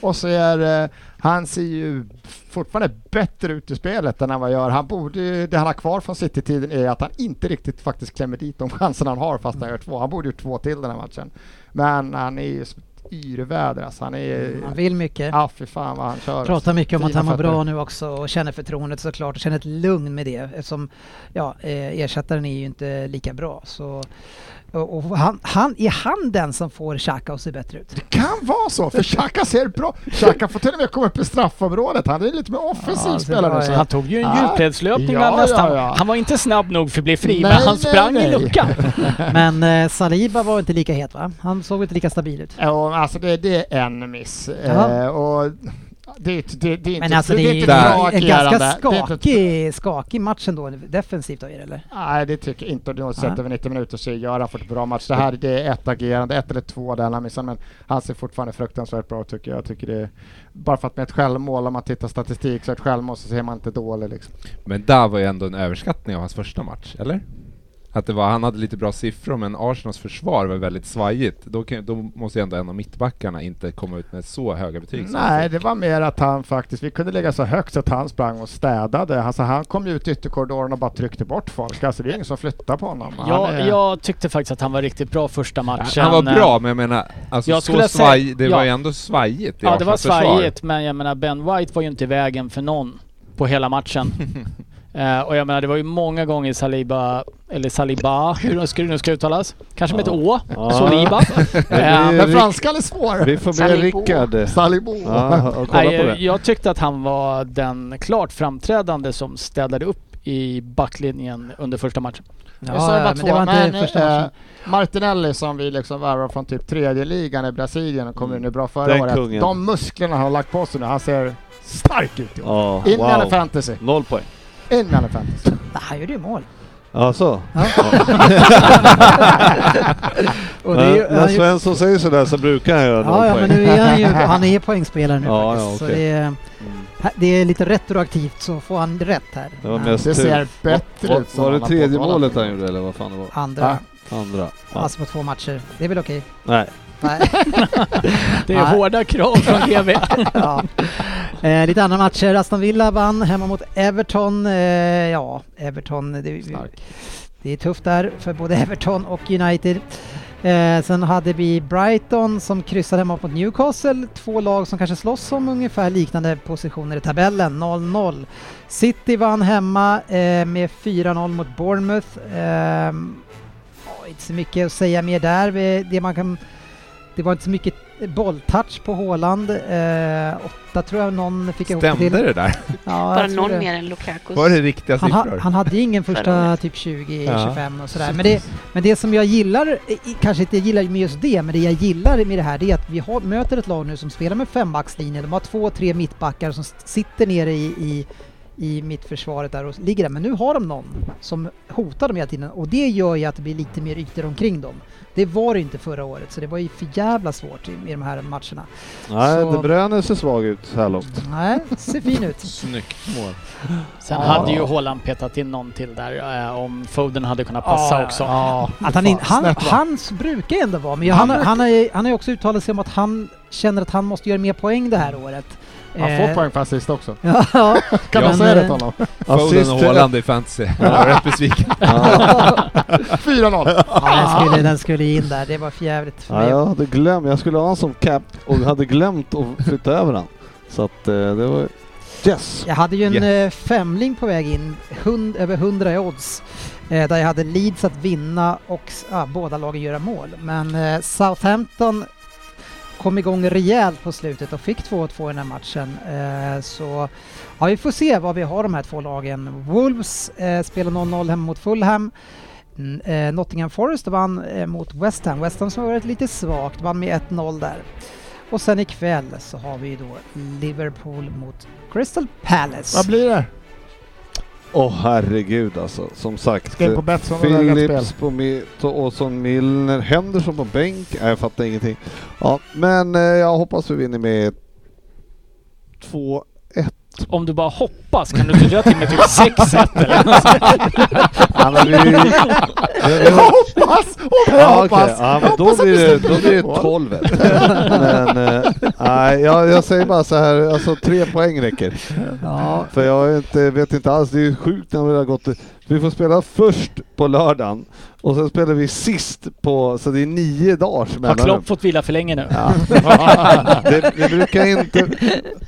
Speaker 4: Och så är eh, han ser ju fortfarande bättre ut i spelet än han vad gör. Han borde, ju- det han har kvar från City-tiden är att han inte riktigt faktiskt klämmer dit de chanser han har fast han gör två. Han borde gjort två till den här matchen. Men han är ju som ett yrväder alltså. Han är...
Speaker 1: Han vill mycket.
Speaker 4: Ja, fy fan vad han kör.
Speaker 1: Pratar mycket om att
Speaker 4: Fina
Speaker 1: han mår
Speaker 4: fötter.
Speaker 1: bra nu också och känner förtroendet såklart och känner ett lugn med det eftersom ja, eh, ersättaren är ju inte lika bra. Så, och, och han, han, är han den som får Xhaka att se bättre ut?
Speaker 4: kan vara så, för Xhaka ser bra. Xhaka får till och med komma upp i straffområdet. Han är lite mer offensiv
Speaker 1: Ja, det
Speaker 4: spelare.
Speaker 1: var
Speaker 4: nu, så
Speaker 1: ju-
Speaker 2: Han tog ju en
Speaker 4: Ah.
Speaker 2: djupledslöpning
Speaker 4: Ja,
Speaker 2: bland nästan.
Speaker 4: ja, ja.
Speaker 2: Han var inte snabb nog för att bli fri,
Speaker 4: Nej,
Speaker 2: men han
Speaker 4: nej,
Speaker 2: sprang
Speaker 4: nej.
Speaker 2: i luckan.
Speaker 1: Men eh, Saliba var inte lika het va? Han såg inte lika stabil ut.
Speaker 4: Ja, alltså det, det är en miss.
Speaker 1: Jaha.
Speaker 4: Eh, och det, det, det är inte,
Speaker 1: Men alltså det är ju
Speaker 4: inte ett bra
Speaker 1: en ganska
Speaker 4: agerande. Det är inte ett-
Speaker 1: skakig, skakig match ändå defensivt då är det eller?
Speaker 4: Nej, det tycker jag inte på något sätt.
Speaker 1: Nej.
Speaker 4: Över 90 minuter så gör han fått en bra match. Det här det är ett agerande, ett eller två där han missar, men han ser fortfarande fruktansvärt bra ut tycker jag. jag tycker det är, bara för att med ett självmål, om man tittar statistik, så ett självmål så ser man inte dålig liksom.
Speaker 5: Men där var ju ändå en överskattning av hans första match, eller? Att det var, han hade lite bra siffror men Arsenals försvar var väldigt svajigt. Då, kan, då måste ju ändå en av mittbackarna inte komma ut med så höga betyg. som han
Speaker 4: Nej,
Speaker 5: fick.
Speaker 4: det var mer att han faktiskt, vi kunde lägga så högt att han sprang och städade. Alltså, han kom ju ut i ytterkorridoren och bara tryckte bort folk. Alltså det är ingen som flyttar på honom. Han
Speaker 2: Jag,
Speaker 4: är-
Speaker 2: jag tyckte faktiskt att han var riktigt bra första matchen. Eh,
Speaker 5: han var bra men jag menar, alltså
Speaker 2: Jag
Speaker 5: så
Speaker 2: skulle säga-
Speaker 5: svaj, det
Speaker 2: ja.
Speaker 5: var ju ändå svajigt i
Speaker 2: Ja, det var
Speaker 5: Arsenals försvar.
Speaker 2: svajigt, men jag menar Ben White var ju inte i vägen för någon på hela matchen. Eh, och jag menar det var ju många gånger Saliba, eller Saliba, hur det skulle nu ska uttalas. Kanske med ett Å.
Speaker 3: Ja.
Speaker 2: Soliba. Eh,
Speaker 3: Det
Speaker 4: Men
Speaker 3: är-
Speaker 4: franskan är svår.
Speaker 3: Vi får med
Speaker 7: Salibo.
Speaker 3: Rickard. eh,
Speaker 4: Salibo.
Speaker 3: Ja, och kolla
Speaker 2: Nej,
Speaker 3: på
Speaker 2: jag,
Speaker 3: det.
Speaker 2: jag tyckte att han var den klart framträdande som städade upp i backlinjen under första matchen.
Speaker 4: jag sa ju bara
Speaker 1: men
Speaker 4: två,
Speaker 1: det var inte
Speaker 4: men,
Speaker 1: första
Speaker 4: eh,
Speaker 1: matchen.
Speaker 4: Martinelli som vi liksom värvar från typ tredje ligan i Brasilien och kom in nu bra förra
Speaker 3: Mm. Den
Speaker 4: året.
Speaker 3: kungen.
Speaker 4: De musklerna han har lagt på sig nu, han ser stark ut. i år.
Speaker 3: Ja,
Speaker 4: In med alla
Speaker 3: wow.
Speaker 4: fantasy.
Speaker 3: Noll poäng.
Speaker 4: In med alla fantasy.
Speaker 1: Nej, Han gjorde ju mål.
Speaker 3: Ja, så.
Speaker 1: Och det är ju,
Speaker 3: Men
Speaker 1: han
Speaker 3: När
Speaker 1: ju-
Speaker 3: Svensson säger sådär så brukar han göra noll
Speaker 1: ja, ja, men
Speaker 3: poäng.
Speaker 1: nu är han ju, han är poängspelare nu
Speaker 3: Ja,
Speaker 1: faktiskt.
Speaker 3: ja,
Speaker 1: Så
Speaker 3: okej.
Speaker 1: det, är,
Speaker 3: Mm.
Speaker 1: det är lite retroaktivt så får han rätt här.
Speaker 3: Det var
Speaker 1: Ja,
Speaker 3: mest
Speaker 4: Det ser
Speaker 3: tur.
Speaker 4: bättre
Speaker 3: Var,
Speaker 4: ut. som
Speaker 3: var det
Speaker 4: han har
Speaker 3: tredje
Speaker 4: påtalat.
Speaker 3: målet han gjorde eller vad fan det var?
Speaker 1: Andra,
Speaker 4: Ah.
Speaker 3: Andra? Ja.
Speaker 1: alltså på två matcher. Det är väl okej?
Speaker 3: Nej.
Speaker 1: Nej.
Speaker 2: Det
Speaker 1: Nej.
Speaker 2: är hårda krav från GV.
Speaker 1: ja. eh, lite andra matcher. Aston Villa vann hemma mot Everton. Eh, ja, Everton. Det,
Speaker 4: Stark.
Speaker 1: det är tufft där för både Everton och United. Eh, sen hade vi Brighton som kryssade hemma mot Newcastle. Två lag som kanske slåss om ungefär liknande positioner i tabellen. 0-0. City vann hemma eh, med 4-0 mot Bournemouth. Ehm, ja, inte så mycket att säga mer där. Vi- Det, man kan, det var inte så mycket bolltouch på Haaland. Eh, åtta tror jag någon fick ihop
Speaker 5: Stämde
Speaker 1: till.
Speaker 5: det där?
Speaker 1: Ja,
Speaker 7: Bara
Speaker 1: jag tror
Speaker 7: någon
Speaker 1: det.
Speaker 7: mer än Lukaku.
Speaker 5: Var det riktiga
Speaker 1: Han, ha,
Speaker 5: siffror?
Speaker 1: han hade ingen
Speaker 7: Förra
Speaker 1: första typ 20-25
Speaker 5: Ja.
Speaker 1: och sådär. Men det, men det som jag gillar, eh, i- kanske inte gillar med just det, men det jag gillar med det här det är att vi har, möter ett lag nu som spelar med fembackslinje. De har två, tre mittbackar som s- sitter nere i, i, i mittförsvaret där och ligger där. Men nu har de någon som hotar dem hela tiden och det gör ju att det blir lite mer ytor omkring dem. Det var det inte förra året, så det var ju för jävla svårt i, i de här matcherna.
Speaker 3: Nej,
Speaker 1: Så-
Speaker 3: De Bruyne ser svag ut så här långt.
Speaker 1: Nej, ser fin ut.
Speaker 5: Snyggt mål.
Speaker 1: Ja.
Speaker 2: Sen hade ju Haaland petat in någon till där eh, om Foden hade kunnat passa
Speaker 1: Ja,
Speaker 2: också.
Speaker 4: Ja,
Speaker 1: Att han, in,
Speaker 4: fan,
Speaker 1: han,
Speaker 4: snett, va?
Speaker 1: hans brukar ändå vara, men jag, han, han, har, ju- han har ju också uttalat sig om att han känner att han måste göra mer poäng det här året. Eh,
Speaker 4: Han får poäng för assist också.
Speaker 1: Ja,
Speaker 4: Kan man
Speaker 1: men,
Speaker 4: säga det
Speaker 1: eh,
Speaker 4: till honom?
Speaker 5: Foden och
Speaker 3: till-
Speaker 5: Haaland i fantasy. Jag är rätt besviken.
Speaker 4: 4-0.
Speaker 1: ja, den, skulle, den skulle in där, det var för jävligt för
Speaker 3: Ja,
Speaker 1: mig.
Speaker 3: jag hade glömt. Jag skulle ha honom som cap och hade glömt att flytta över han. Så att eh, det var... Yes!
Speaker 1: Jag hade ju en
Speaker 5: Yes.
Speaker 1: eh, femling på väg in, hund, över 100 i odds, eh, där jag hade Leeds att vinna och s- ah, båda lagen göra mål. Men eh, Southampton kom igång rejält på slutet och fick 2-2 i den här matchen. Eh, så ja, vi får se vad vi har de här två lagen. Wolves eh, spelar 0-0 hemma mot Fulham. Mm, eh, Nottingham Forest vann eh, mot West Ham. West Ham som har varit lite svagt, vann med 1-0 där. Och sen ikväll så har vi ju då Liverpool mot Crystal Palace.
Speaker 4: Vad blir det?
Speaker 3: Åh herregud alltså. Som sagt.
Speaker 4: Ska in på Betsson och lägga ett
Speaker 3: Philips
Speaker 4: spel.
Speaker 3: på mitt och Åsson Milner. Henderson på bänk. Nej, jag fattar ingenting. Ja, men eh, jag hoppas vi vinner med 2-1.
Speaker 2: Om du bara hoppas kan du inte dra till med typ 6-1 eller något sånt?
Speaker 3: Ja, men vi...
Speaker 4: Jag hoppas! Och jag
Speaker 3: Ja, okej.
Speaker 4: hoppas!
Speaker 3: Ja, men
Speaker 4: Jag
Speaker 3: då
Speaker 4: hoppas att
Speaker 3: blir
Speaker 4: vi
Speaker 3: det,
Speaker 4: släpper
Speaker 3: då
Speaker 4: in
Speaker 3: blir det
Speaker 4: mål.
Speaker 3: 12 Men eh, nej, jag, jag säger bara så här, alltså tre poäng räcker.
Speaker 1: Ja,
Speaker 3: För jag är inte, vet inte alls, det är ju sjukt när vi har gått. Vi får spela först på lördagen och sen spelar vi sist på, så det är nio dagars
Speaker 2: Har
Speaker 3: mellanrum.
Speaker 2: Klopp fått vila för länge nu?
Speaker 3: Ja. det, det brukar inte...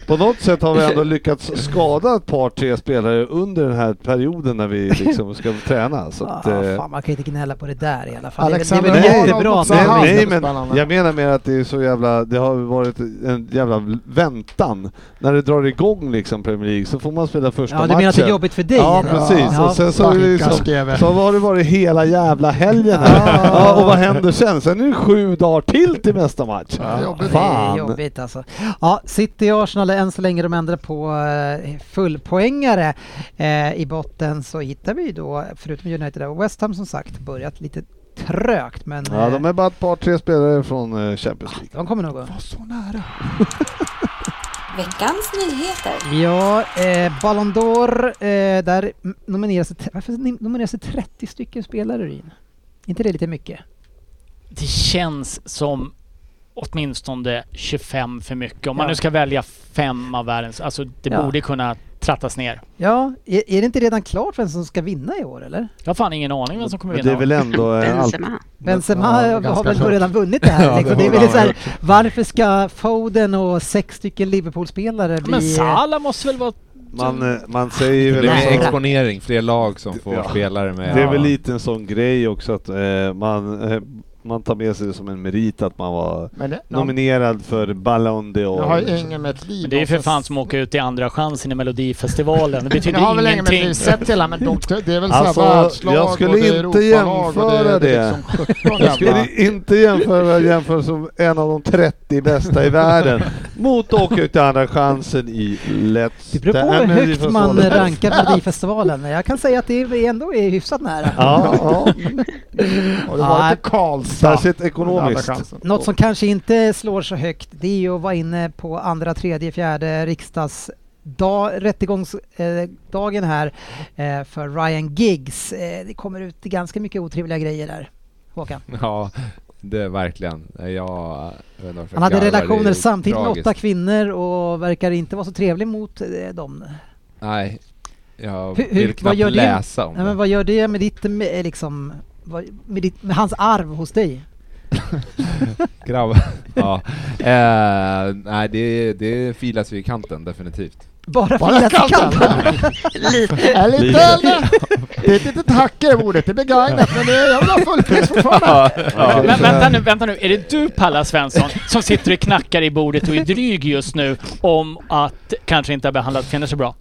Speaker 3: På något sätt har vi ändå lyckats skada ett par, tre spelare under den här perioden när vi liksom ska träna. Så att,
Speaker 1: ah,
Speaker 3: eh,
Speaker 1: fan, man kan inte gnälla på det där i alla fall.
Speaker 4: Alexander
Speaker 1: det är väl, det är väl jättebra
Speaker 3: Arnold
Speaker 1: att
Speaker 4: också.
Speaker 1: man
Speaker 3: Nej,
Speaker 4: han
Speaker 3: nej
Speaker 4: inte
Speaker 3: men
Speaker 4: spännande.
Speaker 3: jag menar mer att det är så jävla, det har varit en jävla väntan. När det drar igång liksom Premier League så får man spela första
Speaker 1: Ja, du
Speaker 3: matchen.
Speaker 1: menar att det är jobbigt för dig?
Speaker 3: Ja
Speaker 1: eller?
Speaker 3: precis,
Speaker 1: Ja.
Speaker 3: och sen så, är det liksom,
Speaker 4: Stackars GV.
Speaker 3: så har det varit hela jävla helgen
Speaker 1: Ja.
Speaker 3: här. Ja, och vad händer sen? Sen är det sju dagar till till nästa match.
Speaker 4: Ja, jobbigt.
Speaker 1: Det är
Speaker 3: Fan!
Speaker 1: jobbigt alltså. Ja, City och Arsenal är än så länge de ändrar på eh, fullpoängare. Eh, I botten så hittar vi ju då, förutom United och West Ham som sagt, börjat lite trögt men
Speaker 3: Ja,
Speaker 1: eh,
Speaker 3: de är bara ett par, tre spelare från eh, Champions League.
Speaker 1: de kommer nog gå.
Speaker 4: Så nära.
Speaker 8: Veckans nyheter.
Speaker 1: Ja, eh, Ballon d'Or, eh, där m- nomineras det, varför nim- nomineras det 30 stycken spelare Ryn? inte det lite mycket?
Speaker 2: Det känns som åtminstone 25 för mycket. Om man
Speaker 1: Ja.
Speaker 2: nu ska välja fem av världens... Alltså det
Speaker 1: Ja.
Speaker 2: borde kunna trattas ner.
Speaker 1: Ja, är, är det inte redan klart vem som ska vinna i år eller?
Speaker 2: Jag har fan ingen aning vem som kommer
Speaker 3: Men det är
Speaker 2: vinna.
Speaker 3: väl ändå... eh, allt-
Speaker 7: Benzema.
Speaker 1: Benzema
Speaker 4: Ja,
Speaker 1: har
Speaker 4: ganska
Speaker 1: väl
Speaker 4: klart.
Speaker 1: redan vunnit det här.
Speaker 3: Ja, det
Speaker 1: liksom. det är
Speaker 3: borde
Speaker 1: väl
Speaker 3: han
Speaker 1: så här,
Speaker 3: ha
Speaker 1: varför ska Foden och sex stycken Liverpool-spelare bli...
Speaker 2: Men Salah måste väl vara
Speaker 3: Man, eh, man säger
Speaker 5: Det
Speaker 3: väl...
Speaker 5: blir
Speaker 3: också-
Speaker 5: exponering, fler lag som får
Speaker 3: Ja.
Speaker 5: spelare med.
Speaker 3: Det är väl lite en sån grej också att eh, man, eh, man tar med sig det som en merit att man var
Speaker 4: Men det,
Speaker 3: nominerad för Ballon
Speaker 4: jag har
Speaker 3: d'Or.
Speaker 4: ju ingen med ett liv.
Speaker 2: Men det är ju för
Speaker 4: Och sen-
Speaker 2: fan som att åka ut i Andra chansen i Melodifestivalen. Det
Speaker 4: Men
Speaker 2: betyder
Speaker 4: jag har väl ingen med ett
Speaker 2: ingenting.
Speaker 4: liv sett hela, men de, det är väl
Speaker 3: Alltså,
Speaker 4: så här världslag
Speaker 3: jag skulle
Speaker 4: och det är
Speaker 3: inte
Speaker 4: Europalag och
Speaker 3: jämföra
Speaker 4: det.
Speaker 3: det.
Speaker 4: är liksom 17
Speaker 3: Jag skulle
Speaker 4: jävla-
Speaker 3: inte jämföra, jämföra som en av de 30 bästa i världen mot att åka ut i Andra chansen i Let's
Speaker 1: Det beror på
Speaker 3: Dance.
Speaker 1: hur
Speaker 3: Nej, men vi
Speaker 1: högt
Speaker 3: får
Speaker 1: man
Speaker 3: sålla.
Speaker 1: rankar Melodifestivalen. Jag kan säga att det är- ändå är hyfsat nära.
Speaker 3: Ja, ja.
Speaker 4: Har du varit på Karlstad?
Speaker 3: Särskilt ekonomiskt.
Speaker 1: Något som kanske inte slår så högt det är ju att vara inne på andra, tredje, fjärde riksdagsdag, rättegångsdagen här eh, för Ryan Giggs. Eh, Det kommer ut ganska mycket otrevliga grejer där. Håkan.
Speaker 5: Ja, det är verkligen. Jag, jag vet inte varför
Speaker 1: Han hade
Speaker 5: jag garvar. Det är
Speaker 1: relationer samtidigt med
Speaker 5: tragiskt.
Speaker 1: åtta kvinnor och verkar inte vara så trevlig mot eh, dem.
Speaker 5: Nej, jag
Speaker 1: Hur- hur-
Speaker 5: vill knappt
Speaker 1: vad gör det?
Speaker 5: läsa om
Speaker 1: Nej, men
Speaker 5: det.
Speaker 1: vad gör det med ditt, med, liksom, vad- med, ditt, med hans arv hos dig?
Speaker 5: Grabb. ja. eh, nej, det, det filas ju i kanten definitivt.
Speaker 1: Bara
Speaker 4: Bara
Speaker 1: för att jag
Speaker 4: kallt.
Speaker 1: kan.
Speaker 7: Lite.
Speaker 4: Eller
Speaker 3: Lite.
Speaker 4: inte eller? Det är ett litet hack i det bordet, det är begagnat men det är, jag vill ha fullpris fortfarande.
Speaker 5: Ja, ja.
Speaker 2: Men vänta nu, vänta nu. Är det du Palla Svensson som sitter och knackar i bordet och är dryg just nu om att kanske inte ha behandlat kvinnor så bra?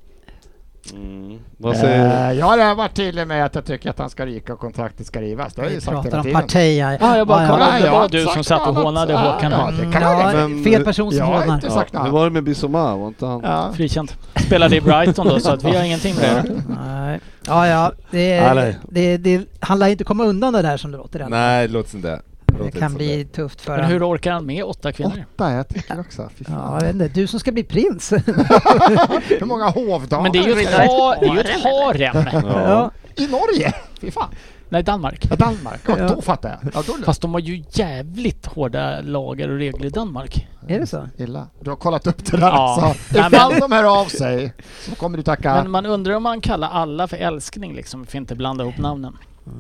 Speaker 3: Mm. Vad säger
Speaker 4: Eh, Jag har redan varit tydlig med att jag tycker att han ska ryka och kontraktet ska rivas. Det har jag
Speaker 1: Vi
Speaker 4: ju sagt
Speaker 1: pratar
Speaker 4: hela
Speaker 1: om
Speaker 4: tiden.
Speaker 1: parti. Ja,
Speaker 2: Ja, jag bara
Speaker 1: Ja,
Speaker 2: kollar.
Speaker 1: ja.
Speaker 2: Det
Speaker 4: jag
Speaker 2: var
Speaker 4: har inte
Speaker 2: du
Speaker 4: sagt
Speaker 2: som satt och
Speaker 4: något.
Speaker 2: hånade Håkan
Speaker 4: Ja,
Speaker 2: här.
Speaker 4: det kan jag
Speaker 1: Ja,
Speaker 3: Men-
Speaker 1: fel person som
Speaker 4: Jag har
Speaker 1: hånar.
Speaker 4: inte sagt
Speaker 3: Hur
Speaker 4: något.
Speaker 3: var det med Bissoma? Var inte han...
Speaker 4: Ja.
Speaker 2: Frikänt. Spelade i Brighton då, så att vi har ingenting med det.
Speaker 1: Nej. Ja, ja. Det,
Speaker 3: Ja,
Speaker 1: är,
Speaker 3: nej.
Speaker 1: det, det, han lär ju inte komma undan det där som det låter. än.
Speaker 5: Nej, det låter inte. låter
Speaker 1: det
Speaker 5: inte
Speaker 1: kan
Speaker 5: som
Speaker 1: bli
Speaker 5: det.
Speaker 1: tufft för
Speaker 2: Men
Speaker 1: honom.
Speaker 2: hur orkar han med åtta kvinnor?
Speaker 4: Åtta, jag tycker också. Fy fan.
Speaker 1: Ja, jag vet inte. Du som ska bli prins.
Speaker 4: Hur många hovdagar
Speaker 2: Men det är ju
Speaker 7: Vill
Speaker 2: ett,
Speaker 7: du ha ett
Speaker 2: ha, det är ju ett harem.
Speaker 1: Ja.
Speaker 4: i Norge? Fy fan.
Speaker 2: Nej, Danmark.
Speaker 4: Ja, Danmark, ja,
Speaker 1: Ja.
Speaker 4: då fattar jag. Ja, då är det
Speaker 2: Fast de har ju jävligt hårda lagar och regler i Danmark.
Speaker 1: Är det så?
Speaker 4: illa. Du har kollat upp det där
Speaker 2: Ja.
Speaker 4: alltså.
Speaker 2: Nej,
Speaker 4: Ifall
Speaker 2: men-
Speaker 4: de hör av sig så kommer du tacka.
Speaker 2: Men man undrar om man kallar alla för älskling liksom, för att inte blanda ihop namnen.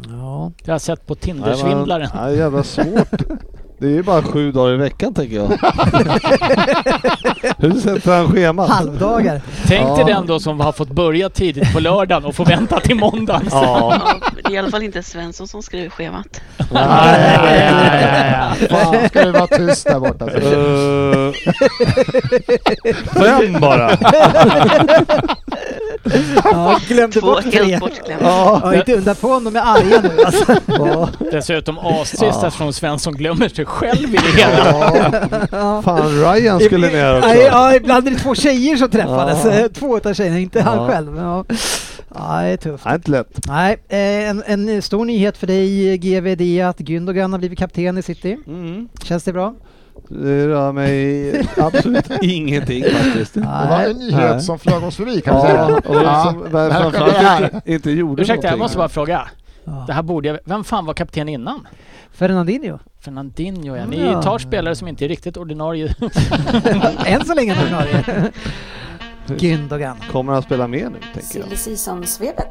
Speaker 1: Ja.
Speaker 2: Det har jag sett på
Speaker 3: Nej, man-
Speaker 2: Tindersvindlaren.
Speaker 3: Nej, jävla svårt. Det är ju bara sju dagar i veckan tänker jag. Hur sätter han schemat?
Speaker 1: Halvdagar.
Speaker 2: Tänk dig
Speaker 3: Ja.
Speaker 2: den då som har fått börja tidigt på lördagen och får vänta till måndagen.
Speaker 3: Ja.
Speaker 7: Ja, det är i alla fall inte Svensson som skriver schemat.
Speaker 4: Nej, nej,
Speaker 2: nej,
Speaker 4: nej, nej. Fan, ska du vara tyst där borta. Alltså.
Speaker 2: Uh.
Speaker 3: Eh, Fem bara.
Speaker 1: Ja, glömde
Speaker 7: Två
Speaker 1: bort tre.
Speaker 7: helt bortglömda.
Speaker 3: Ja.
Speaker 1: Ja, inte undra på om de är arga nu alltså. Ja.
Speaker 2: Dessutom astrist eftersom Svensson glömmer sig själv i det hela.
Speaker 1: Ja.
Speaker 3: Fan, Ryan skulle ner också.
Speaker 1: Nej, ja, ibland är det två tjejer som träffades.
Speaker 3: Ja.
Speaker 1: Eh, Två utav tjejerna, inte han
Speaker 3: Ja.
Speaker 1: själv. men Ja. ja, det är tufft.
Speaker 3: Nej, inte lätt.
Speaker 1: Nej, eh, en, en stor nyhet för dig GV det är att Gündogan har blivit kapten i City.
Speaker 3: Mm.
Speaker 1: Känns det bra?
Speaker 3: Det rör mig absolut ingenting faktiskt.
Speaker 4: Det var
Speaker 1: Nej.
Speaker 4: en nyhet som flög oss förbi kan vi
Speaker 3: Ja,
Speaker 4: säga.
Speaker 3: och som
Speaker 4: Ja.
Speaker 3: framförallt inte, inte gjorde
Speaker 2: Ursäkta, jag
Speaker 3: någonting.
Speaker 2: måste bara fråga.
Speaker 1: Ja.
Speaker 2: Det här borde jag... Vem fan var kapten innan?
Speaker 1: Fernandinho.
Speaker 2: Fernandinho ja. Ni
Speaker 1: Ja.
Speaker 2: tar spelare som inte är riktigt ordinarie.
Speaker 1: Än så länge på ordinarie. Gündogan.
Speaker 3: Kommer han spela med nu, tänker jag.
Speaker 6: Silly Season-svepet.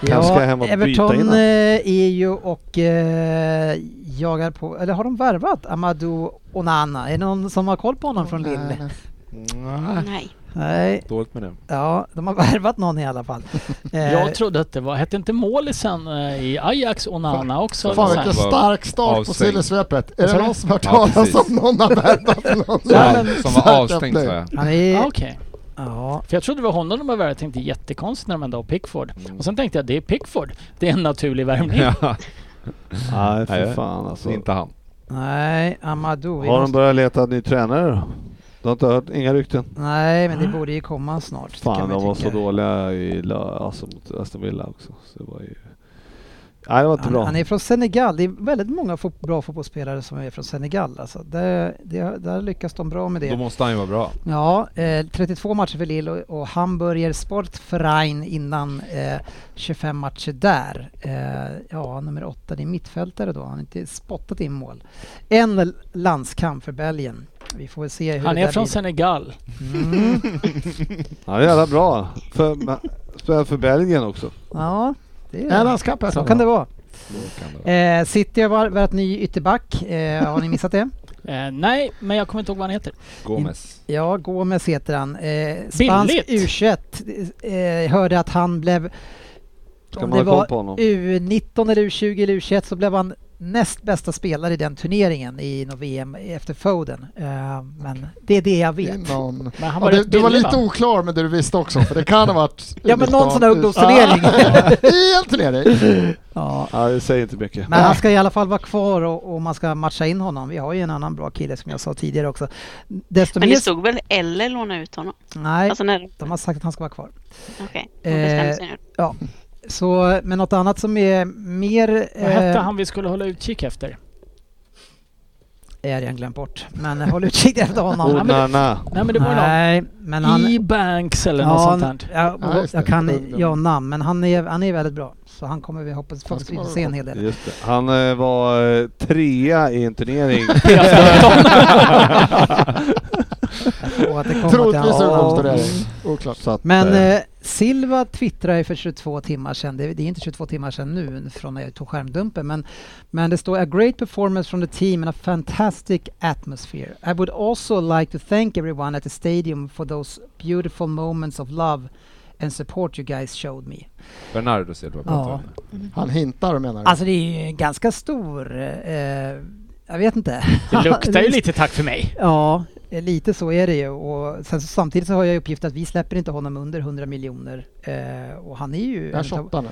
Speaker 3: Kanske ska jag hem och byta
Speaker 1: Everton
Speaker 3: innan.
Speaker 1: eh, är ju och eh, jagar på, eller har de värvat Amadou Onana? Är det någon som har koll på honom från Lille?
Speaker 7: Nej.
Speaker 1: Nej,
Speaker 5: Dåligt med det.
Speaker 1: ja, de har värvat någon i alla fall. Eh,
Speaker 2: Jag trodde att det var... Hette inte målisen eh, i Ajax Onana också?
Speaker 4: Fan
Speaker 5: Fan,
Speaker 4: vilken
Speaker 5: var
Speaker 4: stark start på
Speaker 5: avstängd.
Speaker 4: sillesvepet.
Speaker 1: Alltså,
Speaker 4: Är det någon som har hört
Speaker 5: Ja,
Speaker 4: talas
Speaker 5: precis.
Speaker 4: om någon har värvat någon?
Speaker 5: Som, som var avstängd sa jag.
Speaker 1: han är,
Speaker 2: Ah,
Speaker 1: ja,
Speaker 2: Okej. För jag trodde det var honom de var värvade. Jag tänkte jättekonstigt när de ändå har Pickford.
Speaker 5: Mm.
Speaker 2: Och sen tänkte jag, det är Pickford. Det är en naturlig värvning.
Speaker 1: Mm.
Speaker 5: Ja,
Speaker 3: Nej, för
Speaker 5: Nej,
Speaker 3: fan alltså.
Speaker 5: inte han.
Speaker 1: nej, Amadou. vi
Speaker 3: Har de
Speaker 1: måste-
Speaker 3: börjat leta ny tränare då? Du har inte hört? Inga rykten?
Speaker 1: Nej, men det borde ju komma snart. det kan
Speaker 3: Fan,
Speaker 1: man
Speaker 3: de
Speaker 1: ju
Speaker 3: var
Speaker 1: tycka.
Speaker 3: så dåliga i lö- alltså, mot Aston Villa också. Så det var ju... Nej, det var inte
Speaker 1: Han,
Speaker 3: bra.
Speaker 1: han är från Senegal. Det är väldigt många fot bra fotbollsspelare som är från Senegal. Alltså, det, det, där lyckas de bra med det.
Speaker 5: Då måste han ju vara bra.
Speaker 1: Ja, eh, 32 matcher för Lille och, och Hamburger Sportverein innan eh, 25 matcher där. Eh, ja, nummer åtta, det är mittfältare då. Han har inte spottat in mål. En l- landskamp för Belgien. Vi får väl se hur
Speaker 2: Han
Speaker 1: det
Speaker 2: är
Speaker 1: där
Speaker 2: från
Speaker 1: blir.
Speaker 2: Senegal.
Speaker 1: Mm,
Speaker 3: Han är jävla bra. För, men- spelar för Belgien också.
Speaker 1: ja, det
Speaker 4: Är
Speaker 1: är,
Speaker 4: han skapat?
Speaker 1: så kan det vara.
Speaker 5: Då kan det vara.
Speaker 1: Eh, City har varit ny ytterback. Eh, har ni missat det?
Speaker 2: Eh, nej, men jag kommer inte ihåg vad han heter.
Speaker 1: Eh,
Speaker 5: Gomes.
Speaker 1: Ja, Gomes heter han. Eh, spansk u eh, hörde att han blev...
Speaker 3: Ska
Speaker 1: om
Speaker 3: man
Speaker 1: det
Speaker 3: ha koll
Speaker 1: var
Speaker 3: på honom?
Speaker 1: U19 eller U20 eller U21 så blev han näst bästa spelare i den turneringen i något VM efter Foden. Eh, men det är det jag vet.
Speaker 4: Någon...
Speaker 2: Men han
Speaker 4: Ja,
Speaker 2: var
Speaker 4: du,
Speaker 2: rätt
Speaker 4: du var
Speaker 2: billig,
Speaker 4: lite
Speaker 2: va?
Speaker 4: oklar med det du visste också, för det kan ha varit...
Speaker 1: Ja, men någon sån här ungdomsturnering.
Speaker 4: Helt ner dig!
Speaker 1: ja.
Speaker 3: Ja, det säger inte mycket.
Speaker 1: Men han ska i alla fall vara kvar och, och man ska matcha in honom. Vi har ju en annan bra kille som jag sa tidigare också. Desto
Speaker 7: Men
Speaker 1: mer...
Speaker 7: det stod väl eller låna ut honom?
Speaker 1: Nej,
Speaker 7: Alltså när...
Speaker 1: de har sagt att han ska vara kvar.
Speaker 7: Okej,
Speaker 1: Eh,
Speaker 7: hon bestämde sig nu.
Speaker 1: Ja. Så, men något annat som är mer...
Speaker 2: Vad hette
Speaker 1: eh,
Speaker 2: han vi skulle hålla utkik efter?
Speaker 1: Jag har redan glömt bort. Men håll utkik efter honom.
Speaker 3: Onana.
Speaker 2: Nej men det var någon.
Speaker 1: Nej, men han...
Speaker 2: E-Banks eller något
Speaker 1: Ja,
Speaker 2: sånt här.
Speaker 1: jag,
Speaker 4: Ja, just det.
Speaker 1: jag kan
Speaker 4: Ungdom.
Speaker 1: ja, namn, men han är, han är väldigt bra. Så han kommer vi hoppas
Speaker 4: Han ska
Speaker 1: förhoppningsvis
Speaker 4: vara
Speaker 1: se en hel del.
Speaker 3: Just det. Han eh, var eh, trea i en turnering.
Speaker 1: Och att det kommer till
Speaker 4: Troligtvis
Speaker 1: han.
Speaker 4: ungdomsturnering. Oklart.
Speaker 3: så att,
Speaker 1: Men
Speaker 3: eh,
Speaker 1: eh, Silva twittrade ju för 22 timmar sedan, det, det är inte 22 timmar sedan nu från när jag tog skärmdumpen, men, men det står A great performance from the team and a fantastic atmosphere. I would also like to thank everyone at the stadium for those beautiful moments of love and support you guys showed me.
Speaker 5: Bernardo Silva pratar om det.
Speaker 4: Han hintar menar du?
Speaker 1: Alltså det är ju en ganska stor, eh, jag vet inte.
Speaker 2: Det luktar ju lite tack för mig.
Speaker 1: Ja, eh, lite så är det ju. Och sen så, samtidigt så har jag i uppgift att vi släpper inte honom under 100 miljoner. Eh, och han är ju...
Speaker 4: Är han
Speaker 1: en utav-
Speaker 4: 28 nu?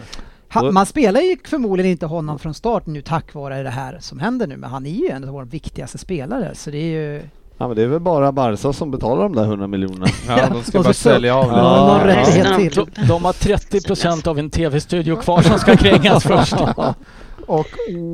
Speaker 1: Ha, man spelar ju förmodligen inte honom från start nu tack vare det här som händer nu, men han är ju en av våra viktigaste spelare. Så det är ju...
Speaker 3: ja, men det är väl bara Barca som betalar de där 100 miljonerna.
Speaker 5: Ja, de ska
Speaker 1: Och
Speaker 5: bara
Speaker 1: så-
Speaker 5: sälja av det.
Speaker 1: Ja, någon
Speaker 3: ja.
Speaker 1: rättighet
Speaker 7: Ja.
Speaker 1: till.
Speaker 2: De, de har 30% av en TV-studio kvar som ska krängas först.
Speaker 4: Och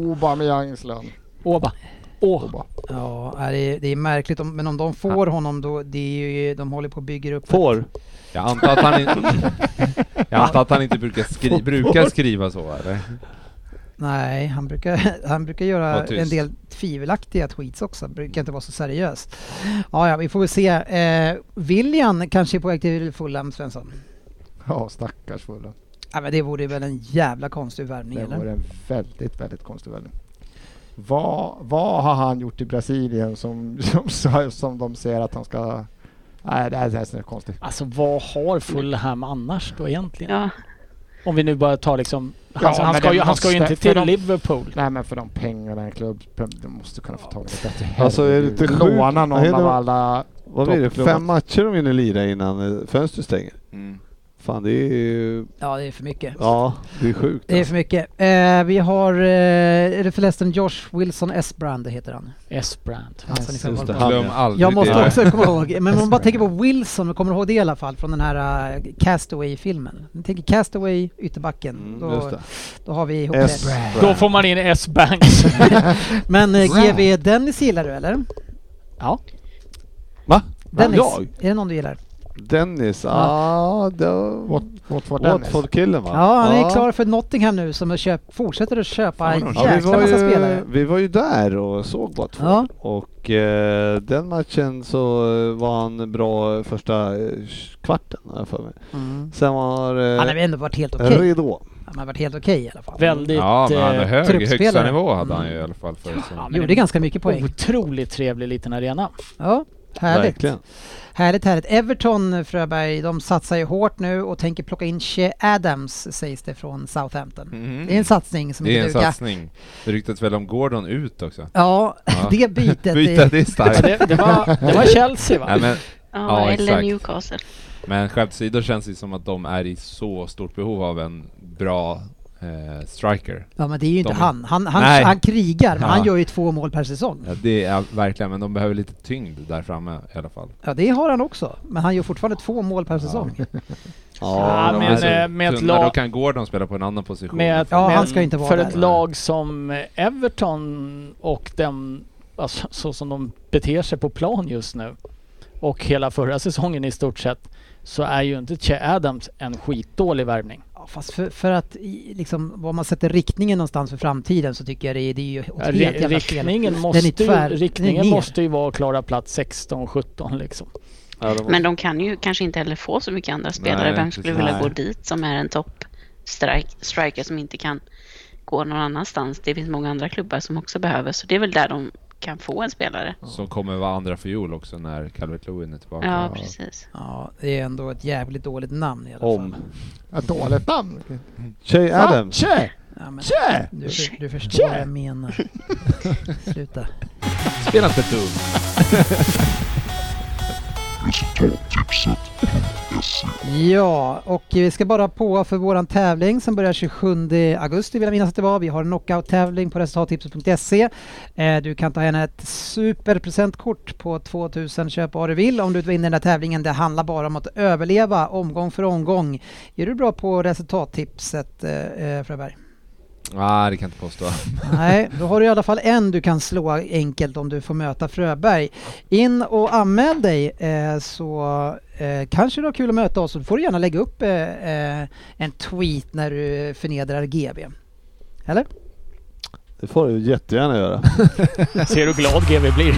Speaker 4: Aubameyangs lön.
Speaker 2: Åba. Åh.
Speaker 4: Oba.
Speaker 1: Ja, nej, det är, det är märkligt. om- Men om de får honom då, det är ju, de håller på och bygger upp...
Speaker 3: Får.
Speaker 5: Jag antar att han, in... jag antar att han inte brukar, skri... brukar skriva så eller?
Speaker 1: Nej, han brukar, han brukar göra
Speaker 5: Var tyst.
Speaker 1: en del tvivelaktiga tweets också. Brukar inte vara så seriös. Ja, ja, vi får väl se. Eh, William kanske är på väg till Fulham, Svensson.
Speaker 4: Ja, stackars fullen.
Speaker 1: Ja, men det vore väl en jävla konstig värvning,
Speaker 4: Det
Speaker 1: eller?
Speaker 4: vore en väldigt, väldigt konstig värvning. Vad, vad har han gjort i Brasilien som, som, som de säger att han ska... Nej, det här det här är konstigt.
Speaker 2: Alltså vad har Fulham annars då egentligen?
Speaker 7: Ja,
Speaker 2: Om vi nu bara tar liksom... Han,
Speaker 4: Ja,
Speaker 2: han,
Speaker 4: men
Speaker 2: ska,
Speaker 4: det
Speaker 2: ju, han ska ju
Speaker 4: måste-
Speaker 2: inte
Speaker 4: för
Speaker 2: till
Speaker 4: de-
Speaker 2: Liverpool.
Speaker 4: Nej men för de pengarna en klubb, de måste kunna få tag i det bättre.
Speaker 3: Alltså, är det
Speaker 4: Herregud.
Speaker 3: inte sjukt?
Speaker 4: Låna någon
Speaker 3: Är det-
Speaker 4: av alla...
Speaker 3: Vad blir det?
Speaker 4: Toppklubbar.
Speaker 3: Fem matcher de hinner lira innan eh, fönstret stänger.
Speaker 5: Mm.
Speaker 3: Fan det är ju...
Speaker 1: Ja, det är för mycket.
Speaker 3: Ja, det är sjukt. alltså.
Speaker 1: Det är för mycket. Eh, vi har, eh, är det förresten Josh Wilson Esbrand heter han.
Speaker 2: S-brand. Alltså,
Speaker 1: han som ni får
Speaker 3: just
Speaker 1: kolla
Speaker 3: det.
Speaker 1: på.
Speaker 3: Han, ja.
Speaker 5: Glöm aldrig
Speaker 1: jag måste
Speaker 5: det.
Speaker 1: också komma ihåg, men om man bara tänker på Wilson, och kommer ihåg det i alla fall från den här eh, Castaway-filmen. Ni tänker Castaway, ytterbacken,
Speaker 3: Mm, just
Speaker 1: då,
Speaker 3: det.
Speaker 1: då har vi ihop
Speaker 3: S.
Speaker 1: det.
Speaker 2: Då får man in S-banks.
Speaker 1: Men eh,
Speaker 4: Brand.
Speaker 1: GV Dennis gillar du eller?
Speaker 3: Va?
Speaker 1: Dennis,
Speaker 3: Jag?
Speaker 1: är det någon du gillar?
Speaker 3: Dennis? Ja, ah, då...
Speaker 4: Wat- Watford Dennis.
Speaker 3: Watford-killen va?
Speaker 1: Ja, han är klar för Nottingham nu som har köpt, fortsätter att köpa en
Speaker 3: Ja, vi,
Speaker 1: jäkla
Speaker 3: var
Speaker 1: massa
Speaker 3: ju,
Speaker 1: spelare.
Speaker 3: vi var ju där och såg Watford
Speaker 1: Ja.
Speaker 3: och eh, den matchen så eh, var han bra första eh, kvarten har jag för mig.
Speaker 1: Mm.
Speaker 3: Sen var
Speaker 1: Han har
Speaker 3: eh,
Speaker 1: väl ändå varit helt okej.
Speaker 3: han redo.
Speaker 1: Han har varit helt okej i alla fall.
Speaker 2: Väldigt...
Speaker 5: Ja, men han är
Speaker 2: eh,
Speaker 5: hög.
Speaker 1: truppspelare.
Speaker 5: Högsta nivå hade han ju i
Speaker 1: Mm.
Speaker 5: alla fall förr.
Speaker 2: ja,
Speaker 5: som-
Speaker 2: men
Speaker 1: Gjorde ganska mycket poäng.
Speaker 2: Otroligt trevlig liten arena.
Speaker 1: Ja, härligt.
Speaker 3: Verkligen.
Speaker 1: Härligt, härligt. Everton, Fröberg, de satsar ju hårt nu och tänker plocka in Che Adams, sägs det från Southampton.
Speaker 5: Mhm.
Speaker 1: Det är en satsning som
Speaker 5: Det är
Speaker 1: inte
Speaker 5: en
Speaker 1: dugar.
Speaker 5: satsning. Det ryktas väl om Gordon ut också?
Speaker 1: Ja,
Speaker 5: Ja.
Speaker 1: det bytet. är-
Speaker 5: Byta, det är
Speaker 2: Ja,
Speaker 5: starkt.
Speaker 2: det, det, var, det var Chelsea va?
Speaker 5: Nej, men,
Speaker 7: ja,
Speaker 5: Ja,
Speaker 7: eller E
Speaker 5: exakt.
Speaker 7: Newcastle.
Speaker 5: men skämt åsido känns det som att de är i så stort behov av en bra eh, striker.
Speaker 1: Ja, men det är ju inte
Speaker 5: De-
Speaker 1: han. Han, han,
Speaker 5: Nej.
Speaker 1: han krigar, men
Speaker 5: Ja.
Speaker 1: han gör ju två mål per säsong.
Speaker 5: Ja, det är verkligen, men de behöver lite tyngd där framme i alla fall.
Speaker 1: Ja, det har han också. Men han gör fortfarande två mål per säsong. Ja,
Speaker 2: Ja,
Speaker 3: de
Speaker 2: men,
Speaker 3: är så-
Speaker 2: eh, med ett
Speaker 5: Tunna,
Speaker 2: lag-
Speaker 5: alltså, Då kan Gordon spela på en annan position.
Speaker 2: Med,
Speaker 1: Ja,
Speaker 2: med,
Speaker 1: han ska inte vara
Speaker 2: för
Speaker 1: där.
Speaker 2: ett lag som Everton och den, alltså, så som de beter sig på plan just nu och hela förra säsongen i stort sett så är ju inte Che Adams en skitdålig värvning.
Speaker 1: fast för, för att i- liksom, var man sätter riktningen någonstans för framtiden så tycker jag det är, det är ju åt helt
Speaker 2: Ri-
Speaker 1: jävla fel.
Speaker 2: Riktningen,
Speaker 1: Den är
Speaker 2: måste, ju,
Speaker 1: tvär-
Speaker 2: riktningen
Speaker 1: ner.
Speaker 2: måste ju vara att klara plats 16-17 liksom.
Speaker 3: ja, de-
Speaker 7: Men de kan ju kanske inte heller få så mycket andra spelare.
Speaker 5: Nej,
Speaker 7: Vem skulle
Speaker 5: precis.
Speaker 7: vilja gå
Speaker 3: Nej.
Speaker 7: dit som är en topp-striker som inte kan gå någon annanstans? Det finns många andra klubbar som också behöver, så det är väl där de kan få en spelare.
Speaker 5: Som kommer vara andra fiol också när Calvert Lewin är tillbaka.
Speaker 7: Ja, precis.
Speaker 1: Ja, det är ändå ett jävligt dåligt namn i alla fall.
Speaker 3: Om.
Speaker 4: Ett dåligt namn.
Speaker 3: Shay Adams.
Speaker 4: Tje!
Speaker 1: Ja, men,
Speaker 4: Tje!
Speaker 1: du, för- du förstår vad jag menar. Sluta.
Speaker 5: Spela inte dum.
Speaker 1: Ja, och vi ska bara på för våran tävling som börjar 27 augusti vill jag minnas att det var. Vi har en knockout-tävling på resultattipset.se. Eh, Du kan ta hem ett superpresentkort på 2000 köp vad du vill om du vinner den här tävlingen. Det handlar bara om att överleva omgång för omgång. Är du bra på resultattipset eh, eh, Fröberg?
Speaker 5: Nej, det kan jag inte påstå.
Speaker 1: Nej, då har du i alla fall en du kan slå enkelt om du får möta Fröberg. In och anmäl dig eh, så eh, kanske du har kul att möta oss. Så får du gärna lägga upp eh, eh, en tweet när du förnedrar GB. Eller?
Speaker 3: Det får du jättegärna göra.
Speaker 2: Ser du glad GV blir?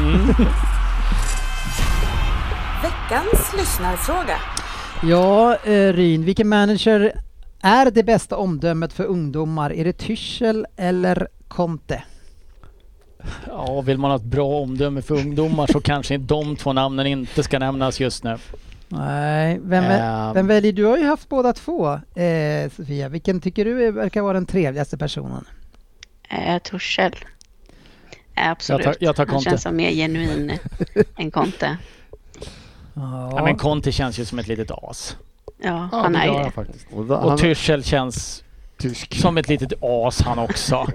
Speaker 6: Veckans lyssnarfråga.
Speaker 1: Ja, eh, Ryn, vilken manager är det bästa omdömet för ungdomar? Är det Tyschel eller Conte?
Speaker 2: Ja, vill man ha ett bra omdöme för ungdomar så kanske de två namnen inte ska nämnas just nu.
Speaker 1: Nej, vem, vä-
Speaker 2: Ehm.
Speaker 1: vem väljer du? har ju haft båda två, eh, Sofia. Vilken tycker du är- verkar vara den trevligaste personen?
Speaker 7: Eh, Torshäll. Eh, absolut.
Speaker 2: Jag tar- jag tar
Speaker 7: Han
Speaker 2: Conte.
Speaker 7: känns som mer genuin än Conte.
Speaker 2: Ja. men Conte känns ju som ett litet as.
Speaker 7: Ja,
Speaker 4: Ja,
Speaker 7: han
Speaker 4: det
Speaker 7: är ju
Speaker 4: gör
Speaker 7: det.
Speaker 4: jag faktiskt.
Speaker 3: Och då- han-
Speaker 2: Och Tyschel känns
Speaker 4: Tysk.
Speaker 2: som ett litet as han också.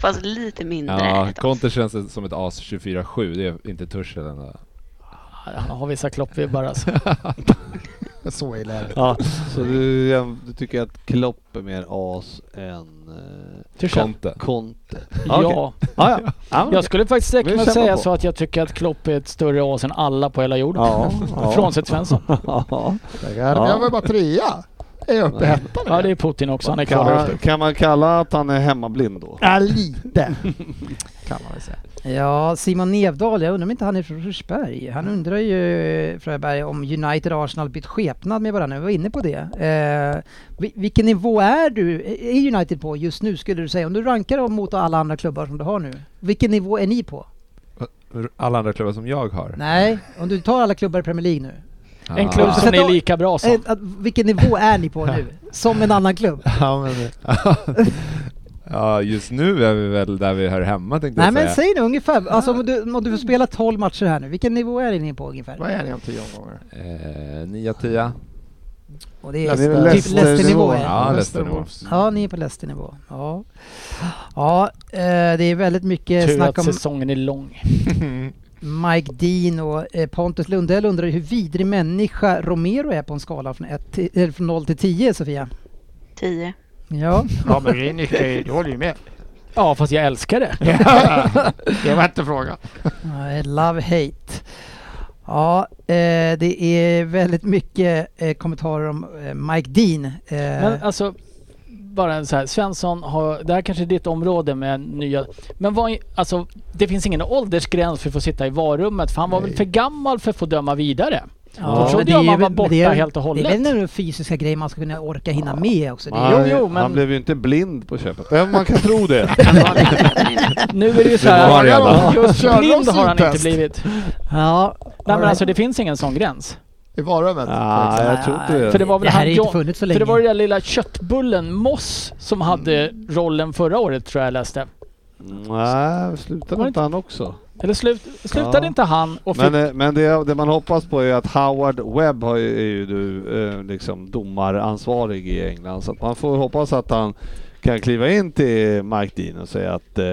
Speaker 7: Fast lite mindre. än
Speaker 5: Ja,
Speaker 7: ett as.
Speaker 5: Conte känns som ett as 24-7. Det är inte Tursel ändå.
Speaker 2: Han har vissa kloppvibbar alltså.
Speaker 4: Så illa är det.
Speaker 3: Ja, så du, jäm- du tycker att Klopp är mer as än eh,
Speaker 2: Tuchel.
Speaker 5: Conte.
Speaker 3: Conte?
Speaker 2: Ja,
Speaker 3: Ah, ja. Ja, men-
Speaker 2: jag skulle faktiskt sträcka
Speaker 3: Vi
Speaker 2: mig att
Speaker 3: kämpar
Speaker 2: säga
Speaker 3: på.
Speaker 2: så att jag tycker att Klopp är ett större as än alla på hela jorden.
Speaker 3: Ja, ja.
Speaker 2: Frånsett Svensson.
Speaker 3: Ja.
Speaker 4: Det är- men Jag var ju bara trea. Är jag uppe i hettan?
Speaker 2: Ja, det är Putin också. Han är
Speaker 3: Kan,
Speaker 2: klar.
Speaker 3: man, kan man kalla att han är hemmablind då?
Speaker 4: Ja, lite. Kan man väl säga.
Speaker 1: Ja, Simon Nevdal, jag undrar om inte han är från Rosberg. Han undrar ju, Fröberg, om United och Arsenal bytt skepnad med varandra. Vi var inne på det. Eh, vi- vilken nivå är du, eh, är United på just nu skulle du säga? Om du rankar dem mot alla andra klubbar som du har nu. Vilken nivå är ni på?
Speaker 5: Alla andra klubbar som jag har.
Speaker 1: Nej, om du tar alla klubbar i Premier League nu.
Speaker 2: En
Speaker 5: Ah.
Speaker 2: klubb som
Speaker 1: Sätt
Speaker 2: är
Speaker 1: av-
Speaker 2: lika bra
Speaker 1: Eh,
Speaker 2: som.
Speaker 1: att, vilken nivå är ni på nu? Som en annan klubb?
Speaker 5: Ja, men, ja, just nu är vi väl där vi hör hemma tänkte
Speaker 1: Nej
Speaker 5: jag
Speaker 1: men
Speaker 5: säga.
Speaker 1: säg nu ungefär, alltså, om, du, om du får spela 12 matcher här nu, vilken nivå är ni på ungefär?
Speaker 4: Vad är ni om tio omgångar?
Speaker 5: Eh, 9-10.
Speaker 1: Och det är
Speaker 4: Leicester.
Speaker 1: typ
Speaker 4: Leicester-nivå.
Speaker 1: Leicester-nivå. ja.
Speaker 5: Ja,
Speaker 4: Leicester
Speaker 5: Leicester
Speaker 4: Wolves.
Speaker 1: Ja, ni är på Leicesternivå. Ja, ja eh, det är väldigt mycket
Speaker 2: Tur
Speaker 1: snack
Speaker 2: att
Speaker 1: om
Speaker 2: säsongen är lång.
Speaker 1: Mike Dean och eh, Pontus Lundell undrar hur vidrig människa Romero är på en skala från, ett till, eller från 0 till 10, Sofia.
Speaker 7: Tio.
Speaker 1: Ja,
Speaker 4: Ja, men det nickar ju. Du håller ju med.
Speaker 2: Ja, fast jag älskar det.
Speaker 4: Det var inte frågan.
Speaker 1: eh, love hate. Ja, eh, det är väldigt mycket eh, kommentarer om eh, Mike Dean. Eh,
Speaker 2: Men alltså, bara en så här. Svensson har, det här kanske är ditt område med nya... Men vad, är- alltså, det finns ingen åldersgräns för att få sitta i varummet för han var väl för gammal för att få döma vidare?
Speaker 1: ja,
Speaker 2: trodde
Speaker 1: men det
Speaker 2: jag
Speaker 1: är
Speaker 2: man
Speaker 1: ju-
Speaker 2: var
Speaker 1: men
Speaker 2: borta
Speaker 1: det är-
Speaker 2: helt och hållet.
Speaker 1: Det är väl den fysiska grejen man ska kunna orka hinna med också. Det är,
Speaker 3: han,
Speaker 2: Jo, jo, men-
Speaker 3: han blev ju inte blind på köpet. Även man kan tro det.
Speaker 2: Nu är det ju så
Speaker 5: Det var
Speaker 2: här,
Speaker 5: det i alla
Speaker 4: fall.
Speaker 2: just
Speaker 4: Körde de
Speaker 2: blind har han inte
Speaker 4: syntest?
Speaker 2: blivit.
Speaker 1: ja,
Speaker 2: Nej men
Speaker 1: alright.
Speaker 2: alltså det finns ingen sån gräns.
Speaker 4: I varummet?
Speaker 3: Nej, jag tror inte
Speaker 2: För det
Speaker 3: det.
Speaker 2: var väl
Speaker 1: Det här
Speaker 2: han
Speaker 1: är ju inte
Speaker 2: John-
Speaker 1: funnits så
Speaker 2: För
Speaker 1: länge. Mm.
Speaker 2: det var ju den lilla köttbullen Moss som hade rollen förra året tror jag jag läste.
Speaker 3: Nej, slutade inte han också?
Speaker 2: Eller slut, slutade
Speaker 3: Ja.
Speaker 2: inte han och fick...
Speaker 3: Men, eh, men det, det man hoppas på är att Howard Webb har ju, är ju nu eh, liksom domaransvarig i England. Så att man får hoppas att han kan kliva in till Mike Dean och säga att eh,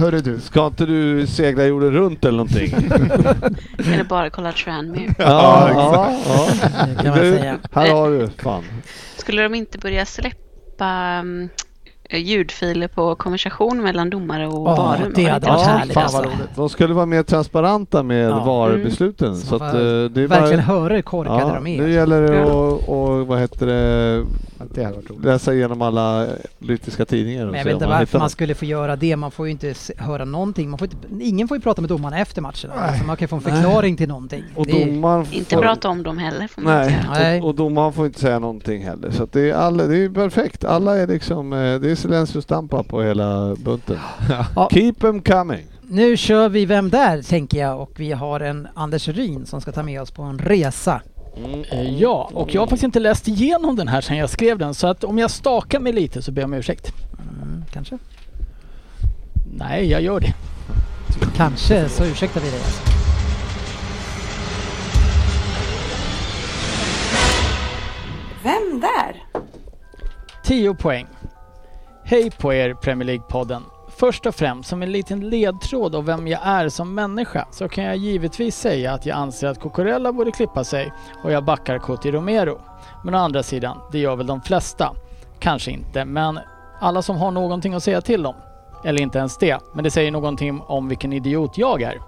Speaker 4: Hörru du.
Speaker 3: ska inte du segla jorden runt eller någonting?
Speaker 7: Eller bara kolla Tranmere.
Speaker 3: ja, ja, ja.
Speaker 1: kan man
Speaker 3: Du,
Speaker 1: säga.
Speaker 3: Här har du, fan.
Speaker 7: Skulle de inte börja släppa mm, ljudfiler på konversation mellan domare och
Speaker 1: Ja,
Speaker 7: varum?
Speaker 1: det hade varit
Speaker 7: Ja,
Speaker 1: härligt
Speaker 7: fan.
Speaker 1: alltså.
Speaker 3: De skulle vara mer transparenta med
Speaker 1: Ja.
Speaker 3: varubesluten. Så
Speaker 1: man
Speaker 3: att, eh,
Speaker 1: får
Speaker 3: det är
Speaker 1: Verkligen
Speaker 3: bara,
Speaker 1: höra hur korkade
Speaker 3: ja,
Speaker 1: de alltså. är.
Speaker 3: nu gäller det att och, vad heter det,
Speaker 4: Det hade varit roligt.
Speaker 3: läsa igenom alla brittiska tidningar. och
Speaker 1: Men jag
Speaker 3: se
Speaker 1: vet
Speaker 3: om
Speaker 1: inte varför
Speaker 3: hittar
Speaker 1: man
Speaker 3: något.
Speaker 1: skulle få göra det. Man får ju inte se- höra någonting. Man får inte, ingen får ju prata med domarna efter matchen. Alltså man kan få en förklaring till någonting.
Speaker 3: Och
Speaker 1: Det är-
Speaker 3: domaren
Speaker 7: Inte
Speaker 3: får-
Speaker 7: prata om dem heller. Får man
Speaker 3: Nej,
Speaker 7: säga.
Speaker 1: Nej.
Speaker 3: Och, och domaren får inte säga någonting heller. Så att det, är alla, det är ju perfekt. Alla är liksom, eh, det är silencio stampa på hela bunten.
Speaker 1: Ja.
Speaker 3: Keep 'em coming.
Speaker 1: nu kör vi Vem där? tänker jag och vi har en Anders Ryn som ska ta med oss på en resa.
Speaker 2: Eh, Ja, och jag har faktiskt inte läst igenom den här sedan jag skrev den så att om jag stakar mig lite så ber jag om ursäkt.
Speaker 1: Mm, kanske?
Speaker 2: Nej, jag gör det.
Speaker 1: Kanske, så ursäktar vi dig. alltså.
Speaker 6: Vem där?
Speaker 2: 10 poäng. Hej på er Premier League-podden. Först och främst, som en liten ledtråd av vem jag är som människa, så kan jag givetvis säga att jag anser att Cucurella borde klippa sig och jag backar Coty Romero. Men å andra sidan, det gör väl de flesta. Kanske inte, men alla som har någonting att säga till om. Eller inte ens det, men det säger någonting om vilken idiot jag är.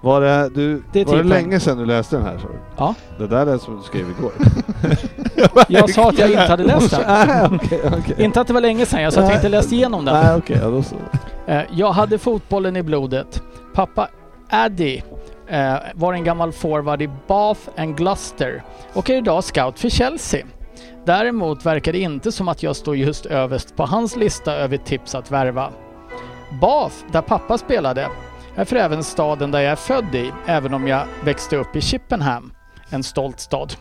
Speaker 3: Var det, du,
Speaker 2: Det
Speaker 3: var det
Speaker 2: är
Speaker 1: typ-
Speaker 2: tio poäng.
Speaker 3: länge sedan du läste den här? sa du?
Speaker 2: Ja.
Speaker 3: Det där är som du skrev igår.
Speaker 2: Jag sa att jag inte hade läst den.
Speaker 3: Ah, Okej, okej.
Speaker 2: Inte att det var länge sedan, jag sa att jag inte läst igenom den.
Speaker 3: Nej, okej, ja, då så.
Speaker 2: Eh, Jag hade fotbollen i blodet. Pappa Addy eh, var en gammal forward i Bath and Gloucester och är idag scout för Chelsea. Däremot verkar det inte som att jag står just överst på hans lista över tips att värva. Bath, där pappa spelade, är för även staden där jag är född i, även om jag växte upp i Chippenham, en stolt stad.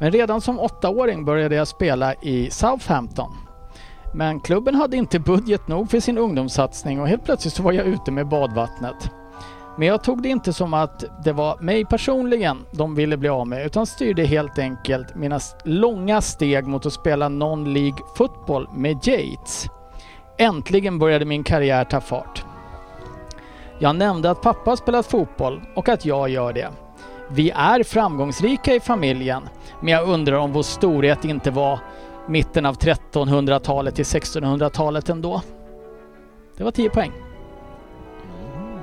Speaker 2: Men redan som åttaåring började jag spela i Southampton. Men klubben hade inte budget nog för sin ungdomssatsning och helt plötsligt så var jag ute med badvattnet. Men jag tog det inte som att det var mig personligen de ville bli av med utan styrde helt enkelt mina s- långa steg mot att spela non-League fotboll med Yates. Äntligen började min karriär ta fart. Jag nämnde att pappa har spelat fotboll och att jag gör det. Vi är framgångsrika i familjen, men jag undrar om vår storhet inte var mitten av 1300-talet till 1600-talet ändå. Det var 10 poäng.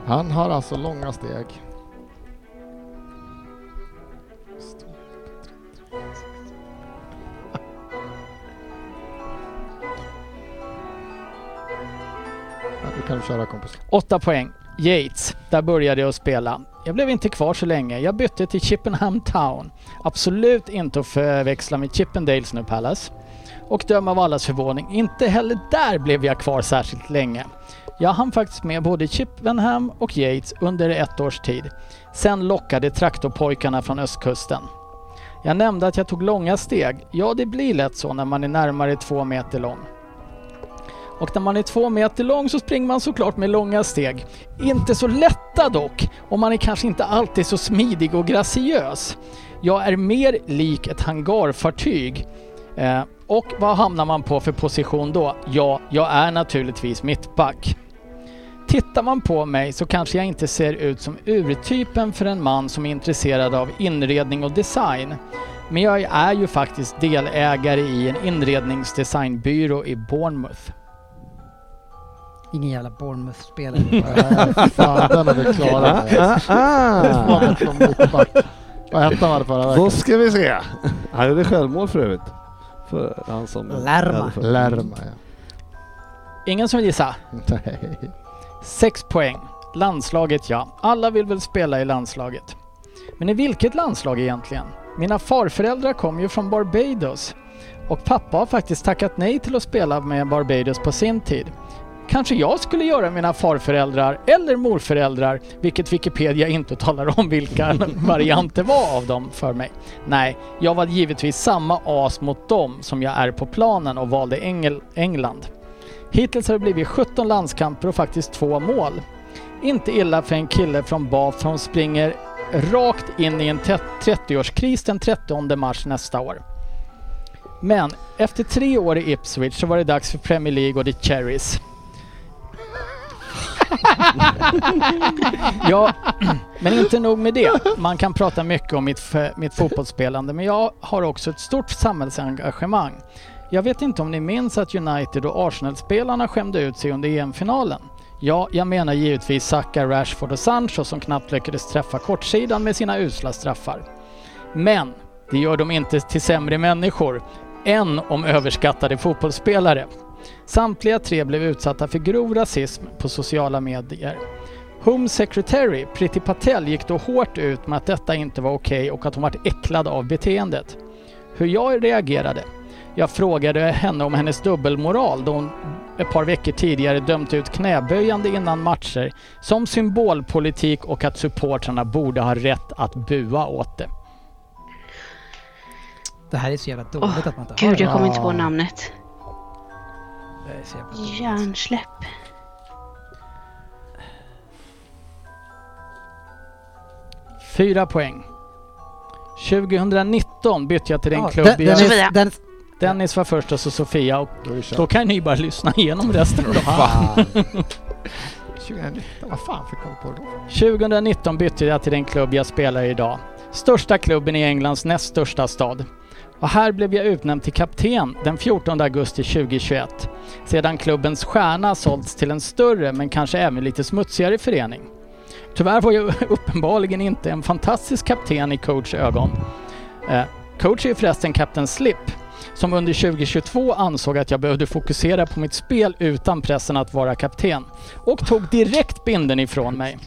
Speaker 4: Han har alltså långa steg. Ja, du kan köra kompis.
Speaker 2: 8 poäng. Yates, där började jag spela. Jag blev inte kvar så länge. Jag bytte till Chippenham Town. Absolut inte att förväxla med Chippendales nu Palace. Och döm av allas förvåning, inte heller där blev jag kvar särskilt länge. Jag hann faktiskt med både Chippenham och Yates under ett års tid. Sen lockade traktorpojkarna från östkusten. Jag nämnde att jag tog långa steg. Ja, det blir lätt så när man är närmare två meter lång. Och när man är två meter lång så springer man såklart med långa steg. Inte så lätta dock, och man är kanske inte alltid så smidig och graciös. Jag är mer lik ett hangarfartyg. Eh, och vad hamnar man på för position då? Ja, jag är naturligtvis mittback. Tittar man på mig så kanske jag inte ser ut som urtypen för en man som är intresserad av inredning och design. Men jag är ju faktiskt delägare i en inredningsdesignbyrå i Bournemouth.
Speaker 1: Ingen jävla Bournemouth-spelare.
Speaker 4: Nej, fan den har vi klarat.
Speaker 3: Ah, ah.
Speaker 4: Svaret från mittback. Vad hette han hade förra
Speaker 3: Då
Speaker 4: veckan?
Speaker 3: ska vi se. Han gjorde självmål för övrigt. För han som
Speaker 1: Lärma.
Speaker 4: Lerma ja.
Speaker 2: Ingen som vill gissa?
Speaker 4: Nej.
Speaker 2: Sex poäng. Landslaget ja. Alla vill väl spela i landslaget. Men i vilket landslag egentligen? Mina farföräldrar kom ju från Barbados. Och pappa har faktiskt tackat nej till att spela med Barbados på sin tid. Kanske jag skulle göra mina farföräldrar eller morföräldrar, vilket Wikipedia inte talar om vilka variant det var av dem för mig. Nej, jag var givetvis samma as mot dem som jag är på planen och valde Engel- England. Hittills har det blivit 17 landskamper och faktiskt två mål. Inte illa för en kille från Bath som springer rakt in i en tä- 30-årskris den 30 mars nästa år. Men efter tre år i Ipswich så var det dags för Premier League och the Cherries. ja, men inte nog med det. Man kan prata mycket om mitt, f- mitt fotbollsspelande men jag har också ett stort samhällsengagemang. Jag vet inte om ni minns att United och Arsenal-spelarna skämde ut sig under EM-finalen? Ja, jag menar givetvis Saka, Rashford och Sancho som knappt lyckades träffa kortsidan med sina usla straffar. Men det gör dem inte till sämre människor, än om överskattade fotbollsspelare. Samtliga tre blev utsatta för grov rasism på sociala medier. Home Secretary Priti Patel gick då hårt ut med att detta inte var okej och att hon var äcklad av beteendet. Hur jag reagerade? Jag frågade henne om hennes dubbelmoral då hon ett par veckor tidigare dömt ut knäböjande innan matcher som symbolpolitik och att supportrarna borde ha rätt att bua åt det.
Speaker 1: Det här är så jävla dåligt
Speaker 7: Åh,
Speaker 1: att man inte
Speaker 7: Gud,
Speaker 1: hör
Speaker 7: jag kommer inte
Speaker 1: Ja,
Speaker 7: på namnet.
Speaker 1: det är så jävla dåligt.
Speaker 7: Hjärnsläpp.
Speaker 2: Fyra poäng. 2019 bytte jag till den
Speaker 1: Ja,
Speaker 2: klubb
Speaker 1: den,
Speaker 2: jag...
Speaker 1: den,
Speaker 7: Sofia.
Speaker 1: är, den,
Speaker 2: Dennis var först och så Sofia och
Speaker 4: Då är det kört.
Speaker 2: då kan ni bara lyssna igenom resten av dem.
Speaker 4: Fan. 2019, vad fan fick jag på då?
Speaker 2: 2019 bytte jag till den klubb jag spelar i idag. Största klubben i Englands näst största stad. Och här blev jag utnämnd till kapten den 14 augusti 2021. Sedan klubbens stjärna sålts till en större men kanske även lite smutsigare förening. Tyvärr var jag uppenbarligen inte en fantastisk kapten i coach ögon. Eh, coach är förresten kapten Slip som under 2022 ansåg att jag behövde fokusera på mitt spel utan pressen att vara kapten och tog direkt binden ifrån mig.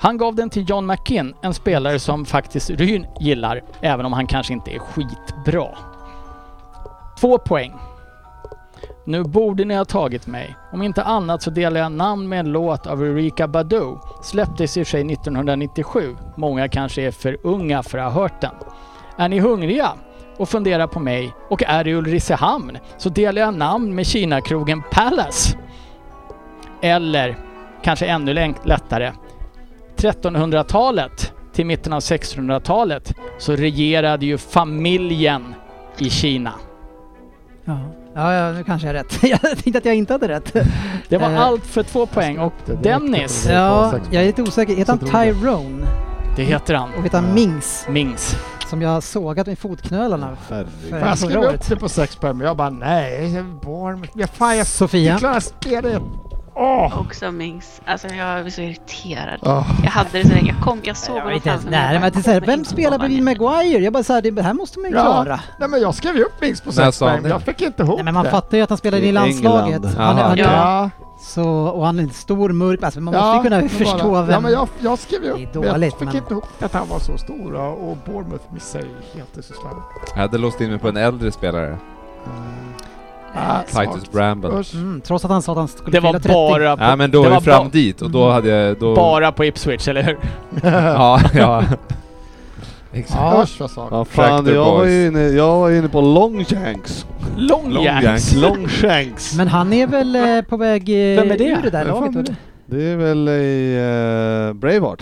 Speaker 2: Han gav den till John McKinn, en spelare som faktiskt Ryn gillar, även om han kanske inte är skitbra. Två poäng. Nu borde ni ha tagit mig. Om inte annat så delar jag namn med en låt av Erika Badu. Släpptes i och för sig 1997. Många kanske är för unga för att ha hört den. Är ni hungriga och funderar på mig och är i Ulricehamn så delar jag namn med Kinakrogen Palace. Eller, kanske ännu länk- lättare, 1300-talet till mitten av 1600-talet så regerade ju familjen i Kina.
Speaker 1: ja. Ja, ja, nu kanske jag har rätt. Jag tänkte att jag inte hade rätt.
Speaker 2: Det var
Speaker 1: Eh,
Speaker 2: allt för två poäng och
Speaker 4: släppte direkt
Speaker 2: Dennis,
Speaker 4: efter
Speaker 1: Ja,
Speaker 4: sex
Speaker 1: jag är lite osäker. Heter han
Speaker 4: Så tror jag.
Speaker 1: Tyrone?
Speaker 2: det heter han,
Speaker 1: Och heter han
Speaker 4: Ja.
Speaker 1: Minx?
Speaker 2: Mings.
Speaker 1: Som jag har sågat med fotknölarna.
Speaker 3: Mm. Herregud.
Speaker 1: För
Speaker 4: Jag skrev
Speaker 1: förra året.
Speaker 4: upp det på sex poäng, men jag bara nej, jag är barn. Jag, fan, jag
Speaker 1: Sofia.
Speaker 4: klarar spelet. Åh!
Speaker 7: Också Mings. Alltså jag blir så irriterad.
Speaker 4: Åh.
Speaker 7: Jag hade det så länge. Jag, kom, jag såg
Speaker 1: Jag var
Speaker 7: honom
Speaker 1: inte ens
Speaker 7: framför mig. Jag
Speaker 1: nära. Men
Speaker 7: bara,
Speaker 1: till så här,
Speaker 7: kommer
Speaker 1: vem
Speaker 7: inte
Speaker 1: spelar
Speaker 7: ihåg vad
Speaker 1: bredvid
Speaker 7: han heter.
Speaker 1: Maguire? Jag bara såhär, det här måste man ju
Speaker 4: Ja.
Speaker 1: klara.
Speaker 4: Nej men jag skrev ju upp Mings på
Speaker 5: När
Speaker 4: sex
Speaker 5: sa han
Speaker 4: poäng, men
Speaker 5: det?
Speaker 4: jag fick inte ihop
Speaker 1: Nej, men man
Speaker 4: det.
Speaker 1: fattar ju att han spelar i
Speaker 3: I
Speaker 1: landslaget.
Speaker 3: England.
Speaker 1: Han, han,
Speaker 7: Ja.
Speaker 4: Ja,
Speaker 1: så, och han är en stor mörk, alltså man
Speaker 4: ja,
Speaker 1: måste ju kunna
Speaker 4: det var det.
Speaker 1: förstå vem...
Speaker 4: Ja, men jag, jag skrev ju upp
Speaker 1: Det är
Speaker 4: men
Speaker 1: dåligt,
Speaker 4: Jag fick
Speaker 1: men-
Speaker 4: inte ihop att han var så stor och, och Bournemouth missade ju helt i så slarvigt.
Speaker 5: Jag hade låst in mig på en äldre spelare.
Speaker 4: Ah,
Speaker 5: Titus Bramble.
Speaker 4: Usch.
Speaker 1: Mm, trots att han sa att han skulle
Speaker 2: Det
Speaker 1: fylla
Speaker 2: var
Speaker 1: 30.
Speaker 2: bara
Speaker 5: Ja
Speaker 2: på,
Speaker 5: men då
Speaker 2: det
Speaker 5: är
Speaker 2: var
Speaker 5: vi fram
Speaker 2: ba-
Speaker 5: dit och då hade jag... Då,
Speaker 2: bara på Ipswich, eller hur?
Speaker 5: Ja, ja. Exakt.
Speaker 4: Ja. Usch vad svagt.
Speaker 3: Ja, fan,
Speaker 5: Tractor
Speaker 3: jag var, ju
Speaker 5: Boys.
Speaker 3: inne, jag var inne på Longshanks.
Speaker 2: Longjärns.
Speaker 3: Longshanks.
Speaker 1: Men han är väl eh, på väg eh,
Speaker 2: Vem är det?
Speaker 1: ur det där
Speaker 3: Vem fan
Speaker 1: laget?
Speaker 3: är
Speaker 1: eller?
Speaker 3: Det är väl i eh, Braveheart?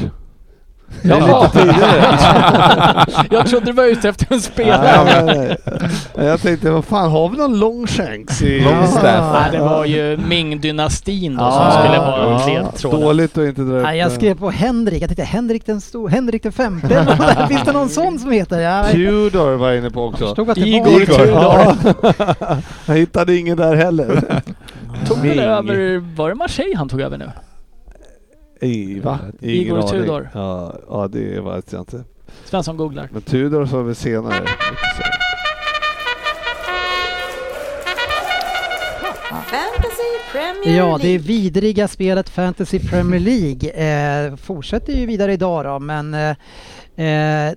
Speaker 3: Det är
Speaker 2: Jaha.
Speaker 3: lite tidigare.
Speaker 2: Jag trodde du var ute efter en
Speaker 3: Ja,
Speaker 2: spelare.
Speaker 3: men, eh, jag tänkte, vad fan har vi någon Longshanks i...
Speaker 5: Longstaff.
Speaker 2: Nej, det var ju Ming-dynastin då
Speaker 3: Ja,
Speaker 2: som skulle vara
Speaker 3: ja.
Speaker 2: ledtråden.
Speaker 3: Dåligt att inte dra upp
Speaker 1: Nej, jag
Speaker 3: det.
Speaker 1: skrev på Henrik. Jag tänkte Henrik den stor, Henrik den femte. Finns det någon sån som heter? Ja, jag
Speaker 3: Tudor var jag inne på också.
Speaker 1: förstod att det
Speaker 2: Igor
Speaker 1: var...
Speaker 2: Tudor.
Speaker 3: Ja. jag hittade ingen där heller.
Speaker 2: Tog väl
Speaker 5: Ming.
Speaker 2: över, var det Marseille han tog över nu?
Speaker 3: I, va? Ingen
Speaker 2: Igor
Speaker 3: aning.
Speaker 2: Tudor.
Speaker 3: Ja, ja, det vet jag inte.
Speaker 2: Svensson googlar.
Speaker 3: Men Tudor sa vi senare.
Speaker 9: Fantasy Premier
Speaker 1: Ja, det
Speaker 9: League.
Speaker 1: vidriga spelet Fantasy Premier League eh, fortsätter ju vidare idag då, men eh, eh,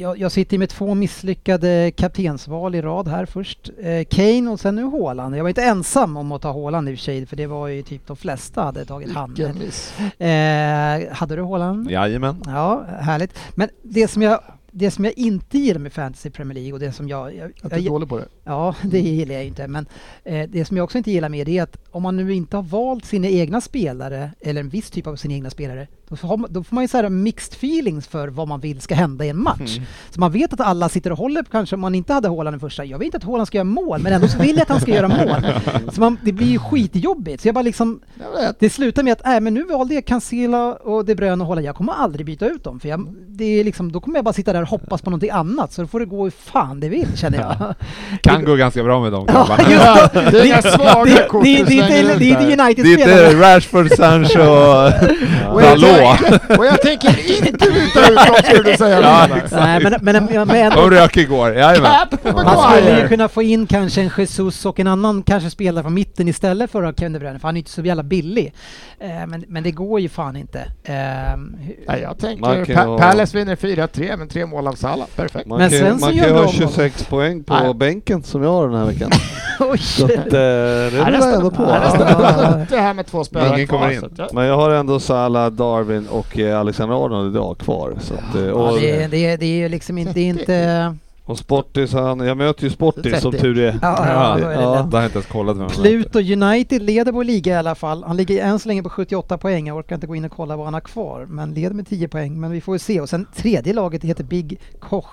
Speaker 1: jag, jag sitter med två misslyckade kaptensval i rad här först. Eh, Kane och sen nu Haaland. Jag var inte ensam om att ta Haaland i och för sig, för det var ju typ de flesta hade tagit han.
Speaker 4: Vilken miss.
Speaker 1: Eh, hade du Haaland?
Speaker 5: Jajamän.
Speaker 1: Ja, härligt. Men det som jag, det som jag inte gillar med Fantasy Premier League och det som jag... jag,
Speaker 4: Jag är
Speaker 1: jag
Speaker 4: inte dålig på det.
Speaker 1: Ja, det gillar jag ju inte. Men eh, det som jag också inte gillar med det är att om man nu inte har valt sina egna spelare, eller en viss typ av sina egna spelare, då, får man- då får man ju så här mixed feelings för vad man vill ska hända i en match.
Speaker 5: Mm.
Speaker 1: Så man vet att alla sitter och håller på, kanske om man inte hade Haaland i första, jag vill inte att Haaland ska göra mål, men ändå så vill jag att han ska göra mål. Så man, det blir ju skitjobbigt. Så jag bara liksom,
Speaker 4: Jag vet.
Speaker 1: det slutar med att äh, men nu valde jag Cancela och De Bruyne och Haaland, jag kommer aldrig byta ut dem. För jag, det är liksom, då kommer jag bara sitta där och hoppas på någonting annat, så då får det gå hur fan det vill känner jag.
Speaker 5: Kan gå ganska bra med dem
Speaker 1: Ja,
Speaker 5: grabbarna.
Speaker 1: just det.
Speaker 4: Det är inga svaga
Speaker 1: Det,
Speaker 4: kort
Speaker 1: det,
Speaker 4: du
Speaker 1: det, är
Speaker 4: slänger
Speaker 1: inte-
Speaker 4: ut
Speaker 1: det är
Speaker 4: där.
Speaker 1: inte
Speaker 5: Det är
Speaker 1: United-spelare.
Speaker 5: inte Rashford, Sancho och
Speaker 4: Och jag
Speaker 5: Dalot.
Speaker 4: tänker- Och jag tänker inte byta ut dem skulle du säga.
Speaker 5: Ja,
Speaker 4: Lena.
Speaker 5: exakt.
Speaker 1: Nej, men, men, men, men
Speaker 5: De rök igår, jajamän.
Speaker 4: Cap
Speaker 1: man skulle ju
Speaker 4: Maguire!
Speaker 1: kunna få in kanske en Jesus och en annan kanske spelare från mitten istället för att ha Kevin De Bruyne, för han är ju inte så jävla billig. Eh, men, men det går ju fan inte. Eh, hur-
Speaker 4: Nej, jag tänker
Speaker 3: Man kan ju
Speaker 4: pa
Speaker 3: ha-
Speaker 4: Palace vinner 4-3, men tre mål av Salah. Perfekt.
Speaker 3: Man
Speaker 1: Men
Speaker 3: kan,
Speaker 1: Svensson
Speaker 3: man
Speaker 1: gör
Speaker 3: kan ju
Speaker 1: bra
Speaker 3: ha
Speaker 1: mål.
Speaker 3: 26 poäng på
Speaker 4: Nej.
Speaker 3: bänken som jag har den här veckan.
Speaker 1: Oj!
Speaker 3: Så att, eh, det rullar jag ändå på.
Speaker 4: Ja, nästan.
Speaker 1: Ja.
Speaker 4: Det här med två spelare
Speaker 3: Ingen
Speaker 4: kvar,
Speaker 3: kommer in.
Speaker 4: så att jag-
Speaker 3: Men jag har ändå Salah, Darwin och eh, Alexander Arnold idag kvar. Så att, eh,
Speaker 1: Ja,
Speaker 3: och,
Speaker 1: det, det, det är ju liksom inte... det är inte
Speaker 3: och Sportis, han, jag möter ju Sportis som
Speaker 4: 30.
Speaker 3: tur är.
Speaker 1: ja, ja, då är det
Speaker 5: det
Speaker 1: lätt.
Speaker 5: har jag inte ens kollat vem han heter.
Speaker 1: Pluto United leder vår liga i alla fall. Han ligger än så länge på 78 poäng. Jag orkar inte gå in och kolla vad han har kvar, men leder med 10 poäng. Men vi får ju se. Och sen tredje laget heter Big Koch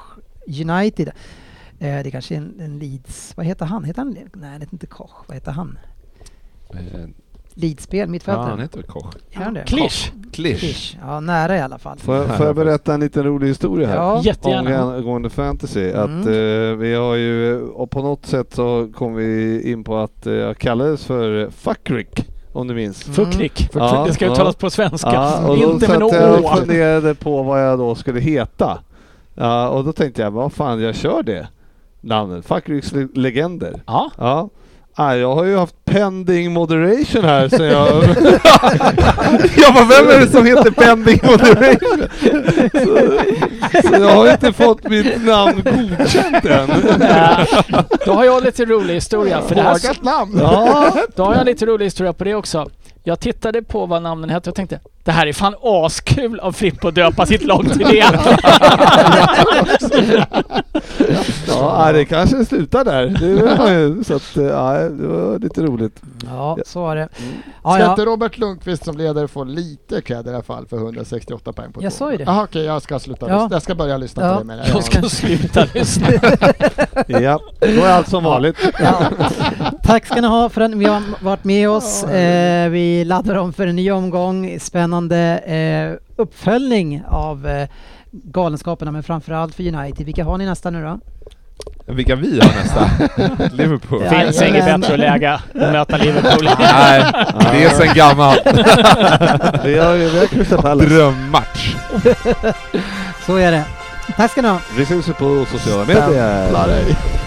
Speaker 1: United. Eh, det är kanske är en, en Leeds... Vad heter han? Heter han? Le- Nej, han heter inte Koch. Vad heter han?
Speaker 5: Eh,
Speaker 1: Leeds-spel,
Speaker 5: Ja, han
Speaker 1: mittfältare.
Speaker 5: heter väl Koch?
Speaker 1: Ja, han det?
Speaker 8: Klisch!
Speaker 5: Klisch.
Speaker 1: Klisch. Ja, nära i alla fall.
Speaker 3: Får jag, får jag berätta en liten rolig historia här?
Speaker 1: Ja.
Speaker 8: Jättegärna.
Speaker 3: Angående fantasy.
Speaker 1: Mm.
Speaker 3: Att eh, vi har ju, och på något sätt så kom vi in på att eh, jag kallades för eh, Fuckrick, om du minns.
Speaker 8: Fuckrick.
Speaker 3: Ja,
Speaker 8: Mm. det ska
Speaker 3: ja.
Speaker 8: uttalas på svenska.
Speaker 3: Ja, och då
Speaker 8: inte med
Speaker 3: satt
Speaker 8: något
Speaker 3: jag och
Speaker 8: å.
Speaker 3: funderade på vad jag då skulle heta. Ja, och då tänkte jag, vad fan, jag kör det namnet. Fuckricks le- legender.
Speaker 8: Ja.
Speaker 3: Ja. Ah, jag har ju haft pending moderation här sen jag... jag bara, vem är det som heter pending moderation? så, så jag har inte fått mitt namn godkänt än.
Speaker 8: Eh, Då har jag lite rolig historia. För det här,
Speaker 4: Vågat namn!
Speaker 3: ja.
Speaker 8: då har jag lite rolig historia på det också. Jag tittade på vad namnen hette och tänkte det här är fan askul av Frippe att döpa sitt lag till det.
Speaker 3: ja, ah, det kanske slutar där. Det var, så att, eh, ja, det var lite roligt.
Speaker 1: Mm. Ja, så var det. Ja,
Speaker 4: Ska
Speaker 1: ja.
Speaker 4: inte Robert Lundqvist som ledare få lite cred i alla fall för 168 poäng på
Speaker 1: Jag
Speaker 4: två?
Speaker 1: sa ju det.
Speaker 4: Jaha, okej, jag ska sluta
Speaker 1: Ja.
Speaker 4: lyssna. Jag ska börja lyssna
Speaker 1: Ja.
Speaker 4: på dig menar
Speaker 8: Jag ska sluta lyssna.
Speaker 3: Ja, då är allt som vanligt.
Speaker 1: Ja. Tack ska ni ha för att ni har varit med oss. Eh, vi laddar om för en ny omgång. Spännande eh, uppföljning av eh, Galenskaperna, men framförallt för United. Vilka har ni nästa nu då?
Speaker 5: Vilka vi har nästa? Liverpool.
Speaker 1: Ja.
Speaker 8: finns inget bättre läge att möta Liverpool.
Speaker 5: Nej, det är sen gammalt.
Speaker 3: Vi har, vi har Crystal Palace.
Speaker 5: Drömmatch.
Speaker 1: Så är det. Tack ska ni ha.
Speaker 3: Vi syns ju på sociala medier.
Speaker 4: Jävlar ej.